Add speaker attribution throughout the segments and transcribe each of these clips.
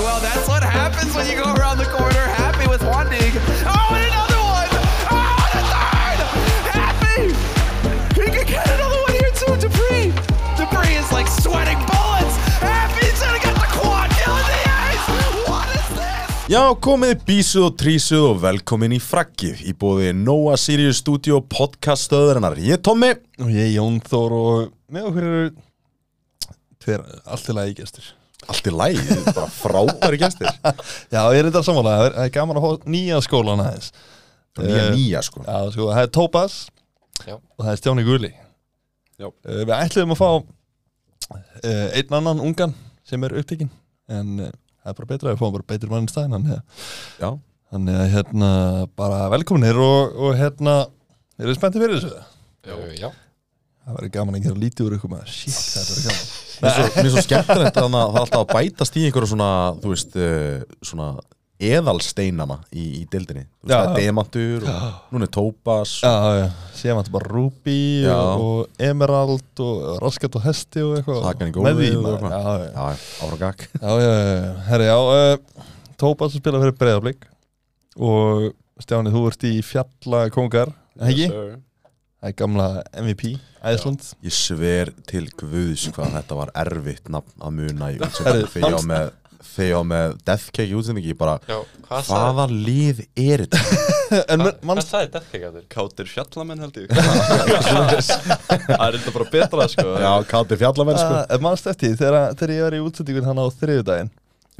Speaker 1: Well, that's what happens when you go around the corner happy with one dig. Oh, and another one. Oh, and a third. Happy. He could get another one here too. Dupree. Dupree is like sweating bullets. Happy's gonna get the quad kill in the ice. What is this?
Speaker 2: Já, komið bísuð og trísuð og velkomin í frakkið í bóði Nóa Sirius Studio podcast stöðurinnar. Ég er Tommi
Speaker 3: Og ég er Jón Þór og með okkur eru tver, allt til að ég gestur.
Speaker 2: Allt í læg, bara frábæri gestir.
Speaker 3: Já, ég er þetta samanlega, það er- það er gaman að hóða nýja skólan aðeins.
Speaker 2: Nýja nýja, sko.
Speaker 3: Já, sko, það er Tópas
Speaker 4: Já.
Speaker 3: og það er Stjáni Gulli.
Speaker 4: Já.
Speaker 3: Eh, Við ætluðum að fá uh, einn annan ungan sem er upptekinn, en uh, það er bara betra, við fáum bara betur mann í staðinn, hann hefða.
Speaker 2: Já.
Speaker 3: Þannig að hérna bara velkominir og, og hérna, eru þið spenntið fyrir þessu?
Speaker 4: Uh, já,
Speaker 3: Það verður gaman að gera lítið úr ykkur maður, shit, það verður gaman.
Speaker 2: Mér er svo, mér er svo skemmtilegt að það er alltaf að bætast í einhverju svona, þú veist, eh, svona eðalsteinana í, í deildinni. Þú veist,
Speaker 3: Já.
Speaker 2: það er demantur og núna er Tópas.
Speaker 3: Já, já, síðan vantur bara Ruby
Speaker 2: Já.
Speaker 3: og, og Emerald og Raskat og Hesti og eitthvað
Speaker 2: Hakan í
Speaker 3: Með því,
Speaker 2: gólfið og eitthvað.
Speaker 3: maður. Já, já,
Speaker 2: Já, ára gag.
Speaker 3: já, já, já. herri, já uh, Tópas að spila fyrir Breiðablík og Stjáni, þú ert í Fjalla Kongar, ekki?
Speaker 4: sir.
Speaker 3: Það er gamla MVP, Æsland
Speaker 2: Ég sver til guðs hvað þetta var erfitt nafn að muna í
Speaker 3: Herri,
Speaker 2: útsendingu þegar ég á með, þegar ég á með Death Cake í útsendingu, ég bara
Speaker 4: já hvað sagði
Speaker 2: hvaða lið er þetta?
Speaker 3: En
Speaker 4: Hvað-
Speaker 3: men-
Speaker 4: Hvað
Speaker 3: manst,
Speaker 4: sagði Deathcake að þér?
Speaker 5: Kátir fjallamenn held ég Það er þetta bara betra sko
Speaker 2: Já, Kati Fjallamenn sko
Speaker 3: að- manst eh, eftir því, þegar, þegar ég var í útsendingun hann á þriðudaginn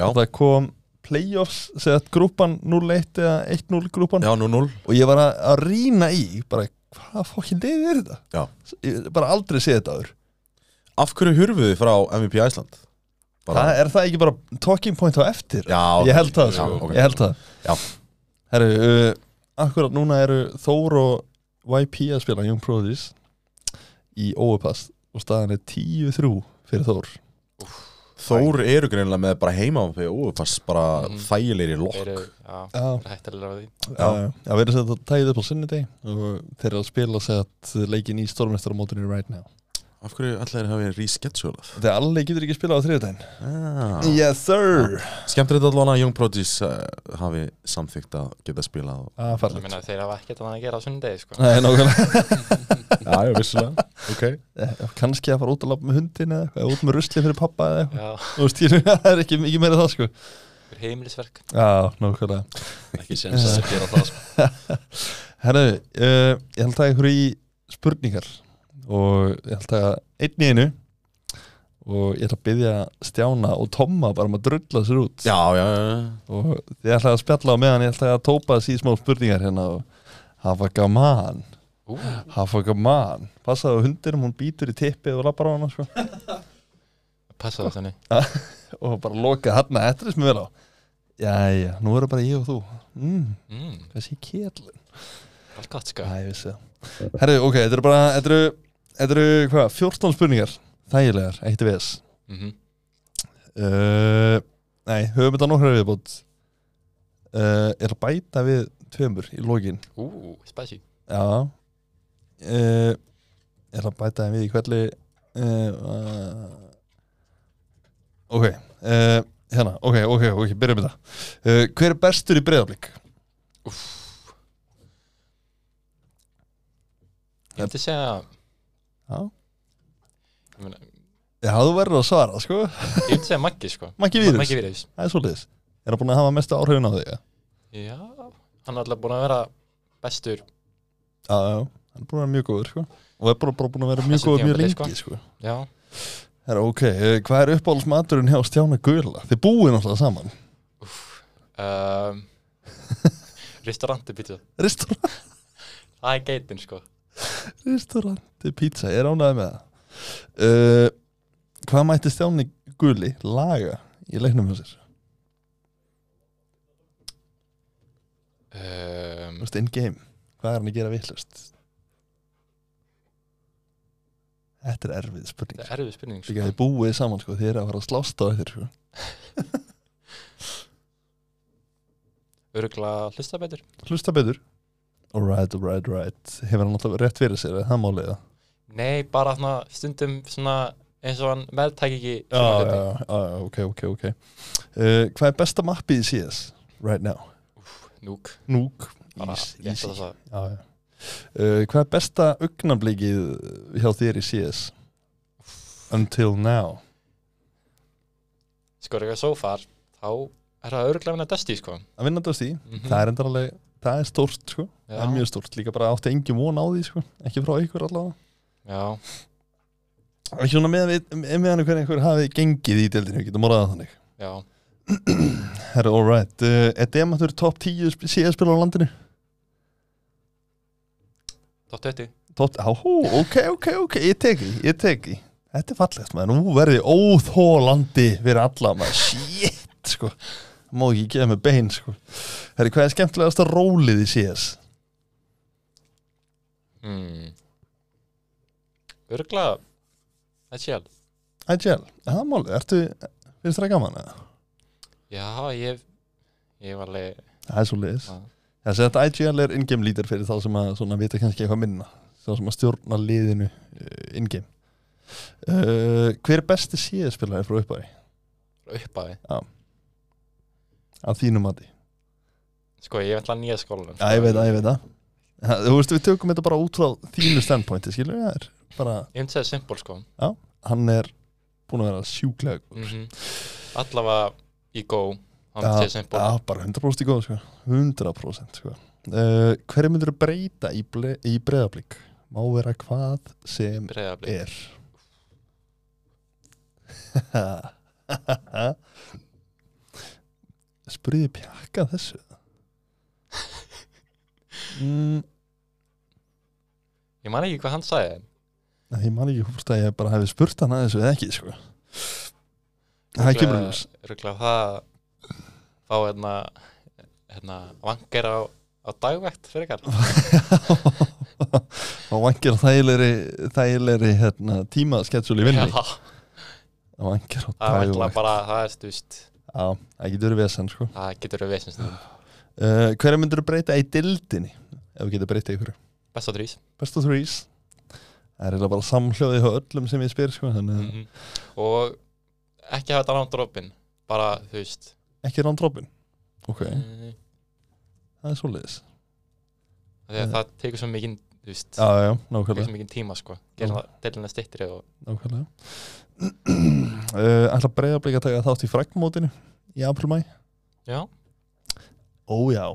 Speaker 2: Já.
Speaker 3: og það kom playoffs, segja grúpan 0-1 eða 1-0 grúpan
Speaker 2: Já, 0-0
Speaker 3: og ég var að, að rýna í bara hvaða fokkin liðið er þetta
Speaker 2: Já.
Speaker 3: S- ég, bara aldrei séð þetta áður
Speaker 2: Af hverju hurfuðu frá MVP Æsland? Bara-
Speaker 3: það, er það ekki bara talking point á eftir
Speaker 2: Já,
Speaker 3: ég held það
Speaker 2: já,
Speaker 3: sko,
Speaker 2: ok.
Speaker 3: ég held það
Speaker 2: Já.
Speaker 3: herru, uh, akkurat núna eru Þór og YP að spila Young Prodigies í Overpass og staðan er 10-3 fyrir Þór
Speaker 2: Þór eru greinilega með bara heima og úrpass bara
Speaker 3: Mm.
Speaker 4: Mhm.
Speaker 2: þægilegri
Speaker 4: Eru,
Speaker 2: lokk
Speaker 4: já,
Speaker 3: já,
Speaker 4: hættilega því
Speaker 3: já, já, við erum sett að tæðið upp á sunnudegi og þeir eru að spila sett leikin í Stormestaramótunni right now
Speaker 2: Af hverju allir hafa verið reschedulað?
Speaker 3: þegar allir getur ekki spilað á þriðudaginn
Speaker 2: Ah.
Speaker 3: yes sir
Speaker 2: Skemmt er þetta allan að Young Prodigies uh, hafi samþygt að geta spilað og...
Speaker 3: ah,
Speaker 4: Ég
Speaker 3: farlegt
Speaker 4: meina þeir hafa ekkert annað að gera á sunnudegi sko
Speaker 3: Nei, nákvæmlega
Speaker 2: Já, ég vissulega okay.
Speaker 3: Eh, Kannski að fara út að labba með hundin eða eitthvað, út með rusli fyrir pappa eða eitthvað
Speaker 4: Já,
Speaker 3: Þú veist, ég- það er ekki mikið meira það sko
Speaker 4: fyrir heimilisverk
Speaker 3: Já, nákvæmlega
Speaker 5: Ekki séns að gera það sko
Speaker 3: Herru, uh, ég held að ykkur í spurningar og ég held að einn í einu og ég ætla að byggja Stjána og Tomma bara um að drulla sér út
Speaker 2: Já, já, já
Speaker 3: og ég ætla að spjalla á meðan ég ætla að tópa þessi smá spurningar hérna og hafa gaman
Speaker 4: Ú,
Speaker 3: hafa gaman passaðu á hundinum, hún býtur í tippið og labbar á hana sko
Speaker 4: passa það þannig
Speaker 3: og bara loka hérna eftir þess með vel á Jæja, nú eru bara ég og þú mm,
Speaker 4: mm,
Speaker 3: Hvað sé kjellin?
Speaker 4: Allt gott sko
Speaker 3: Æ, ég vissi það Herru, ok, þetta eru bara, þetta eru, þetta eru, hvað, 14 spurningar Þægilegar, eitt við þess
Speaker 4: Mhm.
Speaker 3: uh, Nei, höfum þetta nokkra viðbót uh, Er að bæta við tveimur í lokin
Speaker 4: Ú, spicy
Speaker 3: Já uh, Er að bæta við í hverli uh, uh, Ok uh, Hérna, ok, ok, ok, byrjum við það uh, Hver er bestur í breyðablík?
Speaker 4: Ég myndi segja
Speaker 3: Já
Speaker 4: Ég meina,
Speaker 3: Já, þú verður að svara, sko
Speaker 4: ég myndi segja Maggi sko
Speaker 3: Maggi Vírus,
Speaker 4: Maggi Vírus
Speaker 3: það er svolítið Er það búin að hafa mestu áhrifin á þig? Já,
Speaker 4: Já, hann er alltaf búin að vera bestur
Speaker 3: já, hann er búin að vera mjög góður, sko Og er bara, bara búin að vera mjög
Speaker 4: Þessi
Speaker 3: góður mjög
Speaker 4: tímabili,
Speaker 3: lengi, sko
Speaker 4: Já,
Speaker 3: Herra, ok, eh, hvað er uppáhaldsmaturinn hjá Stjána Gula? Þið búið náttúrulega saman
Speaker 4: um, Restauranti pizza
Speaker 3: Restaurant,
Speaker 4: Það er geitin sko
Speaker 3: restauranti, pizza, ég er ánægði með það uh, Hvað mætti Stjáni Guli laga í leiknum hjá sér?
Speaker 4: um,
Speaker 3: Þú
Speaker 4: Ehm,
Speaker 3: veist, in game, hvað er hann að gera vittlust? Þetta er erfið spurning
Speaker 4: Það er erfið spurning
Speaker 3: Þegar
Speaker 4: sko.
Speaker 3: þið búið saman, sko, þið er að fara að slásta á þér, sko
Speaker 4: Örugla hlusta betur
Speaker 3: hlusta betur Alright, alright, alright Hefur hann alltaf rétt fyrir sér, eða það máliða
Speaker 4: Nei, bara þarna stundum svona eins og hann meðtæk ekki
Speaker 3: já,
Speaker 4: svona
Speaker 3: já,
Speaker 4: hluti.
Speaker 3: já, já, ok, ok, ok uh, Hvað er besta mappið í CS right now?
Speaker 4: núk
Speaker 3: Núk,
Speaker 4: bara
Speaker 3: ís,
Speaker 4: létt
Speaker 3: ís
Speaker 4: að það
Speaker 3: já, já. Uh, Hvað er besta augnablikið hjá þér í CS? Until now
Speaker 4: sko er eitthvað so far þá er það örglega minna desti sko
Speaker 3: Að vinna þetta á stíð,
Speaker 4: mm
Speaker 3: það er endur alveg Það er stórt sko, það er
Speaker 4: já,
Speaker 3: mjög stórt Líka bara átti engin von á því sko, ekki frá ykkur allavega
Speaker 4: já,
Speaker 3: Ekki svona með, með, með hann hvernig ykkur hafið gengið í deildinu, getum orðað það þannig
Speaker 4: já,
Speaker 3: Herra, all right. Uh, er Demantur top 10 CS-spilar á landinu?
Speaker 4: tótt þetta
Speaker 3: Top, á, hú, ok, ok, ok, ég tek því, ég tek því. Þetta er fallegt, maður. Nú verði óþólandi fyrir alla, maður. Shit, sko. Má ekki gefa mig bein, sko. Herri, hvað er skemmtilegast að rólið í CS?
Speaker 4: mm. örglega það sé alveg
Speaker 3: Ætjál, það máli, ertu, finnst það gaman, eða?
Speaker 4: já, ég ég var alveg
Speaker 3: Það er svo liðis.
Speaker 4: Já.
Speaker 3: Þessi þetta IGL er in-game lítir fyrir þá sem að svona vita kannski eitthvað minna þá sem að stjórna liðinu uh, in-game uh, Hver er besti CS-spilari frá uppæði?
Speaker 4: upp að þið
Speaker 3: Að þínu mati?
Speaker 4: sko ég ætla nýja skólanum
Speaker 3: Já, ég veit það, ég veit það Ha, Þú veist, við tökum þetta bara út frá þínu standpointi, skilur við það er bara,
Speaker 4: ég myndi segja simpól sko
Speaker 3: hann er búin að vera sjúklega
Speaker 4: mm
Speaker 3: góður.
Speaker 4: allavega í go
Speaker 3: Já,
Speaker 4: hann myndi segja simpól
Speaker 3: Já, bara 100% í góð, sko 100% sko uh, Hverju myndir breyta í, ble, í breðablík? Má vera hvað sem
Speaker 4: breyðablik
Speaker 3: er spurði ég pjakka þessu mm,
Speaker 4: ég man ekki hvað hann sagði
Speaker 3: nei, ég man ekki hvort að ég bara hefði spurt hann að þessu eða ekki sko. það er kemur ljós
Speaker 4: örglega það þá hérna hérna vangir á, á dagvekt fyrir ykkar
Speaker 3: og vangir á þægilegri, þægilegri hérna, tímasketsjúli vinni
Speaker 4: Já,
Speaker 3: og vangir á
Speaker 4: það er alltaf
Speaker 3: dagvægt.
Speaker 4: bara það er stúst
Speaker 3: Já, það getur verið vesen sko.
Speaker 4: það getur við veist
Speaker 3: uh, hverja myndur breyta í dildinni ef við getum breyta ykkur
Speaker 4: best á þrýs
Speaker 3: Best of threes Það er eiginlega bara samhljóðið hjá öllum sem ég spyr sko, þannig
Speaker 4: Mhm.
Speaker 3: mm.
Speaker 4: og ekki hafa þetta nátt dropin bara þú veist
Speaker 3: ekki rán droppin Ok,
Speaker 4: mm.
Speaker 3: það er svoleiðis
Speaker 4: þegar það tekur svo mikið þú veist
Speaker 3: Já, já, já,
Speaker 4: tekur
Speaker 3: nákvæmlega,
Speaker 4: svo mikið tíma sko
Speaker 3: Já.
Speaker 4: gerðan það deilina stittri og
Speaker 3: nákvæmlega. uh, Ætla breyðablík að taka þátt í fragmótinu í aprilmæ
Speaker 4: já
Speaker 3: Ó já,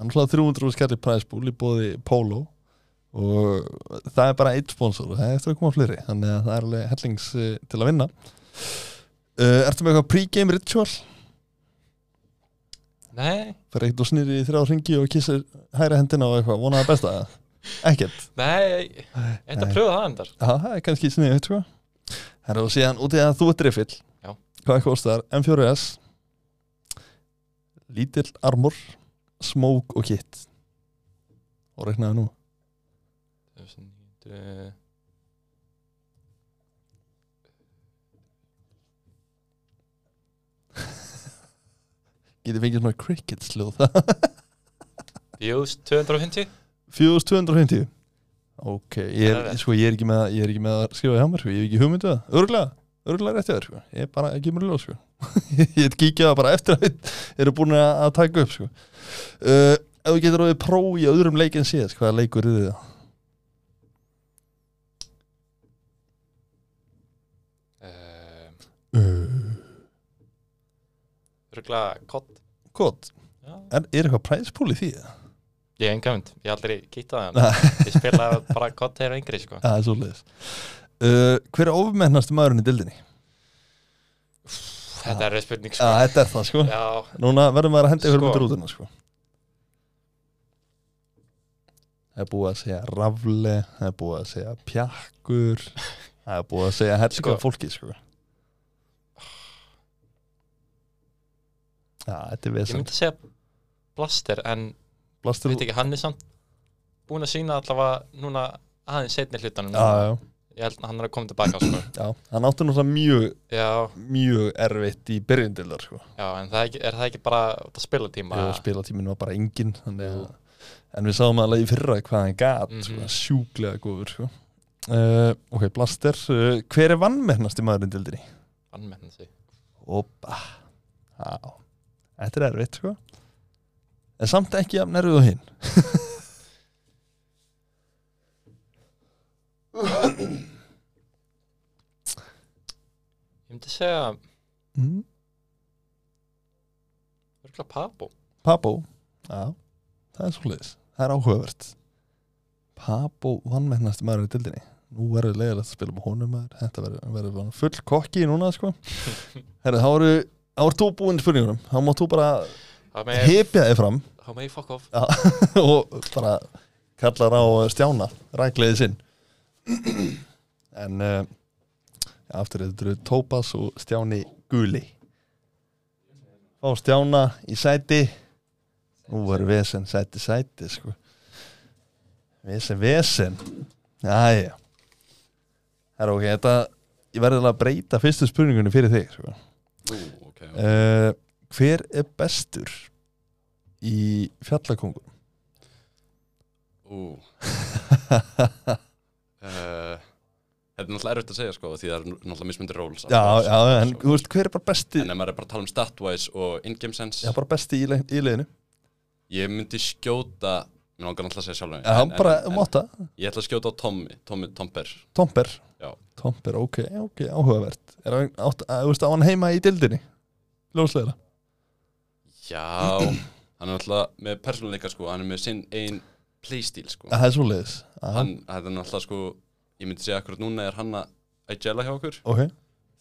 Speaker 3: hann hlaði 300 skalli præsbúl í bóði Polo og það er bara eitt sponsor og það er eftir að koma fleiri þannig að það er alveg hellings uh, til að vinna uh, Ertu með eitthvað pre-game ritual?
Speaker 4: nei
Speaker 3: Fyrir eitt og snýri í þrjá ringi og kissir hæra hendina og eitthvað, vonaða besta eða? Ekkert
Speaker 4: nei ég ætla
Speaker 3: Nei.
Speaker 4: að pröfa það endar
Speaker 3: Já, það er kannski sniðið, sko. Það er og síðan út í að þú ert riffill.
Speaker 4: Já.
Speaker 3: Hvað kostar M4S, lítill armor, smoke og kit. Og reiknaði nú.
Speaker 4: 1900
Speaker 3: Getið fengið svona cricket sljóð það.
Speaker 4: views 250
Speaker 3: 4250. Ok, ég er,
Speaker 4: Það er rétt.
Speaker 3: sko, ég er ekki með að, ég er ekki með að skrifa hjá mér, sko. Ég hef ekki hugmyndu það. Örgulega, örgulega rétt hjá þér, sko. Ég er bara ekki mér ljóð, sko. ég er kíkjað það bara eftir að við eru búin að að taka upp, sko. Uh, ef þú getur orðið pró í öðrum leik en síðast, hvaða leikur er þið það?
Speaker 4: um,
Speaker 3: Uh,
Speaker 4: örgla kott
Speaker 3: Kott,
Speaker 4: já
Speaker 3: er, er eitthvað præspúl í því? eða?
Speaker 4: Ég hef enga mynd, ég hef aldrei kýttað hann
Speaker 3: Nei,
Speaker 4: Ég spilaði bara kott þegar yngri sko
Speaker 3: það er svo leiðis uh, Hver er ofmennast maðurinn í dildinni?
Speaker 4: Þetta er spurning
Speaker 3: Já,
Speaker 4: sko
Speaker 3: þetta er það sko
Speaker 4: Já,
Speaker 3: Núna verðum maður að henda ykkur
Speaker 4: Sko.
Speaker 3: sko. myndir út hérna sko Það er búið að segja rafle Það er búið að segja pjakkur Það er búið að segja helga
Speaker 4: Sko.
Speaker 3: fólki sko Já, þetta er
Speaker 4: ég
Speaker 3: vesend
Speaker 4: myndi að segja Blaster en
Speaker 3: Blastur
Speaker 4: veit ekki, hann er samt búin að sína allavega núna aðeins setni hlutanum
Speaker 3: Já, Ah, já,
Speaker 4: Ég held að hann er að koma tilbaka sko
Speaker 3: já Hann átti náttúrulega mjög,
Speaker 4: Já,
Speaker 3: mjög erfitt í byrjundildar sko
Speaker 4: já, en það er, ekki, er það ekki bara út að spila tíma
Speaker 3: og spilatíminn var bara engin þannig að en við sáum alveg í fyrra hvað hann gat
Speaker 4: Mhm.
Speaker 3: sko, sjúklega góður sko. uh, ok, Blaster uh, hver er vannmennast í maðurinn dildinni?
Speaker 4: Vannmenn sig
Speaker 3: Oppa Já, þetta er erfitt sko En samt ekki jafn erfið og hinn
Speaker 4: Ég myndi segja
Speaker 3: mm.
Speaker 4: Örgla Pabó
Speaker 3: Pabó Já, það er svo leiðis Það er áhugavert Pabó vannmennast maður í dildinni Nú verður leiðilegt að spila með honum maður Þetta verður verður bara full kokki núna sko Herra, þá eru Þá er þú búinn spurningunum, þá mátt þú bara
Speaker 4: Það með
Speaker 3: hipja þig fram
Speaker 4: Það með fuck off
Speaker 3: og bara kallar á eh, Stjána, rækleiði sinn en uh, aftur þetta eru Tópas og Stjáni Guli fá Stjána í sæti nú var vesen sæti sæti sko vesen vesen aðja það er ok, þetta ég verði að breyta fyrstu spurningunni fyrir þig sko.
Speaker 5: Ú, ok, ok.
Speaker 3: uh, hver er bestur í fjallakongum
Speaker 5: Ú Eh, Þetta er náttúrulega erfitt að segja sko því það er náttúrulega mismundir róls
Speaker 3: Já, já, en þú
Speaker 5: en
Speaker 3: veist, hver er bara besti
Speaker 5: ef maður er bara að tala um stat-wise og in-game sense
Speaker 3: Já, bara besti í, le- í liðinu
Speaker 5: ég myndi skjóta mér langar náttúrulega að segja sjálf
Speaker 3: Já, hann bara, um
Speaker 5: en,
Speaker 3: átta,
Speaker 5: ég ætla að skjóta á Tommy Tommy Tomper
Speaker 3: Tomper
Speaker 5: Já.
Speaker 3: Tomper, ok, ok, áhugavert Er hann, átt, að, þú veist, á hann heima í dildinni Ljóslega
Speaker 5: já hann er náttúrulega með persónuleika sko hann er með sinn einn playstyle sko
Speaker 3: Það er svo leiðis
Speaker 5: hann þetta er náttúrulega sko ég myndi segja akkurat núna er hann að gela hjá okkur
Speaker 3: Ok,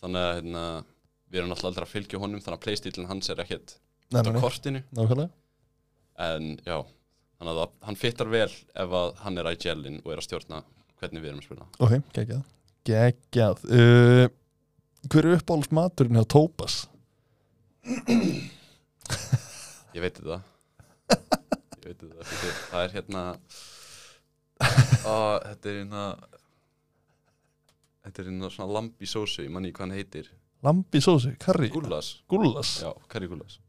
Speaker 5: þannig að hérna við erum náttúrulega aldrei að fylgja honum þannig að playstylen hans er ekkert
Speaker 3: nei,
Speaker 5: á
Speaker 3: nei, nei,
Speaker 5: kortinu
Speaker 3: nákvæmlega
Speaker 5: en já þannig að það- hann fittar vel ef að hann er að gelin og er að stjórna hvernig við erum að spila
Speaker 3: Ok, geggjað Geggjað uh, Hver er uppáhalds maturinn hjá Tópas?
Speaker 5: Ég veit þetta Ég veit þetta fyrir. Það er hérna á, Þetta er hérna Þetta er hérna svona lamb í sósu Ég manni hvað hann heitir
Speaker 3: Lambi sósu, karri
Speaker 5: Gúllas
Speaker 3: Gúllas
Speaker 5: Já, hverju gúllas?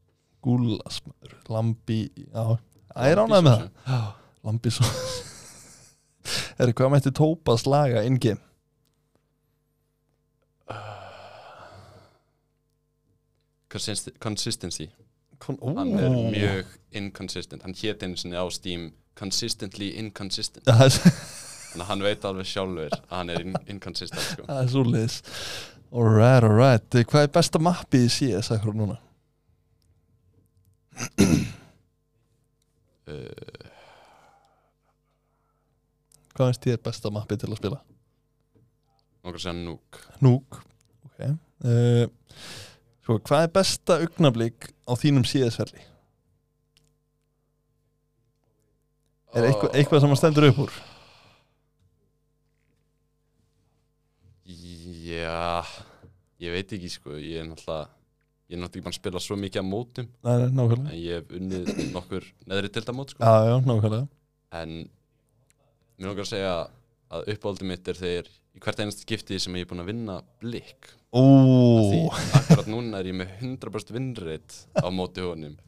Speaker 3: Gúllas, maður Lambi, já Æ, ránaði með það Lambi sósu Er, hvað mætti Tópas laga in-game?
Speaker 5: Consistency, consistency.
Speaker 3: Kon, ó,
Speaker 5: Hann er mjög inconsistent Hann hét einu sinni á Steam Consistently inconsistent
Speaker 3: Það er-
Speaker 5: Þannig að hann veit alveg sjálfur að hann er in inconsistent sko.
Speaker 3: það er svo leiðis Alright, alright Eh, Hvað er besta mappið í CS akkur núna?
Speaker 5: uh,
Speaker 3: Hvað finnst þér besta mappið til að spila?
Speaker 5: Nókur að segja núk
Speaker 3: Núk okay. uh, Svo, hvað er besta augnablík á þínum CS-ferli? Er
Speaker 5: Ah.
Speaker 3: eitthvað, eitthvað sem að stendur upp úr?
Speaker 5: Já, ég veit ekki sko Ég er náttúrulega Ég er náttúrulega ekki búinn að spila svo mikið á mótum
Speaker 3: Nei, nei, nákvæmlega
Speaker 5: en ég hef unnið nokkur neðri tildamót sko.
Speaker 3: Já, já, nákvæmlega
Speaker 5: en mér langar að segja að uppáldum mitt er þegar í hvert einast skipti sem ég er búinn að vinna blikk því
Speaker 3: Ó,
Speaker 5: akkurat núna er ég með 100% vinnreitt á móti honum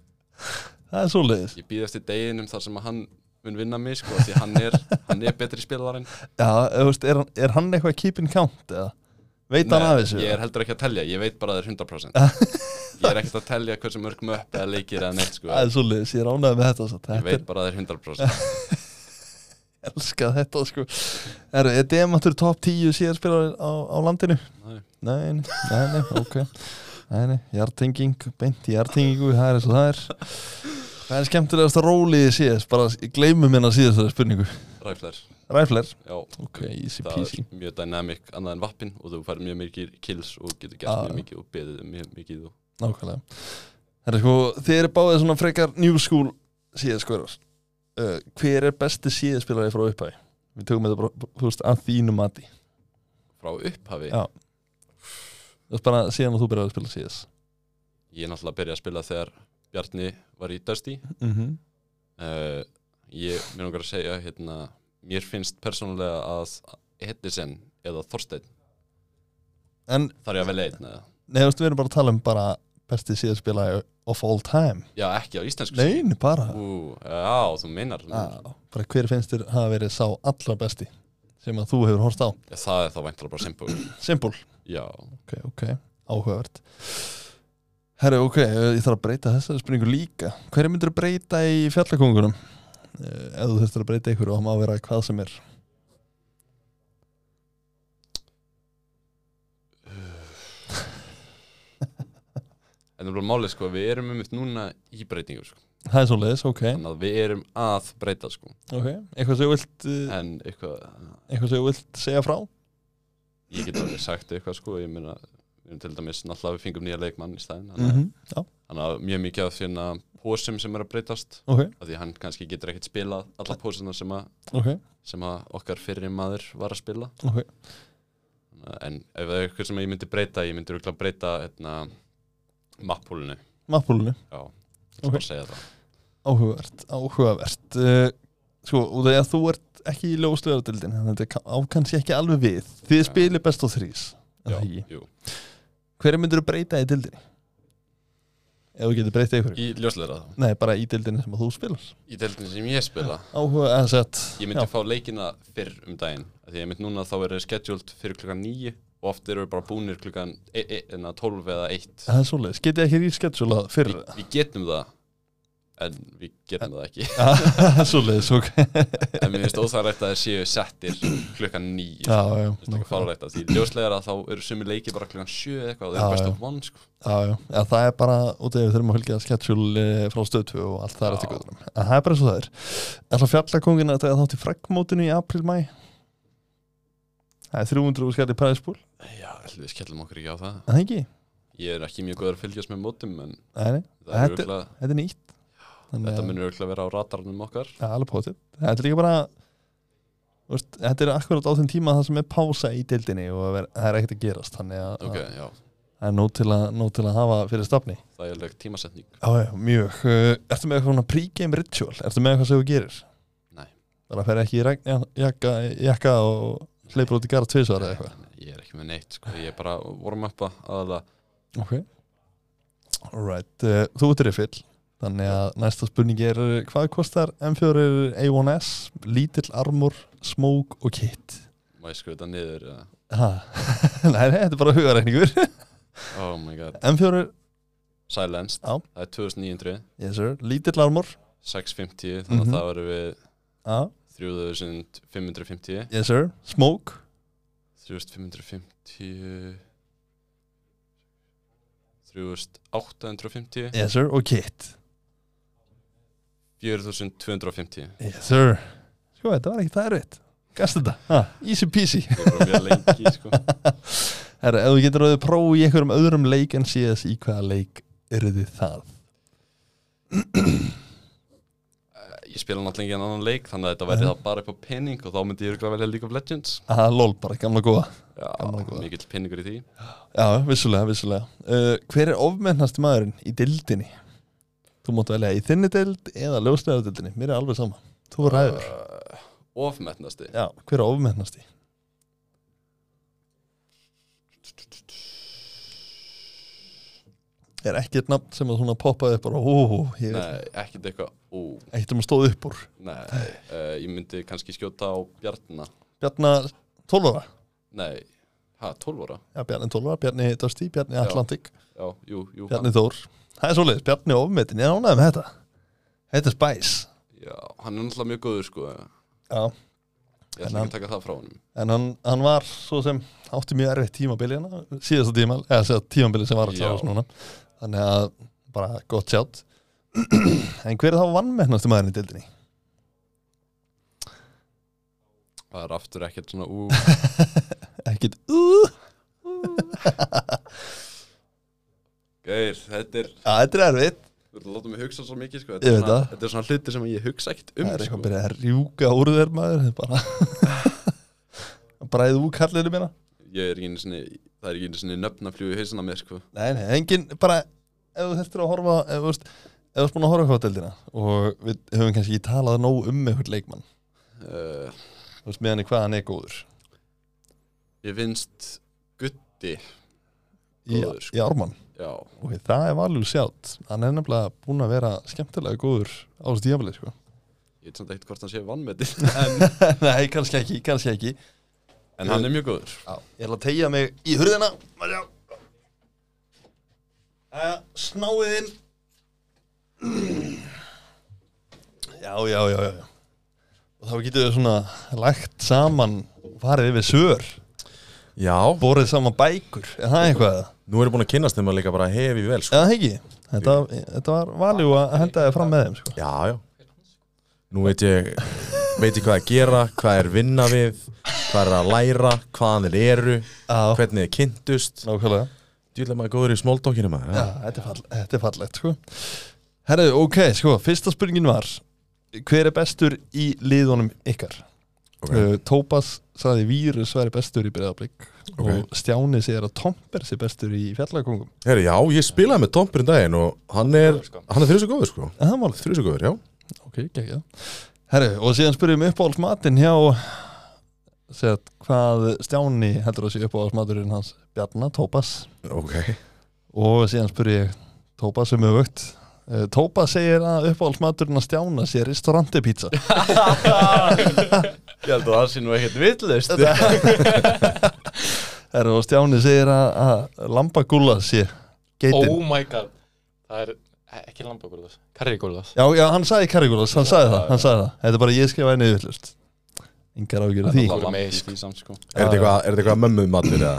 Speaker 3: það er svo leiðis
Speaker 5: ég býðast í deginum þar sem að hann mun vinna mig sko, því hann er, hann er betri spilarinn
Speaker 3: Já, þú veist, er, hann- er hann eitthvað keeping count eða? Veit hann af þessu?
Speaker 5: ég er heldur ekki að telja, ég veit bara að það er 100% ég er ekkert að telja hversu mörg möpp eða leikir eða neitt sko.
Speaker 3: Það er svo leiðis, ég er ánægð með þetta satt.
Speaker 5: ég
Speaker 3: Þetta er
Speaker 5: veit bara að það er 100%
Speaker 3: elska þetta sko Er, er demantur top 10 síðan spilar á, á landinu?
Speaker 5: Nei.
Speaker 3: Nei, nei, nei, nei ok Nei, nei, jartenging, beint í jartengingu Það er eins og það er Hvað er skemmtilegast að róli í síðast? Bara gleymum minna síðast þessari spurningu
Speaker 5: ræflar,
Speaker 3: Ræfler
Speaker 5: já
Speaker 3: Ok, easy
Speaker 5: það
Speaker 3: peasy
Speaker 5: er mjög dynamic annað en vappin og þú fær mjög mikið kills og getur
Speaker 3: Já,
Speaker 5: gert
Speaker 3: já.
Speaker 5: mjög mikið og beðið mjög mikið og
Speaker 3: Nákvæmlega Það er sko, þið eru báðið svona frekar new school síðast skoðar uh, Hver er besti síðast spilari frá upphæði? Við tökum þetta bara, þú veist, að þínu mati
Speaker 5: frá upphafi
Speaker 3: Já. Þú veist bara síðan að þú byrjaði að spila síðast
Speaker 5: ég er náttúrulega að byrja að spila þegar Bjarni var í Dusty
Speaker 3: mm -hmm.
Speaker 5: uh, ég mér langar að segja hérna, mér finnst persónulega að Hedisen eða Þorstein
Speaker 3: En
Speaker 5: þarf ég að velja einn eða?
Speaker 3: Nei, þú veist, við erum bara að tala um bara besti síðarspilari of all time
Speaker 5: já ekki á íslensku
Speaker 3: Nein, bara
Speaker 5: Ú, já þú meinar
Speaker 3: Á, bara hver finnst þér hafa verið sá allra besti sem að þú hefur horst á
Speaker 5: Já, það er þá væntalega bara simpul
Speaker 3: Simple
Speaker 5: Já,
Speaker 3: Ok, ok, áhugavert Herru, ok, eh, ég þarf að breyta þessari spurningu líka Hverju myndir að breyta í fjallakongunum? Eh, Ef þú þurftir að breyta ykkur og það má vera hvað sem er
Speaker 5: en það er málið sko, við erum um núna í breytingum sko.
Speaker 3: Það er svoleiðis, ok,
Speaker 5: Þannig að við erum að breyta sko.
Speaker 3: ok Eitthvað sem þú vilt, eh,
Speaker 5: En eitthvað,
Speaker 3: eitthvað sem þú vilt segja frá?
Speaker 5: ég get alveg sagt eitthvað sko, Ég meina, við erum til dæmis Náttúrulega við fengum nýja leikmann í stæðin Þannig
Speaker 3: Mm
Speaker 5: mm
Speaker 3: -hmm. Já,
Speaker 5: að mjög mikið að finna Pósum sem er að breytast
Speaker 3: ok,
Speaker 5: af Því hann kannski getur ekkert spilað alla pósuna sem, að-
Speaker 3: ok,
Speaker 5: sem að okkar fyrir maður var að spila
Speaker 3: ok
Speaker 5: Þannig að- En ef það er eitthvað sem ég myndi breyta Ég myndi rúkla breyta hérna, Mappúlinu
Speaker 3: Mappúlinu,
Speaker 5: Já, ég ætla
Speaker 3: Ok.
Speaker 5: bara að segja það
Speaker 3: áhugavert, áhugavert Eh, Sko, og þegar þú ert ekki í ljóslegaradildin Þannig að þetta ákansi ekki alveg við Þið
Speaker 5: Já.
Speaker 3: spilir best á þrís
Speaker 5: Já, jú.
Speaker 3: Hverju myndir að breyta í dildinni? Ef þú getur breyta ykkur
Speaker 5: Í ljósleira þá
Speaker 3: Nei, bara í dildinni sem að þú spilar
Speaker 5: Í deildinu sem ég spila
Speaker 3: Áhuga, eða sett
Speaker 5: Ég myndi fá leikina fyrr um daginn af Því ég myndi núna þá verið scheduled fyrir klukkan 9 og oft eru við bara búnir klukkan e e enna 12 eða 1
Speaker 3: Það er svoleiðis, getið ekki rísketsjúla fyrir
Speaker 5: Vi, Við getum það en við getum það ekki
Speaker 3: Það er svoleiðis, ok
Speaker 5: en mér finnst óþægilegt að það séu settir klukkan sko. 9
Speaker 3: Já, já,
Speaker 5: Þetta er
Speaker 3: nákvæmlega.
Speaker 5: fárlegt að því ljóslegar að þá eru sumi leiki bara klukkan 7 eða eitthvað og
Speaker 3: Já,
Speaker 5: það er best
Speaker 3: já.
Speaker 5: of one sko.
Speaker 3: já, já, já, það er bara út af því við þurfum að fylgja sketsjúli frá stöðtu og allt það er
Speaker 5: Já.
Speaker 3: eftir góðurum En það er bara eins og það er Ætla fjallakongin að það þátt í fraggmótinu í apríl-mæ Það er 300 skall í præðispúl,
Speaker 5: Já, ætlum við skellum okkur ekki á það
Speaker 3: það ekki?
Speaker 5: Ég er ekki mjög góður að fylgjast með mótum en
Speaker 3: Nei, nei,
Speaker 5: það er
Speaker 3: Þetta-
Speaker 5: örugglega-
Speaker 3: þetta er nýtt Þannig
Speaker 5: þetta
Speaker 3: að-
Speaker 5: munur auðvitað vera á radarnum okkar
Speaker 3: Já, alveg potið. Þetta er líka bara þú veist, Þetta er akkurat á þeim tíma það sem er pása í deildinni og það er- það er ekkert að gerast þannig að
Speaker 5: Ok,
Speaker 3: að
Speaker 5: já,
Speaker 3: það er nóg til, að, nóg til að hafa fyrir stafni
Speaker 5: það er alveg tímasetning
Speaker 3: Já, já, mjög Uh, Ertu með eitthvað svona pregame ritual? Ertu með eitthvað sem þú gerir?
Speaker 5: Nei.
Speaker 3: Bara fer ekki í regn, ja, jakka, jakka og hleypur út í garð tvisvar eða eitthvað
Speaker 5: Nei, Ég er ekki með neitt, sko. ég er bara warm upa aðalega
Speaker 3: Ok Alright, uh, þú ert riffill Þannig að næsta spurning er uh, hvað kostar M4 A1S lítill armor, smoke og kit?
Speaker 5: Má ég skruta niður eða?
Speaker 3: Ha, nei, nei, þetta er bara hugarækningur
Speaker 5: Oh my god
Speaker 3: M4,
Speaker 5: Silenced,
Speaker 3: Já.
Speaker 5: það er 2900
Speaker 3: yes sir, lítill armor
Speaker 5: 650, þannig
Speaker 3: Mhm.
Speaker 5: að það verður við
Speaker 3: Já,
Speaker 5: 3550
Speaker 3: yes sir, smoke
Speaker 5: 3550 3850
Speaker 3: Yes sir, og kit
Speaker 5: 4250
Speaker 3: Yes sir Sko, þetta var ekki það erfitt Gast þetta, ha, easy peasy
Speaker 5: Ég var mjög lengi sko
Speaker 3: Herra, ef þú getur auðvitað próf í einhverjum öðrum leik en síðast í hvaða leik eru þið það
Speaker 5: Eh, Ég spila náttúrulega ekki annan leik þannig að þetta verði það bara upp á penning og þá myndi ég örugglega velja League of Legends
Speaker 3: Aha, lol, bara gamla góða
Speaker 5: Já,
Speaker 3: Gamla góða.
Speaker 5: mikill penningur í því
Speaker 3: Já, vissulega, vissulega uh, Hver er ofmennast maðurinn í dildinni? Þú mátt velja í þinni dild eða ljóslega dildinni, mér er alveg sama Þú ræður
Speaker 5: uh, Ofmetnasti
Speaker 3: Já, hver er ofmennast í? Er ekki eitt nafn sem að svona poppaði upp bara, ó, ég er
Speaker 5: Nei, ekkert eitthvað Ú,
Speaker 3: eitt um að stóð upp úr
Speaker 5: nei uh, Ég myndi kannski skjóta á Bjarnina
Speaker 3: Bjarnar 12 ára
Speaker 5: Nei, hæ, 12 ára
Speaker 3: Já, Bjarni 12 ára, Bjarni Dusty, Bjarni Atlantik
Speaker 5: Já, jú, jú
Speaker 3: Bjarni Þór Það er svoleiðis, Bjarni ofmetin, ég ánægði með þetta Þetta er spæs
Speaker 5: hann, Já, hann er náttúrulega mjög góður sko Ég
Speaker 3: Já,
Speaker 5: ætla
Speaker 3: En
Speaker 5: ekki
Speaker 3: hann-
Speaker 5: að taka það frá honum
Speaker 3: en hann, hann var svo sem átti mjög erfitt tímabili hérna síðasta tímal, eða síðasta tímabili sem var að
Speaker 5: Já.
Speaker 3: klárast núna þannig að bara gott sjátt en hver er þá vannmennast maðurinn í dildinni?
Speaker 5: Það er aftur ekkert svona ú
Speaker 3: Ekkert uh,
Speaker 5: Geir, þetta er,
Speaker 3: að þetta er erfitt
Speaker 5: þú ert að láta mig hugsa svo mikið sko
Speaker 3: Ég
Speaker 5: er
Speaker 3: veit
Speaker 5: svona,
Speaker 3: það.
Speaker 5: þetta er svona hluti sem ég hugsa ekkert um
Speaker 3: það er eitthvað að
Speaker 5: sko.
Speaker 3: byrja að rjúka úr þér maður þetta er bara bræðið úr kallinu minna
Speaker 5: Ég er ekki einu sinni, það er ekki einu sinni nöfn að fljú í hausina mér sko
Speaker 3: Nei, nei, engin, bara ef þú þurftir að horfa ef þú veist, ef þú ert búin að horfa hvað deildina og við höfum kannski ekki talað nóg um einhvern leikmann,
Speaker 5: uh,
Speaker 3: þú veist, meðan í hvað hann er góður
Speaker 5: Ég finnst Gutti,
Speaker 3: í,
Speaker 5: Góður, sko.
Speaker 3: í Ármann
Speaker 5: já
Speaker 3: og það er valjú sjátt, hann er nefnilega búin að vera skemmtilega góður á þessu tíafli sko.
Speaker 5: Ég veit samt ekkert hvort hann sé vannmetið
Speaker 3: nei, kannski ekki, kannski ekki
Speaker 5: En hann er mjög góður
Speaker 3: Já, ég ætla að tegja mig í hurðina Má sjá. Jæja, Snáið inn Já, já, já, já já. Og þá getur við svona lagt saman farið yfir sör
Speaker 2: Já,
Speaker 3: borið saman bækur Er það eitthvað?
Speaker 2: nú erum við búin að kynast þeim að líka bara hefi vel sko.
Speaker 3: Eða það ekki? Þetta, þetta var valjú að henda þið fram með þeim sko.
Speaker 2: Já, já Nú veit ég, veit ég hvað að gera Hvað er vinna við, hvað er að læra Hvaðan þeir eru,
Speaker 3: Já,
Speaker 2: hvernig þeir kynntust
Speaker 3: nákvæmlega
Speaker 2: Djúlega maður er góður í smóldokkinu maður
Speaker 3: Já,
Speaker 2: já.
Speaker 3: þetta er, fall, þetta er fallegt sko. Herru, ok, sko, fyrsta spurningin var Hver er bestur í liðunum ykkar?
Speaker 2: Ok.
Speaker 3: Uh, Tópas sagði Vírus væri bestur í Breiðablík og Stjáni segir að Tomper sé bestur í fjallagöngum
Speaker 2: Herri, já, ég spilaði með Tompurinn daginn og hann er,
Speaker 4: Góður, sko.
Speaker 2: hann er þrjusu góður sko
Speaker 3: En það er málið,
Speaker 2: Þrjusu góður, já
Speaker 3: ok, ekki Herru, og síðan spurðum uppáhalds matinn hjá segð, hvað Stjáni heldur að sé uppáhalds maturinn hans Bjarna, Tópas
Speaker 2: Ok
Speaker 3: og síðan spurði ég Tópas um öfugt Eh, Tópas segir að uppáhaldsmaturinn að Stjána sé restaurantipizza
Speaker 5: Ég held að það sé nú ekkert villust
Speaker 3: Herra, og Stjáni segir að, að lambagúlla sé geitin
Speaker 4: Oh my god Það er e-, ekki lambagúrðas, karrigúrðas
Speaker 3: Já, já, hann sagði karrigúlas, hann sagði það, hann sagði það Þetta er bara ég skrifaði niður villust Engar ágjur því
Speaker 4: náttúrulega-
Speaker 2: Er þetta eitthvað, er þetta eitthvað mömmuð matur eða?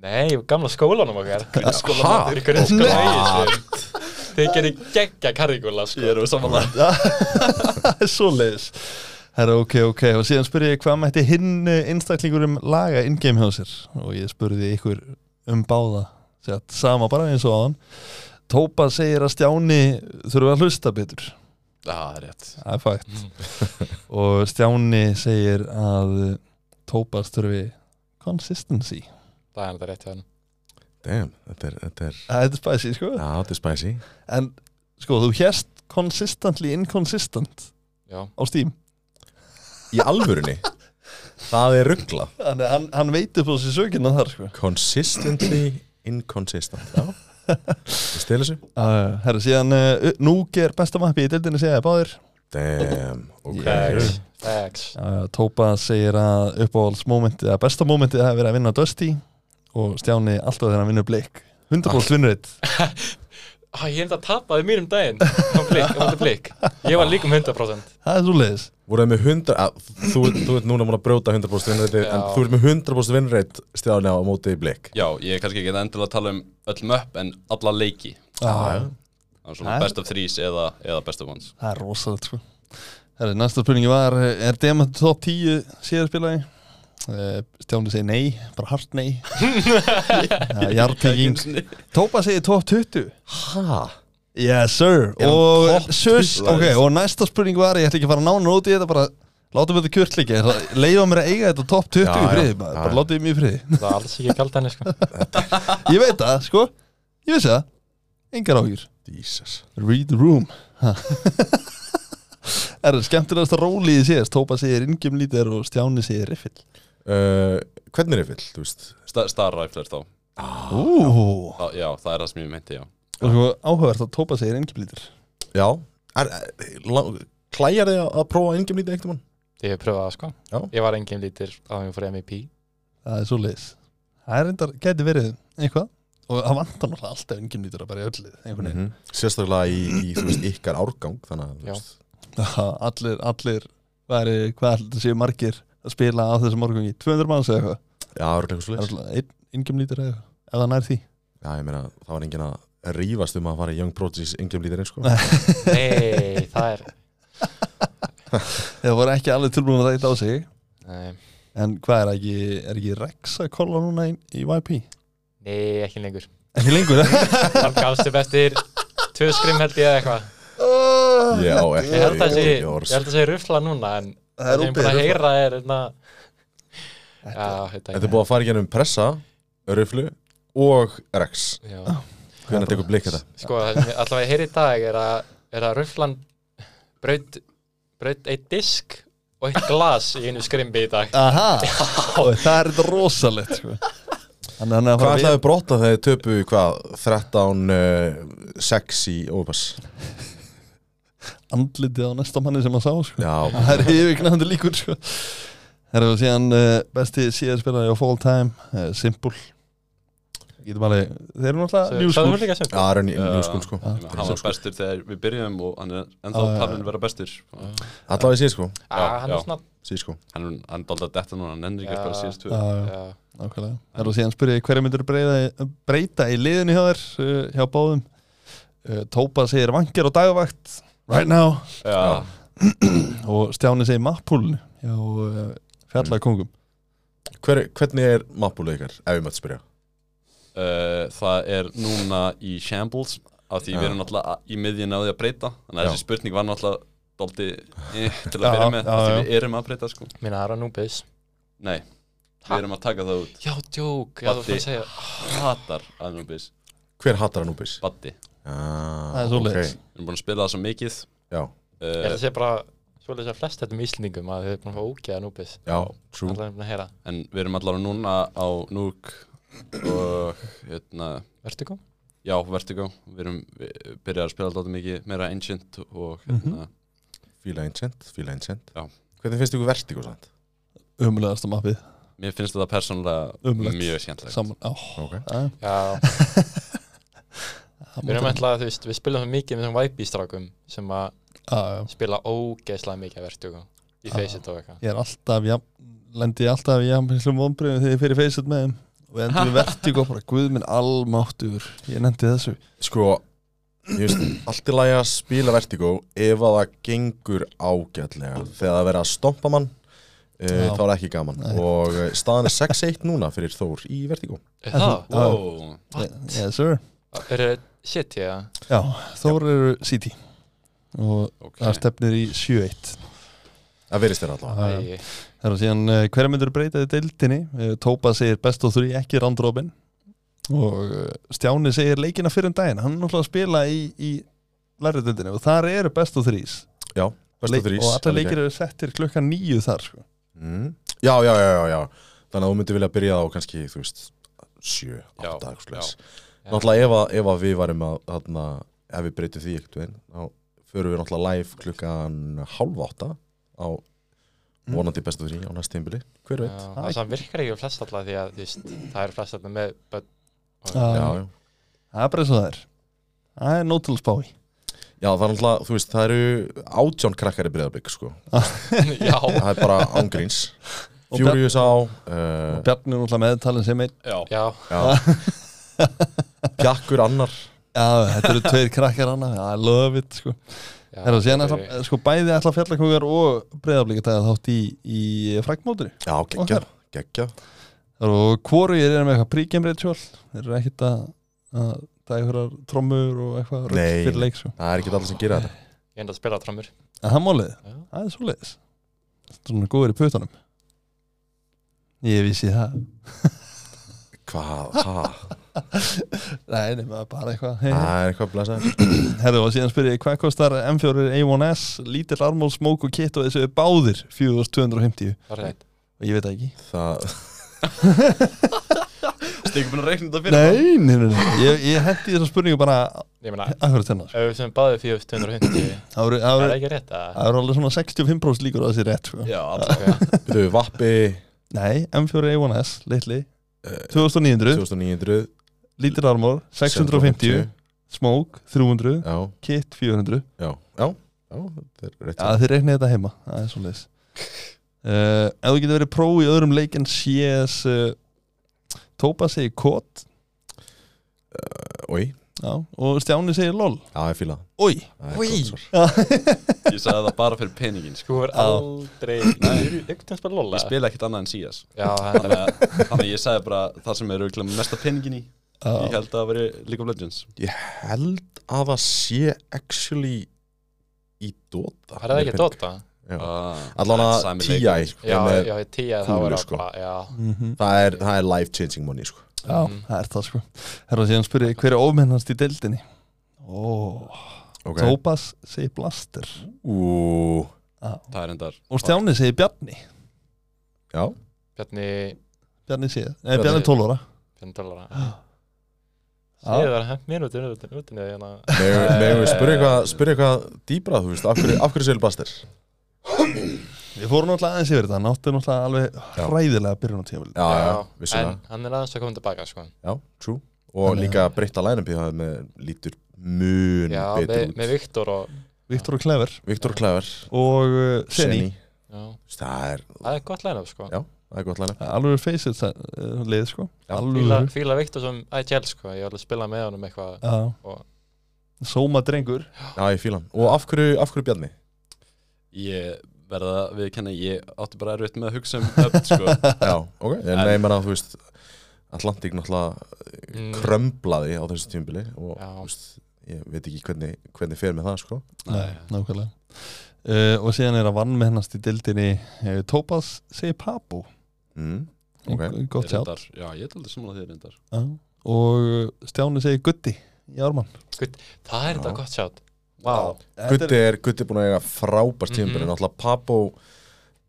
Speaker 4: Nei, gamla skólanum okkar Grunnskólamandur, grunnskólamandur Þeir gerir geggja karrigúrðas sko. Ég er úr samanlega
Speaker 3: Það er svo leiðis Herra, ok, ok, og síðan spurði ég hvað mætti hinn eh, einstaklingurum laga in-game hjá sér og ég spurði ykkur um báða Sett, sama bara eins og áðan Tópa segir að Stjáni þurfa að hlusta betur
Speaker 5: Það er rétt
Speaker 3: Það er fakt Mm. Og Stjáni segir að Tópas þurfi consistency
Speaker 4: Það er þetta rétt hjá hann
Speaker 2: Damn, þetta er, þetta er,
Speaker 3: Það er spæsi, sko
Speaker 2: já, þetta er spicy
Speaker 3: En sko, þú hérst consistently inconsistent
Speaker 4: Já,
Speaker 3: á Steam
Speaker 2: Í alvörunni Það er ruggla
Speaker 3: Þannig að hann, hann veitir på sér sökina þar, sko
Speaker 2: Consistently inconsistent Já Ég stil þessu
Speaker 3: uh, Herra, síðan uh, Núk er besta mappi í deildinni segja báðir
Speaker 2: Damn, ok
Speaker 4: facts, facts
Speaker 3: uh, Tópas segir að uppáhaldsmomentið að besta momentið hafi verið að vinna Dusty og Stjáni alltaf þegar hann vinnur Blake 100% vinnurreitt
Speaker 4: Æ, ég hefndi að tapaði mínum daginn á blik, á blik Ég var um líkum 100%
Speaker 3: Það er svo leiðis
Speaker 2: Voruð þið með 100 að, þú, þú ert núna múin að brjóta 100% vinnreiti En
Speaker 4: Já.
Speaker 2: þú ert með 100% vinnreit Stjáni á móti í blik
Speaker 5: Já, ég er kannski ekki endilega að tala um öll möpp en alla leiki
Speaker 3: ah,
Speaker 5: Það er svona
Speaker 3: Nei.
Speaker 5: best of threes eða, eða best of ones
Speaker 3: Það er rosalegt sko Herri, næsta spurningi var Er Demant top 10 síðarspilagi? Eh, Stjáni segir nei, bara hart nei Ja, Jarpíking Tópa segir top 20
Speaker 2: Hæ?
Speaker 3: Yes sir
Speaker 2: Er hann
Speaker 3: Og,
Speaker 2: topp
Speaker 3: sus,
Speaker 2: 20?
Speaker 3: okay, og næsta spurning var Ég ætla ekki að fara nánar út í þetta bara Látum þetta kjörtlíkja Leifa mér að eiga þetta top 20
Speaker 2: Já,
Speaker 3: í friði
Speaker 2: já,
Speaker 3: bara,
Speaker 2: já,
Speaker 3: bara
Speaker 2: já.
Speaker 3: látum mér í friði
Speaker 4: Það var alls ekki kald henni sko
Speaker 3: Ég veit það sko Ég vissi það Engar áhjur
Speaker 2: Jesus
Speaker 3: Read the room Ha. Er það skemmtilegast að róli í síðast Tópa segir yngjum lítir og Stjáni segir riffill
Speaker 2: uh, Hvernig er fyll, þú veist?
Speaker 5: Sta- Star rifler þá
Speaker 3: Ú
Speaker 5: Þa- Já, það er það sem ég meinti, já
Speaker 3: Og sko áhugavert að Tópa segir yngjum lítir
Speaker 2: Já er, er, la- Klæjar þið að, að prófa yngjum lítið einhvern mann?
Speaker 4: Ég hef pröfað það sko
Speaker 2: Já.
Speaker 4: Ég var engin lítir að ég fór í MEP
Speaker 3: Það er svo leis Það er reyndar, geti verið eitthvað Og það vantar náttúrulega alltaf yngjum lítir að bara í öllu einhvern
Speaker 2: Mhm.
Speaker 3: veginn
Speaker 2: Sérstaklega í, í þú veist, ykkar árgang Þannig að þú
Speaker 4: Mhm. Já.
Speaker 2: veist
Speaker 3: Aha, Allir, allir væri, hvað heldur séu margir að spila á þessum morgun í 200 manns eða eitthvað
Speaker 2: Já, það eru eitthvað svo
Speaker 3: Það er alltaf yngjum lítir eða eitthvað Eða nær því
Speaker 2: Já, ég meina, það var enginn að rífast um að fara í Young Prodigies yngjum lítið eins sko
Speaker 3: Nei.
Speaker 4: Nei, það er
Speaker 3: Þeir voru ekki alveg tilbúin að reyta á sig
Speaker 4: Nei,
Speaker 3: En hvað er ekki, er ekki Rex að kolla núna í, í YP?
Speaker 4: nei ekki lengur
Speaker 3: Ekki lengur
Speaker 4: Hann gafst upp eftir Tvö skrim held ég eða eitthvað
Speaker 2: Já, ekki
Speaker 4: Ég held að sé,
Speaker 2: ekki
Speaker 4: ég
Speaker 2: orð.
Speaker 4: held að sé rufla núna en
Speaker 3: Það er
Speaker 4: ég búin að
Speaker 3: óbyggður.
Speaker 4: heyra er einna Já, þetta
Speaker 2: Þetta er búið að fara í gennum pressa, öruflu og rex
Speaker 4: Já,
Speaker 2: Hvernig tekur blik þetta?
Speaker 4: sko, það sem ég allavega heyri í dag er að, er að ruflan braut, braut eitt disk og eitt glas í einu skrimbi í dag
Speaker 3: Aha, og það er þetta rosalegt sko. Þannig að hann er að
Speaker 2: Hvað
Speaker 3: fara að
Speaker 2: ætlaðu brotta þegar þið töpu hvað 13 uh, 6 í Overpass?
Speaker 3: andlitið á næsta manni sem að sá sko.
Speaker 2: Já,
Speaker 3: Það er yfirgnæðandi líkur sko. Herra og síðan uh, besti síðan spilaði á full time uh, Simple Getum alveg, þeir eru náttúrulega
Speaker 4: Svo- Það
Speaker 3: njúskúl
Speaker 4: voru líka sem
Speaker 2: Já, Aaron í
Speaker 5: Já.
Speaker 2: njúskún sko
Speaker 3: Já.
Speaker 5: hann var bestur þegar við byrjum og hann er ennþá
Speaker 3: Já, já,
Speaker 5: talin
Speaker 3: já.
Speaker 5: vera bestur hann
Speaker 2: Allavega síðan sko
Speaker 5: Já,
Speaker 4: Ah, Hann
Speaker 5: já.
Speaker 4: er svona
Speaker 2: Síðan sko
Speaker 5: er hann dálta að detta núna hann ennir ekki að spila
Speaker 4: Já.
Speaker 5: síðast tvö
Speaker 3: Já, já,
Speaker 4: já.
Speaker 3: nákvæmlega Herra og síðan spurði hverja myndur breyta, breyta í liðinu hjá þér uh, hjá báðum uh, Tópa segir vankir og dagvakt Right now
Speaker 5: Já.
Speaker 3: Og Stjáni segir mappúlinu hjá uh, fjallakongum
Speaker 2: Hver, Hvernig er mappúlið ykkar, ef ég mætti spyrja?
Speaker 5: Uh, það er núna í shambles af því
Speaker 2: Já.
Speaker 5: við erum náttúrulega í miðjunni á því að breyta þannig að
Speaker 2: Já.
Speaker 5: þessi spurning var náttúrulega dálti eh, til að
Speaker 3: Já,
Speaker 5: byrja með
Speaker 3: já,
Speaker 5: af því
Speaker 3: já.
Speaker 5: við erum að breyta sko
Speaker 4: Minna það er að núbis
Speaker 5: nei, við
Speaker 4: Ha?
Speaker 5: erum að taka það út
Speaker 4: Já, djók, já þú
Speaker 5: Baddi.
Speaker 4: fyrir að segja
Speaker 5: hatar Anubis,
Speaker 2: Hver hattar hann Ah, úpis?
Speaker 5: Baddi við
Speaker 2: Það
Speaker 3: Það er svoleiðis.
Speaker 5: erum búin að spila það svo mikið
Speaker 2: Já,
Speaker 4: Ég held
Speaker 5: uh,
Speaker 4: að segja bara Svolítið að flest þetta með Íslendingum að þau er búin að fá ógeða núbis
Speaker 2: já, true
Speaker 4: Það er að heyra
Speaker 5: en við erum allavega núna á Núk og hérna,
Speaker 4: Vertigo?
Speaker 5: já, Vertigo við erum við byrjað að spila dálti mikið meira Ancient og hérna
Speaker 2: Fíla ancient, fíla ancient
Speaker 5: Já.
Speaker 2: Hvernig finnst ykkur vertigo samt?
Speaker 3: Umlegast á mappið
Speaker 5: mér finnst þetta persónulega
Speaker 3: Ömurlegt.
Speaker 5: mjög skemmtilegt
Speaker 3: Saman, á
Speaker 2: Ok
Speaker 3: það-
Speaker 4: Já,
Speaker 3: það
Speaker 4: við erum
Speaker 3: mátti-
Speaker 4: ætlað að þú veist Við spilum það mikið með þessum væpístrákum sem að
Speaker 3: Já, já.
Speaker 4: spila ógeðslega mikið að Vertigo í
Speaker 3: Já.
Speaker 4: Faceit og eitthvað
Speaker 3: Ég er alltaf, já, lendi ég alltaf í jafnmiklum vonbröðum þegar ég fyrir feysið með þeim og við endum við vertík og bara, guð minn almáttur, ég nendi þessu
Speaker 2: Sko, ég veist, allt í lagi að spila vertigo ef að það gengur ágætlega þegar það verið að stompa mann Uh,
Speaker 3: Já.
Speaker 2: þá er ekki gaman
Speaker 3: Nei.
Speaker 2: og eh, staðan er 6-1 núna fyrir Þór í Vertigo
Speaker 4: Er
Speaker 3: En
Speaker 4: það?
Speaker 5: wow.
Speaker 4: What?
Speaker 3: Yes sir
Speaker 4: Er það shit ég að?
Speaker 3: Já, Þór eru City og
Speaker 5: okay.
Speaker 3: það stefnir í 7-1
Speaker 2: Það verist þér allavega
Speaker 3: Það er síðan, eh, hverja myndur breytaði deildinni? Eh, Tópa segir best og þrý, ekki randrópin og eh, Stjáni segir leikina fyrir um daginn, hann er náttúrulega að spila í, í lærri deildinni og þar eru best og þrýs
Speaker 2: Já, bestu þrýs
Speaker 3: og allar leikir eru settir klukkan nýju þar sko.
Speaker 2: mm. já, já, já, já, já Þannig að þú myndir vilja byrja á kannski, þú veist 7, 8,
Speaker 5: Já,
Speaker 2: eitthvað slags
Speaker 4: Já.
Speaker 2: Náttúrulega ef, að- ef að við varum að þarna, ef við breytum því ekkert veginn þá förum við náttúrulega live klukkan halv átta á
Speaker 3: Mm.
Speaker 2: vonandi bestu þrý á næst tímbili Hver veit?
Speaker 4: Já, það samt virkar ekki á flest alltaf því að þú veist, það eru flest alltaf með börn og-
Speaker 3: Já.
Speaker 2: Já, já
Speaker 3: það er bara eins og það er það er nótil spái
Speaker 2: Já, það er alltaf, þú veist, það eru átján krakkar í breyðarbygg, sko.
Speaker 4: Já,
Speaker 2: Það er bara ángríns.
Speaker 3: Og
Speaker 2: Furious á,
Speaker 3: Og
Speaker 2: uh,
Speaker 3: Bjarni er náttúrulega meðtalinn sem einn
Speaker 5: Já.
Speaker 4: já,
Speaker 2: já. Pjakkur annar.
Speaker 3: Já, þetta eru tveir krakkar hana I love it, sko
Speaker 4: já
Speaker 3: Herra, síðan
Speaker 4: þetta
Speaker 3: ætla,
Speaker 4: er-
Speaker 3: sko bæði ætla fjallakókar og breyðablíka tæða þátt í, í fragmótinu
Speaker 2: Já, geggja, geggja.
Speaker 3: og hvoru ég er með eitthvað pregame ritual þeir eru ekkit að að það er eitthvað trommur og eitthvað rugl
Speaker 2: Nei.
Speaker 3: fyrir leik, sko
Speaker 2: Það er ekki allir sem gera þetta.
Speaker 4: Ég enda að spila trommur
Speaker 3: En það málið,
Speaker 4: Já.
Speaker 3: það er svoleiðis Þetta er svona góður í putanum Ég vissi það
Speaker 2: Hvað, hvað?
Speaker 3: Nei, nema bara eitthvað hey,
Speaker 2: Það er eitthvað blæsað.
Speaker 3: Herðu og síðan spyr ég hvað kostar M4 A1S, lítill armól, smók og kit og þessu eru báðir 4250
Speaker 4: Það er rétt
Speaker 3: og ég veit það ekki
Speaker 2: Það,
Speaker 5: Stík búin að reikna þetta fyrir
Speaker 3: Nei, nei, nei, nei. Ég, ég hendi þessar spurningu bara
Speaker 4: Ég meina,
Speaker 3: aðhverjum tennar
Speaker 4: ef við sem báðið 4250
Speaker 3: Það eru- það
Speaker 4: Það er
Speaker 3: eru-
Speaker 4: ekki rétt að
Speaker 3: það eru alveg svona 65% líkur að þessi rétt sko.
Speaker 5: Já, alltaf
Speaker 2: þú, Vappi,
Speaker 3: Nei, M4 A1S, litli 2900,
Speaker 2: 2900.
Speaker 3: lítill armól 650, smók 300,
Speaker 2: Já,
Speaker 3: kit 400
Speaker 2: já, já. Já, þetta er rétt.
Speaker 3: Já, þið reiknið þetta heima Það er svona leis uh, Ef þú getur verið pró í öðrum leik en CS uh, Tópa segir kót
Speaker 2: Úi,
Speaker 3: já, og Stjáni segir lol
Speaker 2: já, ég fíla það.
Speaker 3: Új,
Speaker 2: Það er
Speaker 4: Oj.
Speaker 2: gott svar.
Speaker 5: Ég sagði það bara fyrir peningin sko.
Speaker 4: Þú er aldrei Ekkert að spila lola
Speaker 5: Ég spila ekkert annað en síðas
Speaker 4: Já, það er
Speaker 5: Þannig að, þannig að ég sagði bara það sem er auðvitað mesta peningin í Ég held að það veri League of Legends
Speaker 2: Ég held að það sé actually í Dota.
Speaker 4: Það er ekki
Speaker 2: Mér
Speaker 4: Dota
Speaker 2: Já.
Speaker 5: ah,
Speaker 2: Allan að
Speaker 5: Sami leikur.
Speaker 2: T.I.
Speaker 4: Já,
Speaker 2: er með-
Speaker 4: já, sko. ég tíja þá
Speaker 2: kúlur,
Speaker 4: er
Speaker 2: sko.
Speaker 4: það bara Já,
Speaker 3: mm -hmm.
Speaker 2: það, er, það er life changing money sko.
Speaker 3: Já,
Speaker 4: Mhm.
Speaker 3: það er það sko Herra síðan spyrir, hver er ofmennast í deildinni? Ó,
Speaker 2: okay.
Speaker 3: Tópas segir blaster
Speaker 2: Ú,
Speaker 3: já.
Speaker 5: Það er endar
Speaker 3: Og Stjáni segir Bjarni
Speaker 2: Já,
Speaker 4: Bjarni
Speaker 3: Bjarni segir, nei
Speaker 2: Bjarni.
Speaker 3: Bjarni 12 ára
Speaker 4: Bjarni Dólara
Speaker 3: Já.
Speaker 4: Ég er hent mér út í rútinu hérna
Speaker 2: megum megum við spyrja eitthvað spyrja eitthvað dýbra, þú veist, af hverju, af hverju segir Bastir?
Speaker 3: Við fórum náttúrulega aðeins yfir þetta, hann átti náttúrulega alveg
Speaker 2: Já.
Speaker 3: hræðilega byrjun á tímul
Speaker 2: já, já,
Speaker 4: en
Speaker 2: vissulega
Speaker 4: hann er aðeins að koma tilbaka sko.
Speaker 2: Já, true Og
Speaker 3: Þannig
Speaker 2: líka breytta lænum Það með lítur mun
Speaker 4: já,
Speaker 2: betur
Speaker 4: með,
Speaker 2: út
Speaker 4: með Viktor og
Speaker 3: Viktor og Klever
Speaker 2: Viktor Klæver
Speaker 3: og uh, Seni
Speaker 4: já,
Speaker 2: Það er,
Speaker 4: það er gott line-up sko.
Speaker 2: Já. það er gott lænum
Speaker 3: Alveg face it uh, lið sko
Speaker 2: Já.
Speaker 4: fíla,
Speaker 3: Alveg
Speaker 4: fíla Viktor sem ITL sko. ég var alveg að spila með honum eitthvað Og-
Speaker 3: Sóma drengur
Speaker 2: Já, ég fíla hann Og af hverju, af hverju Bjarni?
Speaker 5: Ég verða að viðkenna, ég átti bara erfitt með að hugsa um öfn, sko.
Speaker 2: Já, ok En nei, maður að þú veist Atlantik náttúrulega
Speaker 4: Mm.
Speaker 2: krömblaði á þessu tímubili og
Speaker 4: Já.
Speaker 2: þú veist, ég veit ekki hvernig, hvernig fer með það sko.
Speaker 3: Nei, nákvæmlega uh, Og síðan er að vann með hennast í dildinni uh, Tópas segir Papu
Speaker 2: mm. Ok.
Speaker 5: Ég
Speaker 3: Gott sjátt
Speaker 5: reyndar- Já, ég er aldrei samanlega þér reyndar.
Speaker 3: Já. Og Stjáni segir Gutti í Ármann
Speaker 4: það er þetta
Speaker 2: Já.
Speaker 4: gott sjátt wow.
Speaker 2: Gutti er, Gutti er búin að eiga frábært tímubili
Speaker 4: Mhm.
Speaker 2: náttúrulega Pabó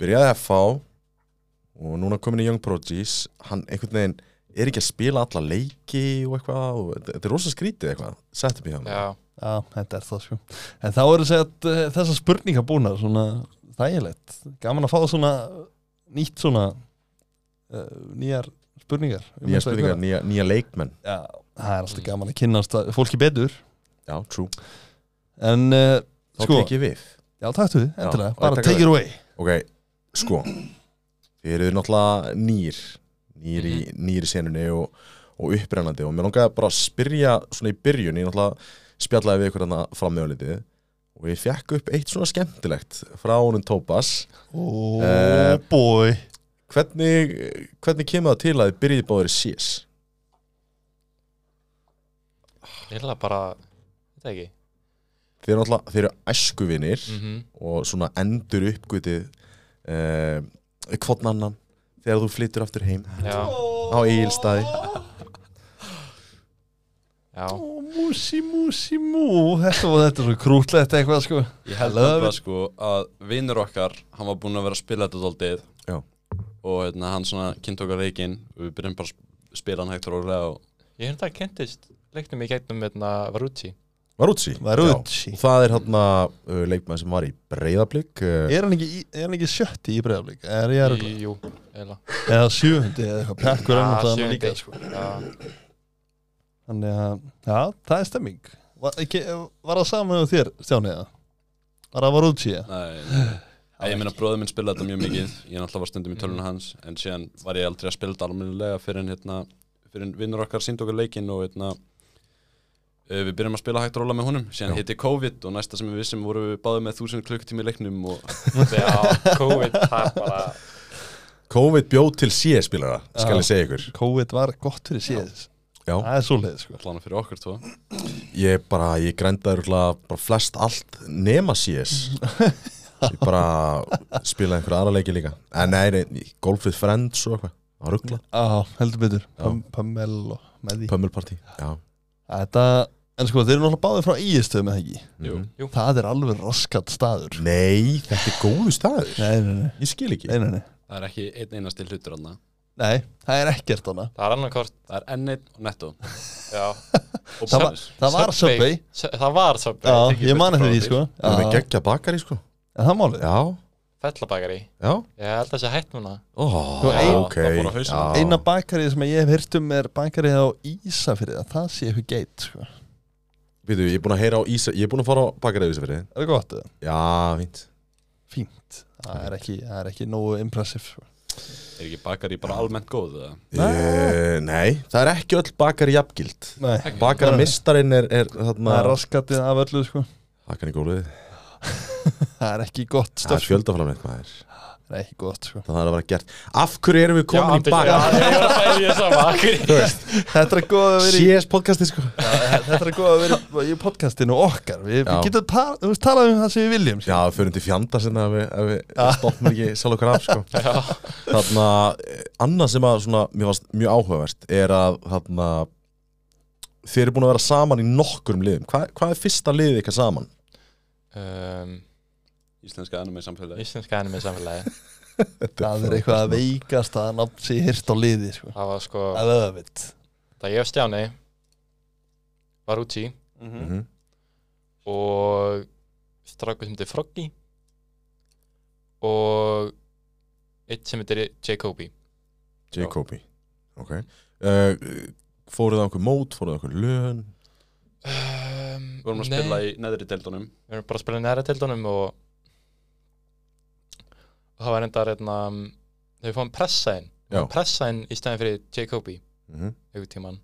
Speaker 2: byrjaði FH og núna komin í Young Prodigies hann einhvern veginn er ekki að spila alla leiki og eitthvað og þetta- þetta er rosa skrítið eitthvað settum í hann
Speaker 4: já,
Speaker 3: Já, þetta er það sko En þá eru sett uh, þessar spurningar búnar svona þægilegt Gaman að fá svona nýtt svona uh, nýjar spurningar um
Speaker 2: nýja
Speaker 3: þetta að
Speaker 2: spurningar,
Speaker 3: gera.
Speaker 2: nýja, nýja leikmenn
Speaker 3: Já, það er alltaf gaman að kynnast að- fólki betur
Speaker 2: já, true,
Speaker 3: En uh,
Speaker 2: þá
Speaker 3: sko,
Speaker 2: tek ég við
Speaker 3: já taktu þið,
Speaker 2: Já,
Speaker 3: endilega
Speaker 2: og ég
Speaker 3: Bara
Speaker 2: taka
Speaker 3: take
Speaker 2: við.
Speaker 3: it away
Speaker 2: ok, sko þið eru náttúrulega nýr nýr í, nýr í senunni og, og upprennandi og mér langaði bara að spyrja svona í byrjun, ég náttúrulega spjallaði við ykkur hann fram með álitið og ég fekk upp eitt svona skemmtilegt frá honum Tópas
Speaker 3: Oh
Speaker 2: Eh,
Speaker 3: boy
Speaker 2: hvernig, hvernig kemur það til að þið byrjið báður í CS?
Speaker 4: ég held að bara þetta ekki
Speaker 2: Þið eru náttúrulega, þið eru æskuvinir
Speaker 4: mm
Speaker 2: og svona endur uppgötið eh, hvort annan þegar þú flyttur aftur heim
Speaker 4: já,
Speaker 2: á eigilstaði
Speaker 4: já,
Speaker 3: Ó, Músi, músi, mú Þetta var þetta er svo krútlegt eitthvað sko
Speaker 5: Ég held
Speaker 3: Love
Speaker 5: nefnilega sko að vinnur okkar, hann var búinn að vera að spila þetta daldið
Speaker 2: Já.
Speaker 5: og hérna, hann svona kynnt okkar leikinn og við byrjum bara að sp- spila hann hægt og rólega og
Speaker 4: ég held að kentist leiknum í gegnum hérna Varucci
Speaker 2: Varútsi
Speaker 3: Varucci.
Speaker 2: Það er hérna uh, leikmann sem var í breyðablík uh,
Speaker 3: Er hann ekki, í- er hann ekki sjötti í bregðarleik? Er ég að rugla?
Speaker 4: Í- jú, eða
Speaker 3: Eða sjöfundi eða eitthvað Pekkur er
Speaker 4: Ah,
Speaker 3: náttúrulega hann
Speaker 4: sjöundi.
Speaker 3: líka sko
Speaker 4: já
Speaker 3: Þannig að, já, það er stemming Var, ekki, var það saman með þér, Stjáni, eða? Var það Varucci, eða?
Speaker 5: Nei, nei. Æ, ég meina bróður minn spilaði þetta mjög mikið ég náttúrulega var stundum í tölunum hans en síðan var ég aldrei að spila þetta almennilega fyrir en hérna, fyrir en vinnur okkar sínd okkar leikinn og hérna eh, við byrjum að spila hægt og róla með honum síðan hitti COVID og næsta sem við vissum vorum við báðið með 1000 klukkutími í leiknum og
Speaker 4: Já, COVID, það er bara
Speaker 2: COVID bjóð til CS-spilara skal
Speaker 3: Já.
Speaker 2: ég segja ykkur
Speaker 3: COVID var gott fyrir síðis
Speaker 2: Já,
Speaker 3: Það er svoleið, sko
Speaker 5: allan fyrir okkur tvo
Speaker 2: ég bara, ég grændaði örugglega bara flest allt nema CS ég bara spilaði einhverja aðra leiki líka en nei, nei, Golf with Friends og eitthvað að ruggla,
Speaker 3: Já, heldur betur Pam- Pamel og með því
Speaker 2: pömmulpartí Já,
Speaker 3: Þetta, en sko, þeir eru náttúrulega báðið frá ígistöðum, eða ekki?
Speaker 5: Jú.
Speaker 2: Mhm.
Speaker 3: Það er alveg raskat staður
Speaker 2: Nei, þetta er góðu staður
Speaker 3: Nei, nei, nei,
Speaker 2: Ég skil ekki
Speaker 3: nei, nei, nei.
Speaker 5: það er ekki einn einasti hlutur hann
Speaker 3: nei það er ekkert hana
Speaker 4: Það er annarkort,
Speaker 5: það er enn einn og netto
Speaker 4: já
Speaker 5: og
Speaker 3: Það var, það var Subway
Speaker 4: Su- Það var Subway,
Speaker 3: Já,
Speaker 4: tekið
Speaker 3: ég man
Speaker 4: burt
Speaker 3: eftir því,
Speaker 4: frá
Speaker 3: sko
Speaker 2: Það er með
Speaker 3: Já,
Speaker 2: geggja bakari sko
Speaker 3: er það málið
Speaker 2: Já,
Speaker 4: Fellabakari,
Speaker 2: já
Speaker 4: ég held að það sé hætt núna
Speaker 2: oh,
Speaker 3: Sko, ein-
Speaker 2: ok
Speaker 5: Það fór á hausinn.
Speaker 2: já.
Speaker 3: Eina bakarið sem ég hef hirt um er bakarið á Ísafirði að Það sé eitthvað geit, sko Er
Speaker 2: Býtu, ég er búin að heyra á Ísa Ég er búin að fara á bakari af Ísafirði
Speaker 3: það gott, eða?
Speaker 2: Já, fínt
Speaker 3: fínt það er ekki, það er ekki nógu impressive sko.
Speaker 5: er ekki bakar bara almennt góð eða?
Speaker 2: Eh, Nei, það er ekki öll bakari jafngild
Speaker 3: Nei,
Speaker 2: Bakara mistarinn er, er
Speaker 3: það
Speaker 2: þarna
Speaker 3: er raskatið af öllu sko.
Speaker 2: Bakari gólfið
Speaker 3: það er ekki
Speaker 2: Það er
Speaker 3: gott stöf sko.
Speaker 2: fjöldaframleitt maður
Speaker 3: það er ekki gott sko.
Speaker 2: Það er að vera gert Af hverju erum við komin í
Speaker 4: Andri-
Speaker 2: bakari?
Speaker 4: Já, ég var að fæða því að sama Akkur
Speaker 3: þetta er góð að vera í,
Speaker 2: CS podcasti sko
Speaker 3: þetta er góð að vera í podcastinu okkar við, við
Speaker 2: Já.
Speaker 3: getum par, þú veist, talað um það sem við viljum sko.
Speaker 2: Já, við förum til fjanda sinna ef við, ef við stoppum ekki sjálf okkur af sko. Þarna, eh, annað sem að svona, mér varst mjög áhugavert er að þarna, þið eru búin að vera saman í nokkurum liðum Hva, Hvað er fyrsta liðið ykkar saman?
Speaker 4: um,
Speaker 5: íslenska anime samfélagi
Speaker 4: Íslenska anime samfélagi
Speaker 3: það er eitthvað að veikast að nafn sé hirt á liði sko.
Speaker 4: Það var sko,
Speaker 3: I love it
Speaker 4: það ég og Stjáni Var úti
Speaker 2: mm -hmm.
Speaker 4: og strákur sem þetta er Froggy og eitt sem heitir Jacobi
Speaker 2: Jacobi ok uh, fóruð það okkur mót, fóruð það okkur lön
Speaker 4: um,
Speaker 5: Við vorum að spila í neðri deildunum
Speaker 4: við erum bara að spila í næra tildunum og og það var enda reyna við fáum pressa inn Við
Speaker 2: Já.
Speaker 4: fáum pressa inn í stæðin fyrir Jacobi
Speaker 2: mm -hmm.
Speaker 4: einhvern tíman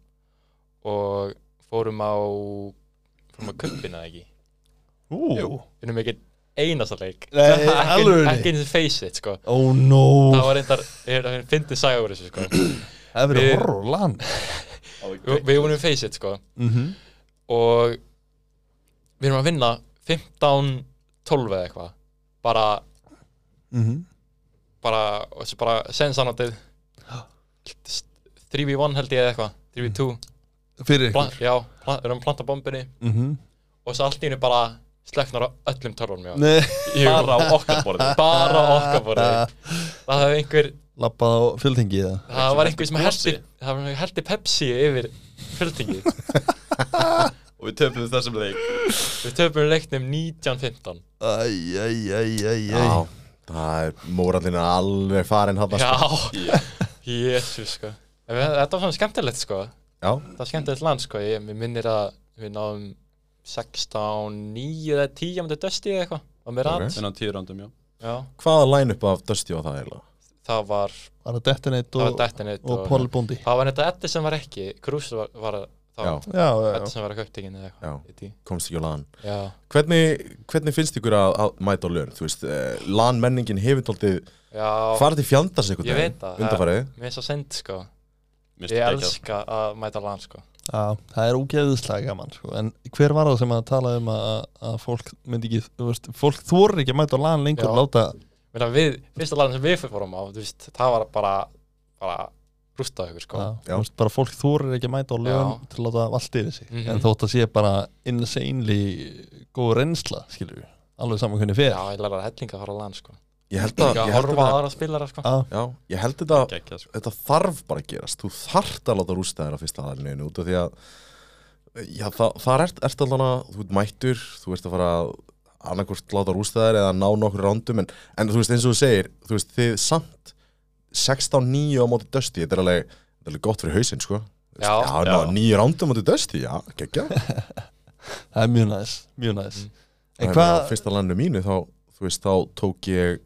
Speaker 4: og fórum á fórum á kuppina ekki
Speaker 3: Ú,
Speaker 4: við erum ekki einasta leik
Speaker 3: Nei,
Speaker 4: Ekki-
Speaker 3: alvörunni?
Speaker 4: ekki eins og face it sko
Speaker 3: oh no
Speaker 4: það var reyndar, ég er að fyndi saga úr þessu sko
Speaker 3: Það verið
Speaker 4: Við-
Speaker 3: horror land
Speaker 4: Vi- við vorum í face it sko
Speaker 3: Já,
Speaker 4: og við erum að vinna 15-12 eða eitthvað bara
Speaker 3: Mhm.
Speaker 4: bara, og þessu bara sensanatið 3v1 held ég eða eitthvað 3v2,
Speaker 3: fyrir
Speaker 4: Plan,
Speaker 3: ykkur
Speaker 4: já, plan, við erum að planta bombinni
Speaker 3: Mhm.
Speaker 4: og svo allt í henni bara sleknar á öllum törfunum
Speaker 3: Nei,
Speaker 4: bara á okkar borði bara á okkar borði það hefði einhver,
Speaker 3: lappað á fyltingi eða
Speaker 4: það var einhver sem
Speaker 5: Blasi.
Speaker 4: herti það var einhver herti Pepsi yfir fjöldingi
Speaker 5: og við töfum þessum leik
Speaker 4: við töfum leiknum 19-15
Speaker 3: Æj, æj, æj, æj, æj
Speaker 2: já, það er mórallin alveg farin hann sko.
Speaker 4: já, jésus sko En við- þetta var svona skemmtilegt sko
Speaker 2: já,
Speaker 4: það var skemmtilegt land sko, ég mér minnir að við náðum 16, 9 eða 10 um þetta dösti eða eitthvað og mér
Speaker 2: Ok.
Speaker 4: rand
Speaker 5: en á tíu rándum, já
Speaker 4: já,
Speaker 2: hvaða line-up af Dusty var það eiginlega
Speaker 4: það var,
Speaker 3: Var það Detonate
Speaker 4: það var
Speaker 3: og,
Speaker 4: dettinit
Speaker 3: og Paul Bondi
Speaker 4: það var þetta Eddi sem var ekki Krús var, var það
Speaker 2: Já.
Speaker 4: var
Speaker 3: Já, já, já
Speaker 4: Eddi sem var ekki upptekinn
Speaker 2: Já.
Speaker 4: eða eitthvað Ég veit ekki.
Speaker 2: komst ekki á lan
Speaker 4: já,
Speaker 2: hvernig, hvernig finnst ykkur að, að mæta á lön þú veist, eh, lan menningin hefur tóltið
Speaker 4: já,
Speaker 2: farið til fjandars einhvern
Speaker 4: Ég veit það.
Speaker 2: undanfarið
Speaker 4: mér er svo send sko
Speaker 5: Mér
Speaker 4: ég
Speaker 5: finnst þetta
Speaker 4: elska að mæta land sko
Speaker 3: Já, það er ógeðislega gaman sko. En hver var það sem að tala um að, að fólk myndi ekki, þú veist, fólk þorir ekki að mæta á lan lengur
Speaker 4: Já.
Speaker 3: og láta
Speaker 4: Meina, við, fyrsta land sem við fórum á þú veist, það var bara, bara rústa okkur sko
Speaker 3: Já,
Speaker 2: Já.
Speaker 3: þú veist, bara fólk þorir ekki að mæta á lögum
Speaker 4: Já.
Speaker 3: til að láta valda yfir sig
Speaker 4: Mhm.
Speaker 3: en þótt að sé bara insanely góð reynsla, skilur við alveg saman hvernig fyrir
Speaker 4: já, ég læra hellinga að fara á land sko
Speaker 2: ég held að,
Speaker 4: Líka
Speaker 2: ég
Speaker 4: að
Speaker 2: held
Speaker 4: horfa á
Speaker 2: að,
Speaker 4: aðra spilara sko
Speaker 2: já, ég held þetta
Speaker 5: geggjað, sko.
Speaker 2: þetta þarf bara að gerast þú þarft að láta rústa þér á fyrsta aðalinu út af því að já, það, það ert, ert allan að, þú ert mættur þú ert að fara að annarkvort láta rústa þér eða ná nokkur rándum en, en þú veist eins og þú segir, þú veist þið samt 16-9 á móti dösti þetta er alveg, þetta er alveg gott fyrir hausinn sko Þú veist,
Speaker 4: Já,
Speaker 2: já, já.
Speaker 5: já.
Speaker 2: nýju rándum á móti dösti, já, geggja
Speaker 3: það er mjög næs, mjög næs
Speaker 4: Mhm.
Speaker 3: en
Speaker 2: en
Speaker 3: hvað,
Speaker 2: á fyrsta landinu mínu þá, þú veist, þá tók ég ég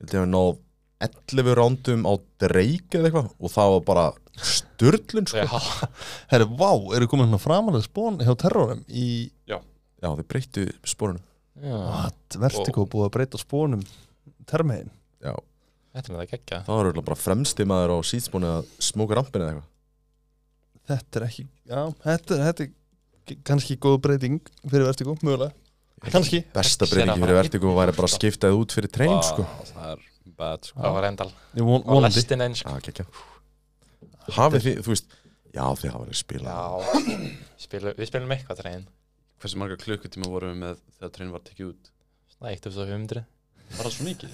Speaker 2: held ég að náð 11 rándum á dreik eða eitthvað og það var bara störlun sko.
Speaker 4: Já,
Speaker 3: herri, vá, eru komin hérna framalega spón hjá terrorum í
Speaker 2: Já, þið breyttu sporunum
Speaker 4: já.
Speaker 3: what, vertigo búið að breyta spónum termiðin,
Speaker 2: Já,
Speaker 4: Þetta með það gekkja
Speaker 2: það var örugglega bara fremsti maður á síðspónu að smóka rampinu eða eitthvað
Speaker 3: þetta er ekki já, þetta, þetta er g- kannski góð breyting fyrir vertigo, mögulega kannski,
Speaker 2: Besta
Speaker 4: Ekki sér að
Speaker 2: breytingi fyrir
Speaker 4: fara
Speaker 2: vertigo væri bara að skipta þið út fyrir trein
Speaker 5: Vá,
Speaker 2: sko
Speaker 5: það er bad sko
Speaker 4: Það var endal
Speaker 3: ég von,
Speaker 4: Og
Speaker 3: vonandi
Speaker 4: lestin eins sko.
Speaker 2: Já, kekja Hafið þið, þú veist Já, þið hafið þið spilað
Speaker 4: Já Spilu, Við spilum eitthvað tregin
Speaker 5: hversu marga klukkutíma vorum við með þegar trein var tekið út
Speaker 4: Svona 1500
Speaker 5: var það svo mikið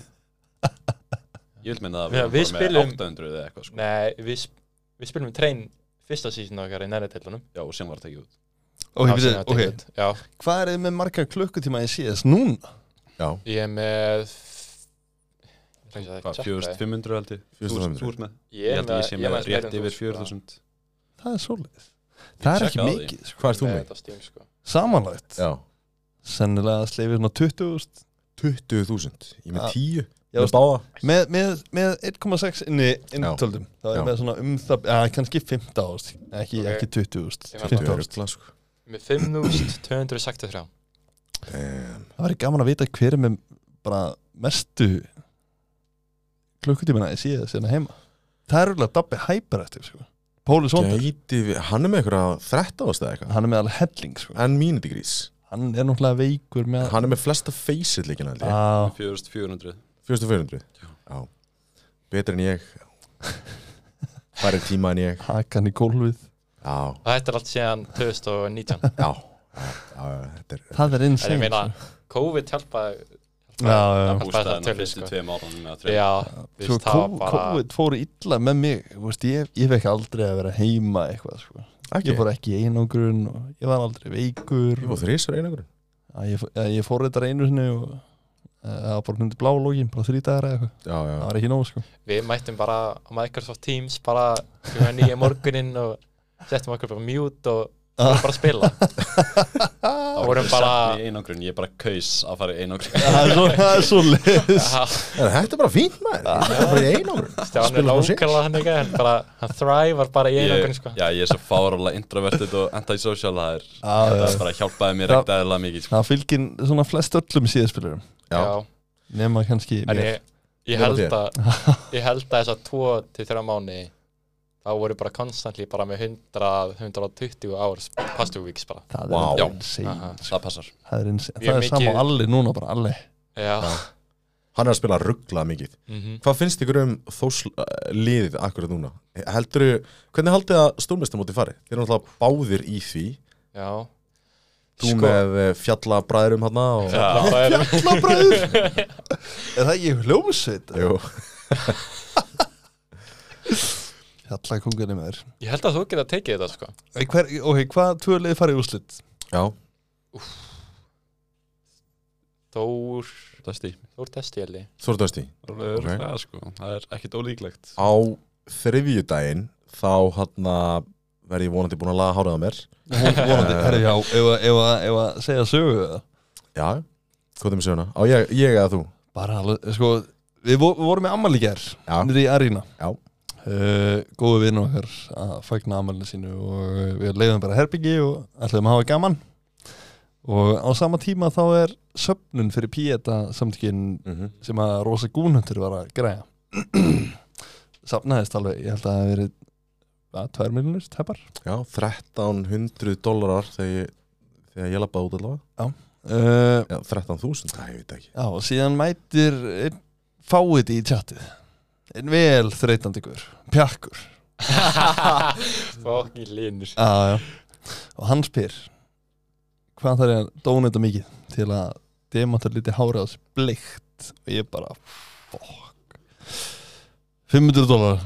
Speaker 5: ég vil meina að
Speaker 4: Já,
Speaker 5: vorum
Speaker 4: við
Speaker 5: bara
Speaker 4: spilum-
Speaker 5: með 800 eða eitthvað sko.
Speaker 4: Nei, við, sp- við spilum tregin fyrsta sísun okkar í næri tildunum
Speaker 5: já og sem var tekið út
Speaker 3: ok, byrju, ok,
Speaker 4: Já,
Speaker 3: hvað er þið með marga klukkutíma í CS núna?
Speaker 2: Já,
Speaker 4: ég er með Ég ætla ekki að
Speaker 5: hvað
Speaker 4: checka
Speaker 5: 4500 held ég
Speaker 2: 4500.
Speaker 5: Þú ert með
Speaker 4: það.
Speaker 5: ég
Speaker 4: Ég
Speaker 5: held að ég sé
Speaker 4: ég
Speaker 5: með
Speaker 4: meira en
Speaker 5: rétt
Speaker 4: þú,
Speaker 5: yfir
Speaker 4: sko.
Speaker 5: 4000
Speaker 3: Það er svolítið. Það er ekki
Speaker 5: checkaði því.
Speaker 3: mikið, sko.
Speaker 2: hvað er þú
Speaker 4: Nei,
Speaker 2: með?
Speaker 4: þetta á Steam, sko.
Speaker 3: Samanlagt.
Speaker 2: Já,
Speaker 3: Sennilega að sleifir svona 20 úrst.
Speaker 2: 20.000 Ég með
Speaker 3: Já.
Speaker 2: 10
Speaker 3: Já,
Speaker 2: Með báða
Speaker 3: Með, með, með 1,6 inni inn
Speaker 2: Já.
Speaker 3: töldum. Það
Speaker 2: Já.
Speaker 3: er með svona um það, ja, kannski 15 úrst. Ekki,
Speaker 4: Ok.
Speaker 3: ekki 20 úrst.
Speaker 4: Ég
Speaker 3: 15
Speaker 2: 20
Speaker 3: úrst.
Speaker 2: rugla sko
Speaker 4: Með 5263
Speaker 2: Damn.
Speaker 3: Það væri gaman að vita hver er með bara mestu klukkutímana í síða sérna heima. Það er rúglega Dabbi Hæper eftir, sko. Póli Sondar.
Speaker 2: Gæti við, hann er með eitthvað 13 ást eða eitthvað
Speaker 3: Hann er með alveg helling, sko.
Speaker 2: En míniti grís
Speaker 3: Hann er náttúrulega veikur með...
Speaker 2: Hann er með flesta face-it líkina held ég
Speaker 3: Ah,
Speaker 5: 4400
Speaker 2: 4400 Já Betur en ég Færi tíma en ég
Speaker 3: hakan í gólfið.
Speaker 2: Já,
Speaker 4: Og þetta er allt síðan 2019
Speaker 2: já, já, já, þetta er
Speaker 3: Það er
Speaker 4: Það er
Speaker 3: insane.
Speaker 4: ég meina COVID hjálpaði
Speaker 3: sko. já, já.
Speaker 4: hjálpaði það
Speaker 5: bústæðan á
Speaker 4: tölur,
Speaker 5: fyrstu
Speaker 4: sko.
Speaker 5: tveim áranum með að trein
Speaker 4: Já, þú
Speaker 3: Svo
Speaker 4: veist, það
Speaker 3: kó-
Speaker 4: var bara
Speaker 3: COVID fóru illa með mig þú veist, ég, ég fekk aldrei að vera heima eitthvað, sko. ég fór ekki í einangrun og ég var aldrei veikur
Speaker 2: Ég fór þrísar einagrun
Speaker 3: að ég, fó- að ég fór þetta reynu sinni og það var bara myndi blá lógin, bara þrý dagar eða eitthvað
Speaker 2: já, já,
Speaker 3: það var ekki nóg sko
Speaker 4: Við mættum bara á Microsoft Teams bara klukkan nýja morguninn og settum okkur bara mute og
Speaker 5: Ah.
Speaker 4: vorum bara að spila
Speaker 5: Það
Speaker 4: vorum bara-
Speaker 5: Í einangrun, ég bara kaus að fara í einangrun
Speaker 3: það er svo, það er svo leis
Speaker 4: Ha,
Speaker 2: En þetta er bara fínt maður Þetta er bara í einangur
Speaker 4: Stjáni er nákvæmlega hann ekki en bara, hann þrævar bara í einangrun sko.
Speaker 5: Ég- Já, ég er svo fárálega introvertið og antisocial Það er það er bara hjálpaði mér
Speaker 3: Já.
Speaker 5: ekkert aðeins mikið sko.
Speaker 3: það fylgir svona flest öllum síðaspilurum
Speaker 2: Já,
Speaker 3: nema kannski
Speaker 4: en
Speaker 3: mér.
Speaker 4: ég, ég
Speaker 2: Mér og
Speaker 4: held að ég held að þess að 2 til 3 mánu þá voru bara konstantli bara með 100, 120 árs past two weeks bara
Speaker 3: það
Speaker 2: Vá.
Speaker 3: er
Speaker 5: Já.
Speaker 3: insane
Speaker 4: Aha.
Speaker 5: Það passar
Speaker 3: það er, insane.
Speaker 4: Mjög
Speaker 3: það er
Speaker 4: mikið-
Speaker 3: sama á allir núna bara allir
Speaker 4: já,
Speaker 2: hann er að spila ruggla mikið
Speaker 4: Mhm.
Speaker 2: Hvað finnst ykkur um þós liðið akkurat núna? Heldurðu, hvernig haldið að stórmestamóti fari? Þeir eru náttúrulega báðir í því
Speaker 4: já.
Speaker 2: Þú með eh, fjallabræðrum hann og...
Speaker 4: Það Hérna, er,
Speaker 3: Fjallabræður Er það ekki hljómsveit?
Speaker 2: Jú,
Speaker 3: Fjallakungarnir með þér
Speaker 4: ég held að þú geta tekið þetta sko.
Speaker 3: hver, Ok, hvað tvö liði farið úrslit?
Speaker 2: já,
Speaker 4: Þór,
Speaker 5: Dusty
Speaker 4: Þór testi ég held ég.
Speaker 2: þú eru dösti
Speaker 5: Rólegur,
Speaker 2: Ok.
Speaker 5: það, sko. það er ekkert ólíklegt
Speaker 2: Á þriðjudaginn þá hann verði ég vonandi búin að laga hárið á mér Eh,
Speaker 3: Vonandi, herri, já, ef að- ef að- ef að segja sögu eða?
Speaker 2: Já, hvað er með söguna? Á ég, ég eða þú?
Speaker 3: Bara alveg, sko Við vo- við vorum með ammali gær
Speaker 2: Já.
Speaker 3: Nýri í Arína
Speaker 2: Já.
Speaker 3: uh, Góðu vinn okkar að fagna ammalinu sínu Og eh, við leiðum bara herbyggi Og ætlum að hafa gaman Og á sama tíma þá er Söfnun fyrir Pieta samtökin
Speaker 2: Mm -hmm.
Speaker 3: sem að Rosa Gúnhundur var að græja safnaðist alveg, ég held að það hef verið að tvær miljonir teppar
Speaker 2: Já, 1300 dólarar þegar ég, þegar ég lappaði út allavega
Speaker 3: uh,
Speaker 2: Já, 13.000, það ég veit ekki
Speaker 3: já, og síðan mætir einn fáið í tjattið einn vel þreytandi ykkur, pjakkur
Speaker 4: Fokkin linur
Speaker 3: já, já. og hann spyr hvað þarf ég að dóna þetta mikið til að demantar lítið hárið á þessu bleikt og ég bara fuck 500 dólar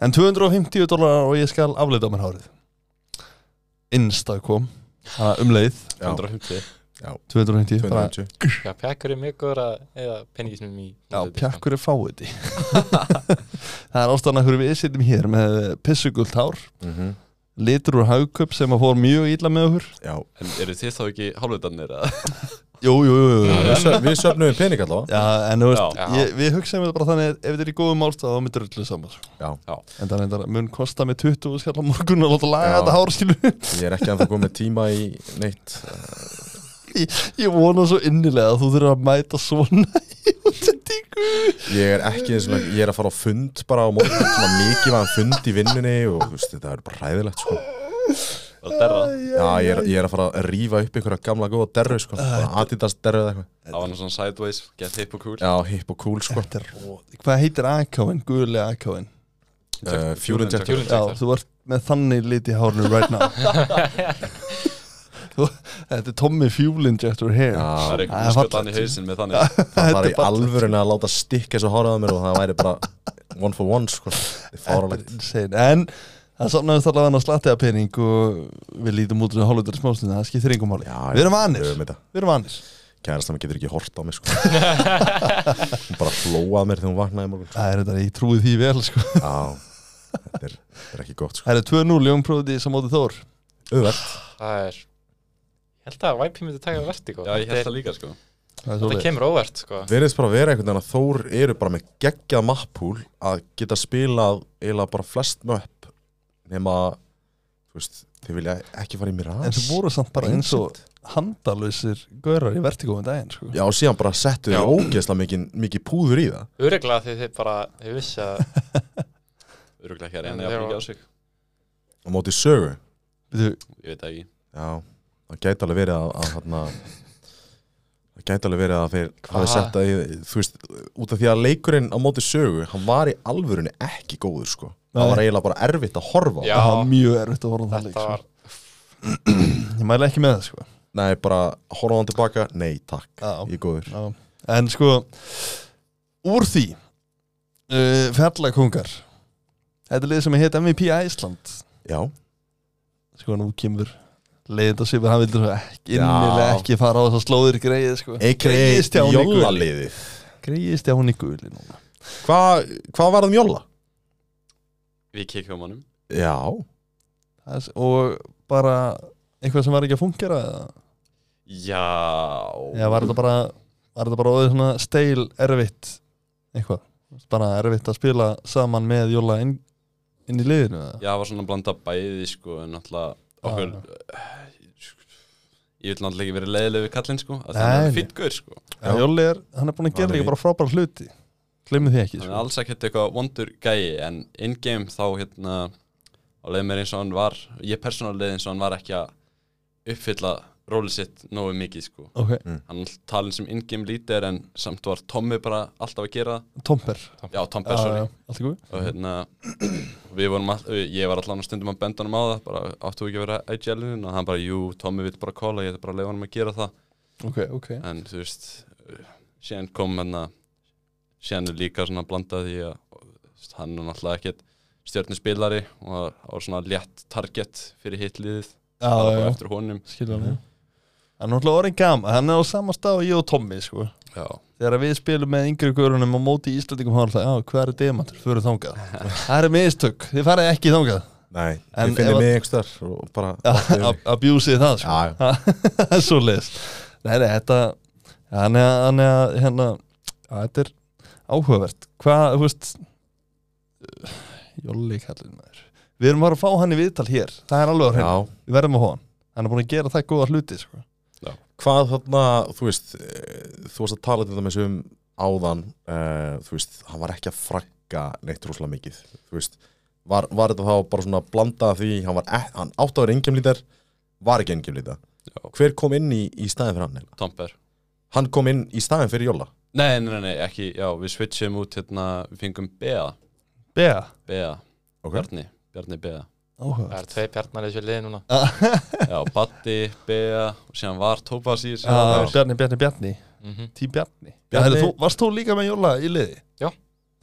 Speaker 3: en 250 dólar og ég skal afleita á mér hárið insta kom hana um leið
Speaker 2: Já,
Speaker 5: 150
Speaker 3: 250 bara,
Speaker 2: 290
Speaker 4: Já, pjakkur er mjög góður að eða penningisnum í sko.
Speaker 3: já, pjakkur er fáið í það er ástæðan að hverju við sittum hér með pissugult hár
Speaker 2: mm -hmm.
Speaker 3: litur úr haugköp sem að fór mjög illa með okkur
Speaker 2: Já,
Speaker 5: En eru þið þá ekki hálfutarnir? eða?
Speaker 3: jú, jú, jú, jú, jú.
Speaker 2: við, söf, við söfnum pening allavega
Speaker 3: Já, en þú veist,
Speaker 4: Já.
Speaker 3: ég, við hugsaðum þetta bara þannig ef þetta er í góðum málstað þá myndir öllu saman sko.
Speaker 2: Já.
Speaker 5: Já.
Speaker 3: En það reyndar að mun kosta mig 20 skall á morgun og láta laga
Speaker 2: Já.
Speaker 3: þetta hárskilu
Speaker 2: Ég er ekki að það komið tíma í neitt
Speaker 3: Ég vona svo innilega að þú þurfir að mæta svona í útsendingu
Speaker 2: Ég er ekki eins og ég er að fara á fund bara á morgun Svona mikið var fund í vinnunni og þú veist, þetta er bara hræðilegt sko
Speaker 5: Það er derra
Speaker 2: Já, ég er, ég er að fara að rífa upp einhverja gamla góða derru sko bara Adidas derru eða eitthvað
Speaker 5: Það var nú svona sideways, get hip og cool
Speaker 2: Já, hip og cool sko
Speaker 3: Þetta er róð Hvað heitir AK-in, guðulega AK-in? eh,
Speaker 2: uh, Fjúrin
Speaker 5: Fjúrin
Speaker 2: Jack
Speaker 4: Fjúrin
Speaker 3: Já,
Speaker 4: tjakkur
Speaker 3: þú ert með þannig lit í hárnu right now Þú- Þetta er Tommy Fuelin Jector
Speaker 2: Já,
Speaker 3: hair
Speaker 5: Það er
Speaker 3: Það er
Speaker 5: eitthvað sköldan
Speaker 3: fallegt.
Speaker 5: í hausin með þannig
Speaker 2: það var
Speaker 3: Þetta
Speaker 2: í
Speaker 3: er bara-
Speaker 2: alvörin að láta stikka þessu hárið á mér og það væri bara one for one sko Þetta er
Speaker 3: Þetta
Speaker 2: fáralegt
Speaker 3: er insane. En það safnaðist allavega að slatti að pening og við lítum út úr hálfutari smástundin það skiptir yngum máli.
Speaker 2: Já,
Speaker 3: Við erum vanir.
Speaker 2: Við erum þetta
Speaker 3: Við erum vanir.
Speaker 2: Kærastan getur ekki hort á mig sko Hún bara flóað mér þegar hún vaknaði í morgun
Speaker 3: Það er þetta, ég trúi því vel sko.
Speaker 2: Já, þetta er, þetta er ekki gott sko
Speaker 3: Það er 2-0 Jónpróði sem átti Þór.
Speaker 2: Auðvert
Speaker 4: Það er Ég held að YP myndi taka verti
Speaker 5: Já, ég held það líka sko
Speaker 3: Það er
Speaker 4: Þetta
Speaker 3: svoleiðis.
Speaker 4: kemur óvert sko
Speaker 2: Verðist bara vera einhvern veginn að Þór eru bara með geggjað mappúl að geta spilað eiginlega bara flest möpp nema, þú veist, þið vilja ekki fara í mér
Speaker 3: En
Speaker 2: aðeins
Speaker 3: þú voru samt bara eins og handalösir gaurar í vertigófum daginn sko.
Speaker 2: Já, og síðan bara settu þið ógeðslega mikið, mikið púður í það
Speaker 4: Öruglega því þið bara Þið vissi að
Speaker 5: Öruglega ekki að
Speaker 4: En
Speaker 5: reyna að
Speaker 4: þeir
Speaker 5: fríka
Speaker 4: var-
Speaker 5: á sig
Speaker 2: á móti sögu
Speaker 3: Við þau,
Speaker 5: Ég veit það ekki
Speaker 2: Já, það gæti alveg verið að, að þarna Það gæti alveg verið að þeir
Speaker 4: Hva?
Speaker 2: hafi sett að, þú veist, út af því að leikurinn á móti sögu, hann var í alvörunni ekki góður, sko. Það
Speaker 3: Nei.
Speaker 2: var eiginlega bara erfitt að horfa á.
Speaker 4: Já,
Speaker 3: það var mjög erfitt að horfa á það leik
Speaker 4: þetta
Speaker 3: sko.
Speaker 4: var
Speaker 3: Ég mæla ekki með það sko.
Speaker 2: Nei, bara horfa hann tilbaka, nei, takk,
Speaker 3: Já.
Speaker 2: ég er góður.
Speaker 3: Já. En sko, úr því uh, fjallakungar þetta er lið sem heit MVP Æsland
Speaker 2: Já,
Speaker 3: sko nú kemur leiðinda svipur, hann vildi svo ekki innilega
Speaker 2: Já.
Speaker 3: ekki fara á þess að slóðir greið sko. Greiðist hjá
Speaker 2: A.K.A.
Speaker 3: hún í guli.
Speaker 2: jólaliðið
Speaker 3: Greiðist hjá hún í guli núna.
Speaker 2: Hvað hva var það um jóla?
Speaker 5: Við kikkum honum
Speaker 2: Já,
Speaker 3: Það er s- og bara eitthvað sem var ekki að fungera eða
Speaker 5: Já
Speaker 3: Já, var þetta bara var þetta bara orðið svona steil erfitt eitthvað, bara erfitt að spila saman með Jóla inn, inn í liðinu eða?
Speaker 5: Já, það var svona að blanda bæði sko en náttúrulega okkur eh, Ég vil náttúrulega ekki vera leiðileg við kallinn sko að það
Speaker 3: Nei,
Speaker 5: er
Speaker 3: nei.
Speaker 5: fýtt gaur sko
Speaker 3: Já, Jóli er, hann er búin að
Speaker 2: Hann
Speaker 3: gera
Speaker 2: er
Speaker 3: líka
Speaker 2: fínn.
Speaker 3: bara frábæra hluti glemur því ekki
Speaker 5: Hann er
Speaker 3: sko.
Speaker 5: alls ekkert eitthvað vondur gæi en in-game þá hérna á leið mér eins og hann var ég persónal leið eins og hann var ekki að uppfylla róli sitt nógu mikið sko
Speaker 3: ok,
Speaker 5: Hann er talin sem in-game lítir en samt var Tommi bara alltaf að gera það.
Speaker 3: Tomper
Speaker 5: Já, Tom Persóni
Speaker 3: allt í góð
Speaker 5: og hérna við vorum all, ég var allan á stundum að benda honum á það bara áttu ekki að vera IGL-in og hann bara jú, Tommy vill bara kóla, ég ætla bara að leifa honum að gera það
Speaker 3: ok, ok,
Speaker 5: en þú veist uh, síðan kom hérna síðan er líka svona blandað í að og, þú veist, hann er náttúrulega ekkert stjörnispilari og það var svona létt target fyrir hitliðið,
Speaker 3: já,
Speaker 5: það var
Speaker 3: já,
Speaker 5: bara
Speaker 3: já,
Speaker 5: eftir honum
Speaker 3: skilja hann já. hann er náttúrulega orðin gama, hann er á sama stað og ég og Tommi sko
Speaker 5: já,
Speaker 3: Þegar við spilum með yngri görunum og móti í Íslandingum hann er alltaf, já, hvað er demantur, fyrir þangað Það er mistök, þið farið ekki þangað
Speaker 2: nei, ég
Speaker 3: En
Speaker 2: finnir
Speaker 3: ef að-
Speaker 2: mig einhver og bara
Speaker 3: Ab- Abusið það sko
Speaker 2: Já, já.
Speaker 3: það er svo leist Nei, nei, þetta hann er, hann er, hérna, já, þetta er áhugavert hvað, þú veist Jolli kallinn maður við erum bara að fá hann í viðtal hér það er alveg á hreinu,
Speaker 2: já
Speaker 3: við verðum að fá hann hann er búin að gera það góða hluti sko.
Speaker 2: Hvað þarna, þú veist eh, þú varst að tala til dæmis um áðan uh, þú veist, hann var ekki að frakka neitt rosalega mikið þú veist, var, var þetta þá bara svona blanda af því, hann, var, e- hann átt að vera engjumlítar var ekki engjumlítar
Speaker 5: Já.
Speaker 2: Hver kom inn í, í staðin fyrir hann? eiginlega?
Speaker 5: Tomper
Speaker 2: Hann kom inn í staðin fyrir Jóla
Speaker 5: nei, nei, nei, nei, ekki, já, við switchum út hérna, við fengum Bea
Speaker 3: Bea,
Speaker 5: Bea,
Speaker 2: Ok.
Speaker 5: Bjarni, Bjarni Bea
Speaker 4: Það
Speaker 3: áhugavert
Speaker 4: er tvei bjarnar í þessu liði núna
Speaker 5: Já, Batti, Bea og síðan var Tópas í þessu
Speaker 3: Já, Bjarni, Bjarni, Bjarni,
Speaker 4: mm
Speaker 3: tím Bjarni,
Speaker 2: Bjarni-
Speaker 3: Bjarni. Þú, Varst þú líka með Jóla í liði?
Speaker 4: Já.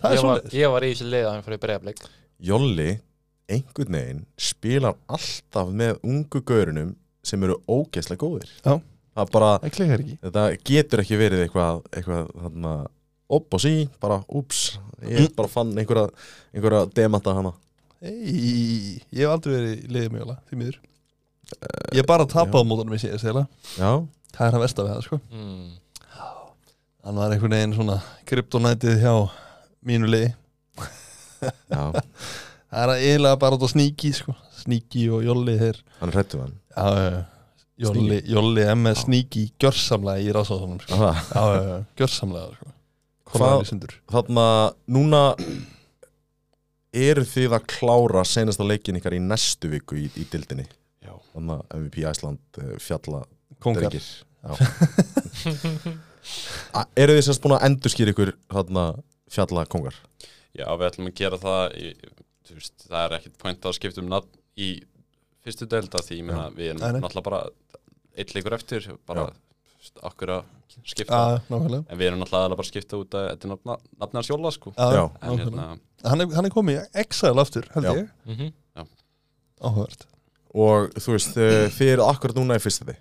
Speaker 3: Það er
Speaker 4: ég,
Speaker 3: svo
Speaker 4: var, ég var í þessu liði að hann fyrir bregðarbleik
Speaker 2: Jolli, einhvern veginn spilar alltaf með ungu gaurunum sem eru ógeðslega góðir
Speaker 3: Já.
Speaker 2: það er bara,
Speaker 3: Það klikkar ekki
Speaker 2: þetta getur ekki verið eitthvað, eitthvað þarna upp og sí, bara úps
Speaker 3: Mm.
Speaker 2: ég bara fann einhverja, einhverja demanta hana
Speaker 3: Ei, Ég hef aldrei verið í liði með Jóla, því miður Ég hef bara tapað mótunum í síðast eiginlega.
Speaker 2: já,
Speaker 3: Það er að versta við það sko
Speaker 4: mm.
Speaker 3: hann var einhvern veginn svona kryptonætið hjá mínu liði
Speaker 2: já,
Speaker 3: það er að eiginlega bara út á sníki sko. sníki og jolli þeir
Speaker 2: hann hrættu hann
Speaker 3: já, já, já. jolli, jolli MS sníki gjörsamlega í rásáðunum sko.
Speaker 2: Aha.
Speaker 3: já, já, já, gjörsamlega sko.
Speaker 2: Hvað-
Speaker 3: hvað er
Speaker 2: þarna, núna eru þið að klára senasta leikin ykkar í næstu viku í, í dildinni
Speaker 5: Já.
Speaker 2: þannig að MVP Æsland eh, fjalla
Speaker 3: kongar
Speaker 2: drengir A- eru þið sérst búin að endurskýra ykkur þarna fjalla kongar
Speaker 5: Já, við ætlum að gera það í, þú veist, það er ekkit point að skipta um nafn í fyrstu delta því ég meina, við erum
Speaker 3: Nei, nei.
Speaker 5: náttúrulega bara eitt leikur eftir, bara þú veist, okkur að skipta,
Speaker 3: já, nákvæmlega
Speaker 5: en við erum náttúrulega aðallega bara að skipta út að þetta er nafna- nafnið hans Jóla sko,
Speaker 3: já,
Speaker 2: Já.
Speaker 5: en
Speaker 3: nákvæmlega.
Speaker 5: hérna
Speaker 3: Hann, er, hann er komið í exile aftur held
Speaker 2: Já.
Speaker 3: ég
Speaker 4: Mm
Speaker 3: áhugavert
Speaker 2: og þú veist, eh, þið eru akkurat núna í fyrsta þið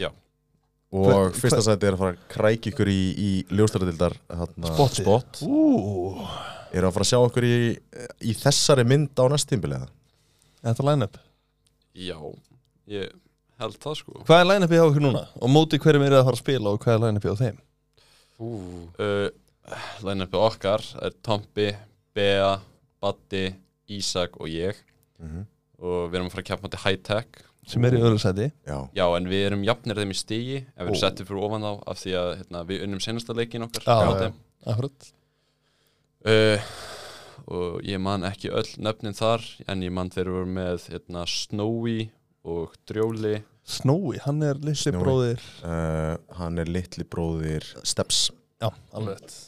Speaker 5: Já.
Speaker 2: og
Speaker 3: Hver-
Speaker 2: fyrsta sæti er að fara að krækja ykkur í, í ljóstaradildar þarna,
Speaker 3: Spottið.
Speaker 2: spott
Speaker 3: Ú,
Speaker 2: eru að fara að sjá ykkur í, í þessari mynd á næst tímbilega
Speaker 3: þetta er line-up
Speaker 5: já, ég held það sko
Speaker 3: hvað er line-upið hjá okkur núna og móti hverjum eru að fara að spila og hvað er line-upið á þeim
Speaker 5: uh, Line-upið okkar er Tompi, Bea, Batti, Ísak og ég
Speaker 3: Mhm.
Speaker 5: og við erum að fara að keppa mæti high-tech
Speaker 3: sem eru í öðru sæti
Speaker 2: já,
Speaker 5: Já, en við erum jafnir þeim í stigi en við erum
Speaker 3: Ó.
Speaker 5: settið fyrir ofan þá af því að hérna, við unnum senasta leikin okkar
Speaker 3: Já,
Speaker 5: á
Speaker 3: já.
Speaker 5: þeim.
Speaker 3: Akkurat.
Speaker 5: uh, og ég man ekki öll nöfnin þar en ég man þeir voru með hérna, Snowy og Drjóli
Speaker 3: Snói, hann er litli
Speaker 2: Snowy.
Speaker 3: bróðir
Speaker 2: uh, hann er litli bróðir Steps
Speaker 3: Já, alveg rétt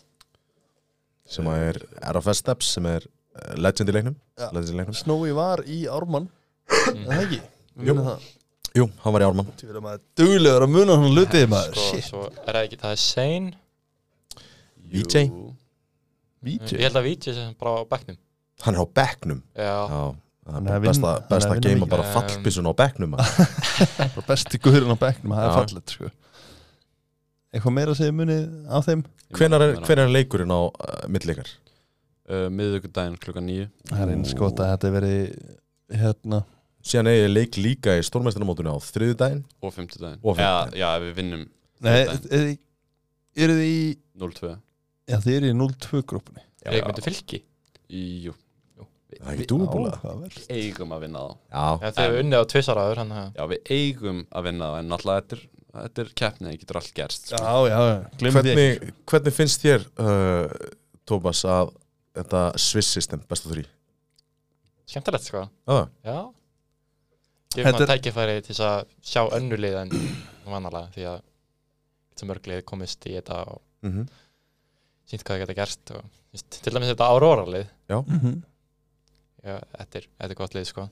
Speaker 2: sem að er RFS Steps sem er eh, legend í leiknum,
Speaker 3: Já.
Speaker 2: legend í leiknum.
Speaker 3: Snói var í Ármann Er Það ekki
Speaker 2: Jú.
Speaker 3: Muna það
Speaker 2: jú, hann var í Ármann
Speaker 3: Þú verður maður duglegur að muna hann lutið maður
Speaker 4: sko,
Speaker 3: Shit
Speaker 4: Svo er það ekki, það er Sein
Speaker 2: VJ?
Speaker 5: Jú,
Speaker 4: Ég held að Víti sem bara á bekknum
Speaker 2: hann er á bekknum
Speaker 4: Já,
Speaker 2: Já, Það er
Speaker 3: Hann er
Speaker 2: bara
Speaker 3: að vinna-
Speaker 2: besta,
Speaker 3: hann er að
Speaker 2: besta
Speaker 3: vinna
Speaker 2: game
Speaker 3: mikið.
Speaker 2: að bara
Speaker 4: Um,
Speaker 2: fallbissun á bekknum maður.
Speaker 3: bara besti guðurinn á bekknum, það er
Speaker 2: Já.
Speaker 3: fallet sko. eitthvað meira að segja um munið á þeim
Speaker 2: Hvenær er, hvenær er leikurinn á uh, millleikar?
Speaker 5: Uh, miðvikudaginn klukkan nýju
Speaker 3: það er eins gott að þetta veri hérna,
Speaker 2: Síðan er leik líka í stórmestarnamótinu á þriðudaginn
Speaker 5: og fimmtudaginn
Speaker 2: Og
Speaker 5: Já,
Speaker 2: fimmtudaginn.
Speaker 5: já, ef við vinnum
Speaker 3: nei,
Speaker 5: Þetta.
Speaker 3: eru þið- eru þið í
Speaker 5: 0-2
Speaker 3: já, þið eru í 0-2 grúpunni
Speaker 4: Ég myndi fylki
Speaker 5: í, Jú,
Speaker 2: Það er ekki dúbúla
Speaker 3: áhugaverð.
Speaker 5: eigum að vinna þá
Speaker 2: Já,
Speaker 4: Já, þegar við unnið á tvisar áður hann að
Speaker 5: Já, við eigum að vinna þá en náttúrulega þetta er, þetta er keppni, það getur allt gerst
Speaker 3: já, já, já, glemum því ekki
Speaker 2: hvernig, hvernig finnst þér uh, Tómas að þetta Swiss system besta þrý
Speaker 4: skemmtilegt sko
Speaker 2: ah,
Speaker 4: Já Gefum
Speaker 3: Þetta
Speaker 4: hann
Speaker 3: er-
Speaker 4: tækifæri til þess að sjá önnulið en vannalega því að þetta mörglið komist í þetta og
Speaker 2: mm -hmm.
Speaker 4: sínt hvað það geta gerst og, just, til dæmis þetta Aurora-lið
Speaker 3: Mhm,
Speaker 4: Já, þetta er, þetta er gott lið sko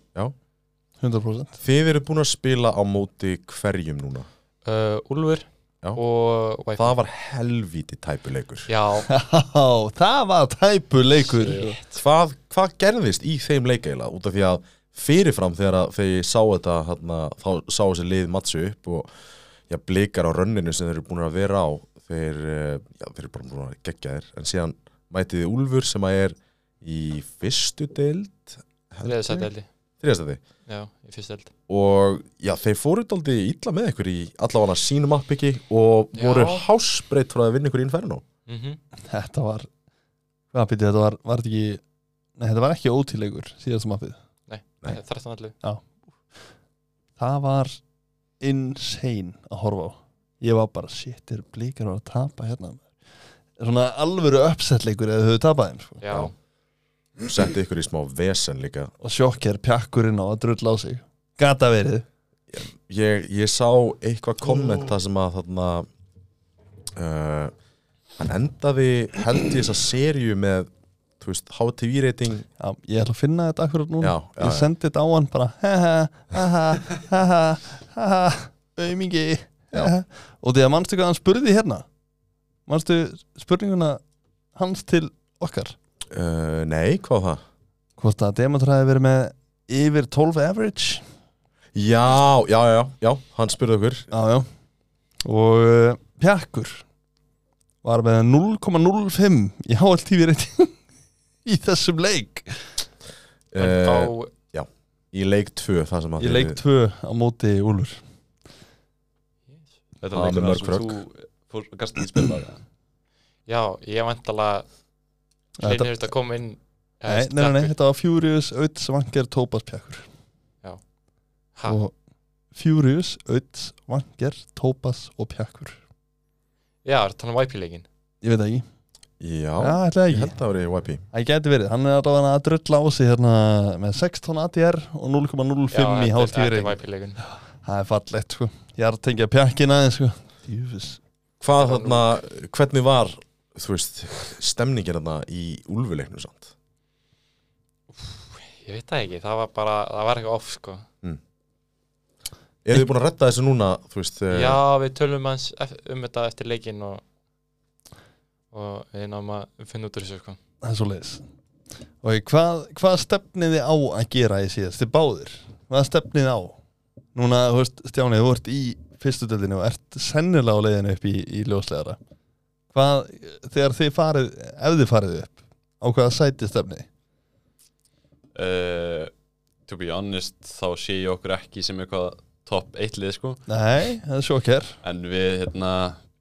Speaker 3: 100%
Speaker 2: Þið eru búin að spila á móti hverjum núna
Speaker 4: uh, Úlfur
Speaker 2: Já.
Speaker 4: og Wi-Fi
Speaker 2: Það var helvíti tæpuleikur
Speaker 4: Já,
Speaker 3: Já, það var tæpu leikur
Speaker 2: hvað, hvað gerðist í þeim leikeila út af því að fyrirfram þegar að þegar ég sá þetta þarna, þá sá þessi lið matsu upp og já, blikar á rönninu sem þeir eru búin að vera á þeir, eh, já, þeir eru bara búin að gegja þeir en síðan mætið þið Úlfur sem að er í fyrstu deild
Speaker 4: þriðisætti eldi
Speaker 2: þriðastæti
Speaker 4: Já, í fyrst eld
Speaker 2: og já, þeir fóru daldi illa með ykkur í allavega sínum appiki og
Speaker 4: Já.
Speaker 2: voru hásbreytt frá að vinna ykkur í Inferno
Speaker 4: mm
Speaker 3: Þetta var Hvað býtti, þetta var, var þetta ekki Nei, þetta var ekki ótilegur síðast mappið
Speaker 2: Nei.
Speaker 4: 13 eldi
Speaker 3: Það var insane að horfa á Ég var bara, shit, er blíkar að tapa hérna Svona alvöru uppsettleikur eða þau höfðu tapað þeim sko.
Speaker 4: Já,
Speaker 2: Já. setti ykkur í smá vesen líka
Speaker 3: og sjokker pjakkurinn á að drull á sig Gata verið
Speaker 2: ég, ég sá eitthvað komment það sem að þarna uh, hann endaði held í þessa serju með þú veist, HTV rating
Speaker 3: Já, ég ætla að finna þetta akkurat núna
Speaker 2: Já, já,
Speaker 3: Ég
Speaker 2: já.
Speaker 3: sendi þetta á hann bara Haha, haha, haha, haha Aumingi
Speaker 2: Já.
Speaker 3: Og því að manstu hvað hann spurði hérna Manstu spurninguna hans til okkar
Speaker 2: uh, nei, hvað var það?
Speaker 3: Hvort að Demantur hafi verið með yfir 12 average
Speaker 2: já, já, já, já, hann spurði okkur
Speaker 3: Já, já Og uh, Pjakkur var með 0,05 í HLTV reyting í þessum leik Eh,
Speaker 4: en þá
Speaker 2: uh, í leik 2 það sem að
Speaker 3: Í leik 2 á móti Úlur
Speaker 5: Þetta
Speaker 2: Já,
Speaker 5: er
Speaker 2: með
Speaker 5: leikur
Speaker 2: mörg
Speaker 5: sem þú fór gast ekki spila það
Speaker 4: Já, ég vantala
Speaker 3: Já, þetta-
Speaker 4: Hlynur þetta kom inn
Speaker 3: Nei,
Speaker 4: eh,
Speaker 3: nei, nei, nei,
Speaker 4: stakkur.
Speaker 3: þetta var Furious, Ödd, Svanger, Tópas, Pjakkur
Speaker 4: Ha,
Speaker 3: Og Furious, Ödd, Svanger, Tópas og Pjakkur
Speaker 4: Já, er þetta hann Wi-Fi-leikin
Speaker 3: Ég veit það ekki
Speaker 2: já,
Speaker 3: Já, ætlaði
Speaker 2: ég
Speaker 3: ekki
Speaker 2: held að vera í YP
Speaker 3: Það gæti verið, hann er allavega að drulla á sig hérna með 16 ADR og 0,05 í HLTV
Speaker 4: Þetta er
Speaker 3: reyting
Speaker 4: Wi-Fi-leikin
Speaker 3: Það er fallegt, sko Ég er að tengja Pjakkina, sko Jöfus
Speaker 2: hvað þarna, hvernig var þú veist, stemningin þarna í úlfuleiknum samt
Speaker 4: Ég veit það ekki, það var bara, það var eitthvað off sko
Speaker 2: eru þið búin að retta þessu núna þú veist, eh,
Speaker 4: Já, við tölum hans um þetta eftir leikin og, og við náum að finna út úr þessu sko
Speaker 3: það er svo leiðis og hvað, hvað stefnið þið á að gera í síðast, þið báðir hvað stefnið þið á núna, þú veist, Stjáni, þú ert í fyrstu deildinu og ert sennilega á leiðinu upp í, í ljóslegara hvað, þegar þið farið ef þið farið upp, á hvaða sæti stefnið þið?
Speaker 5: uh, To be honest, þá sé ég okkur ekki sem eitthvað topp eitt lið sko
Speaker 3: nei, það er sjokker
Speaker 5: En við, hérna,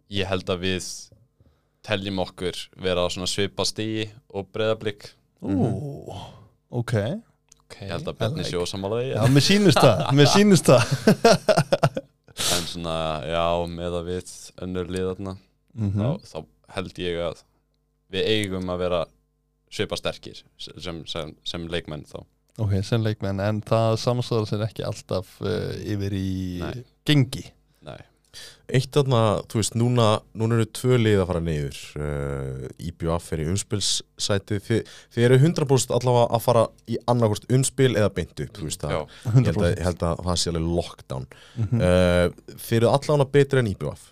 Speaker 5: ég held að við teljum okkur vera á svona svipa stíi og breyðablík
Speaker 3: Ú, Mhm. ok,
Speaker 4: okay.
Speaker 5: Ég held að
Speaker 3: I
Speaker 5: Bjarni
Speaker 3: like.
Speaker 5: sé ósamála því
Speaker 3: já, mér sýnist það mér sýnist það
Speaker 5: En svona, já, með að við önnur lið þarna
Speaker 3: Mhm.
Speaker 5: þá, þá held ég að við eigum að vera svipa sterkir sem, sem, sem leikmenn þá
Speaker 3: ok, sem leikmenn, en það samsvara sér ekki alltaf uh, yfir í
Speaker 5: Nei.
Speaker 3: gengi
Speaker 5: Nei,
Speaker 2: eitt þarna, þú veist, núna núna eru tvö lið að fara niður uh, IBF er í umspilssæti þið, þið eru 100% allavega að fara í annarkost umspil eða beint upp þú veist, það,
Speaker 5: Mm, já,
Speaker 2: ég held, að, ég
Speaker 3: 100%
Speaker 2: held að það sé alveg lockdown Eh,
Speaker 3: Mhm.
Speaker 2: uh, þið eru allavega betri en IBF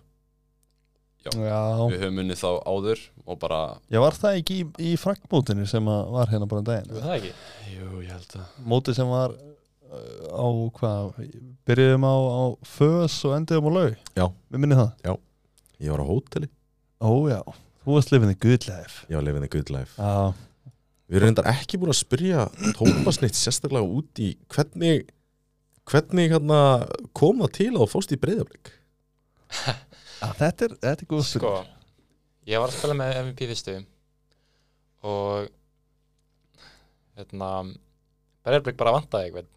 Speaker 3: Já,
Speaker 5: Við höfum unnið þá áður og bara
Speaker 3: ég var það ekki í, í frankmótinu sem að var hérna bara um
Speaker 4: Þú
Speaker 3: daginn
Speaker 4: veist það ekki?
Speaker 5: Jú, ég held að
Speaker 3: Móti sem var uh, á hvað, byrjuðum á, á fös og endiðum á laug
Speaker 2: Já.
Speaker 3: Við minni það
Speaker 2: Ég var á hóteli,
Speaker 3: Ó já, þú varst lifinni guðleif
Speaker 2: ég var lifin a good life
Speaker 3: Já,
Speaker 2: Við erum reyndar ekki búin að spyrja Tómasnitt sérstaklega út í hvernig hvernig hérna kom það til að þú fórst í breyðablik
Speaker 3: að þetta er, þetta er góð
Speaker 4: Sko, ég var að spila með MVP fyrstu og hérna Breiðarblik bara vantaði eitthvað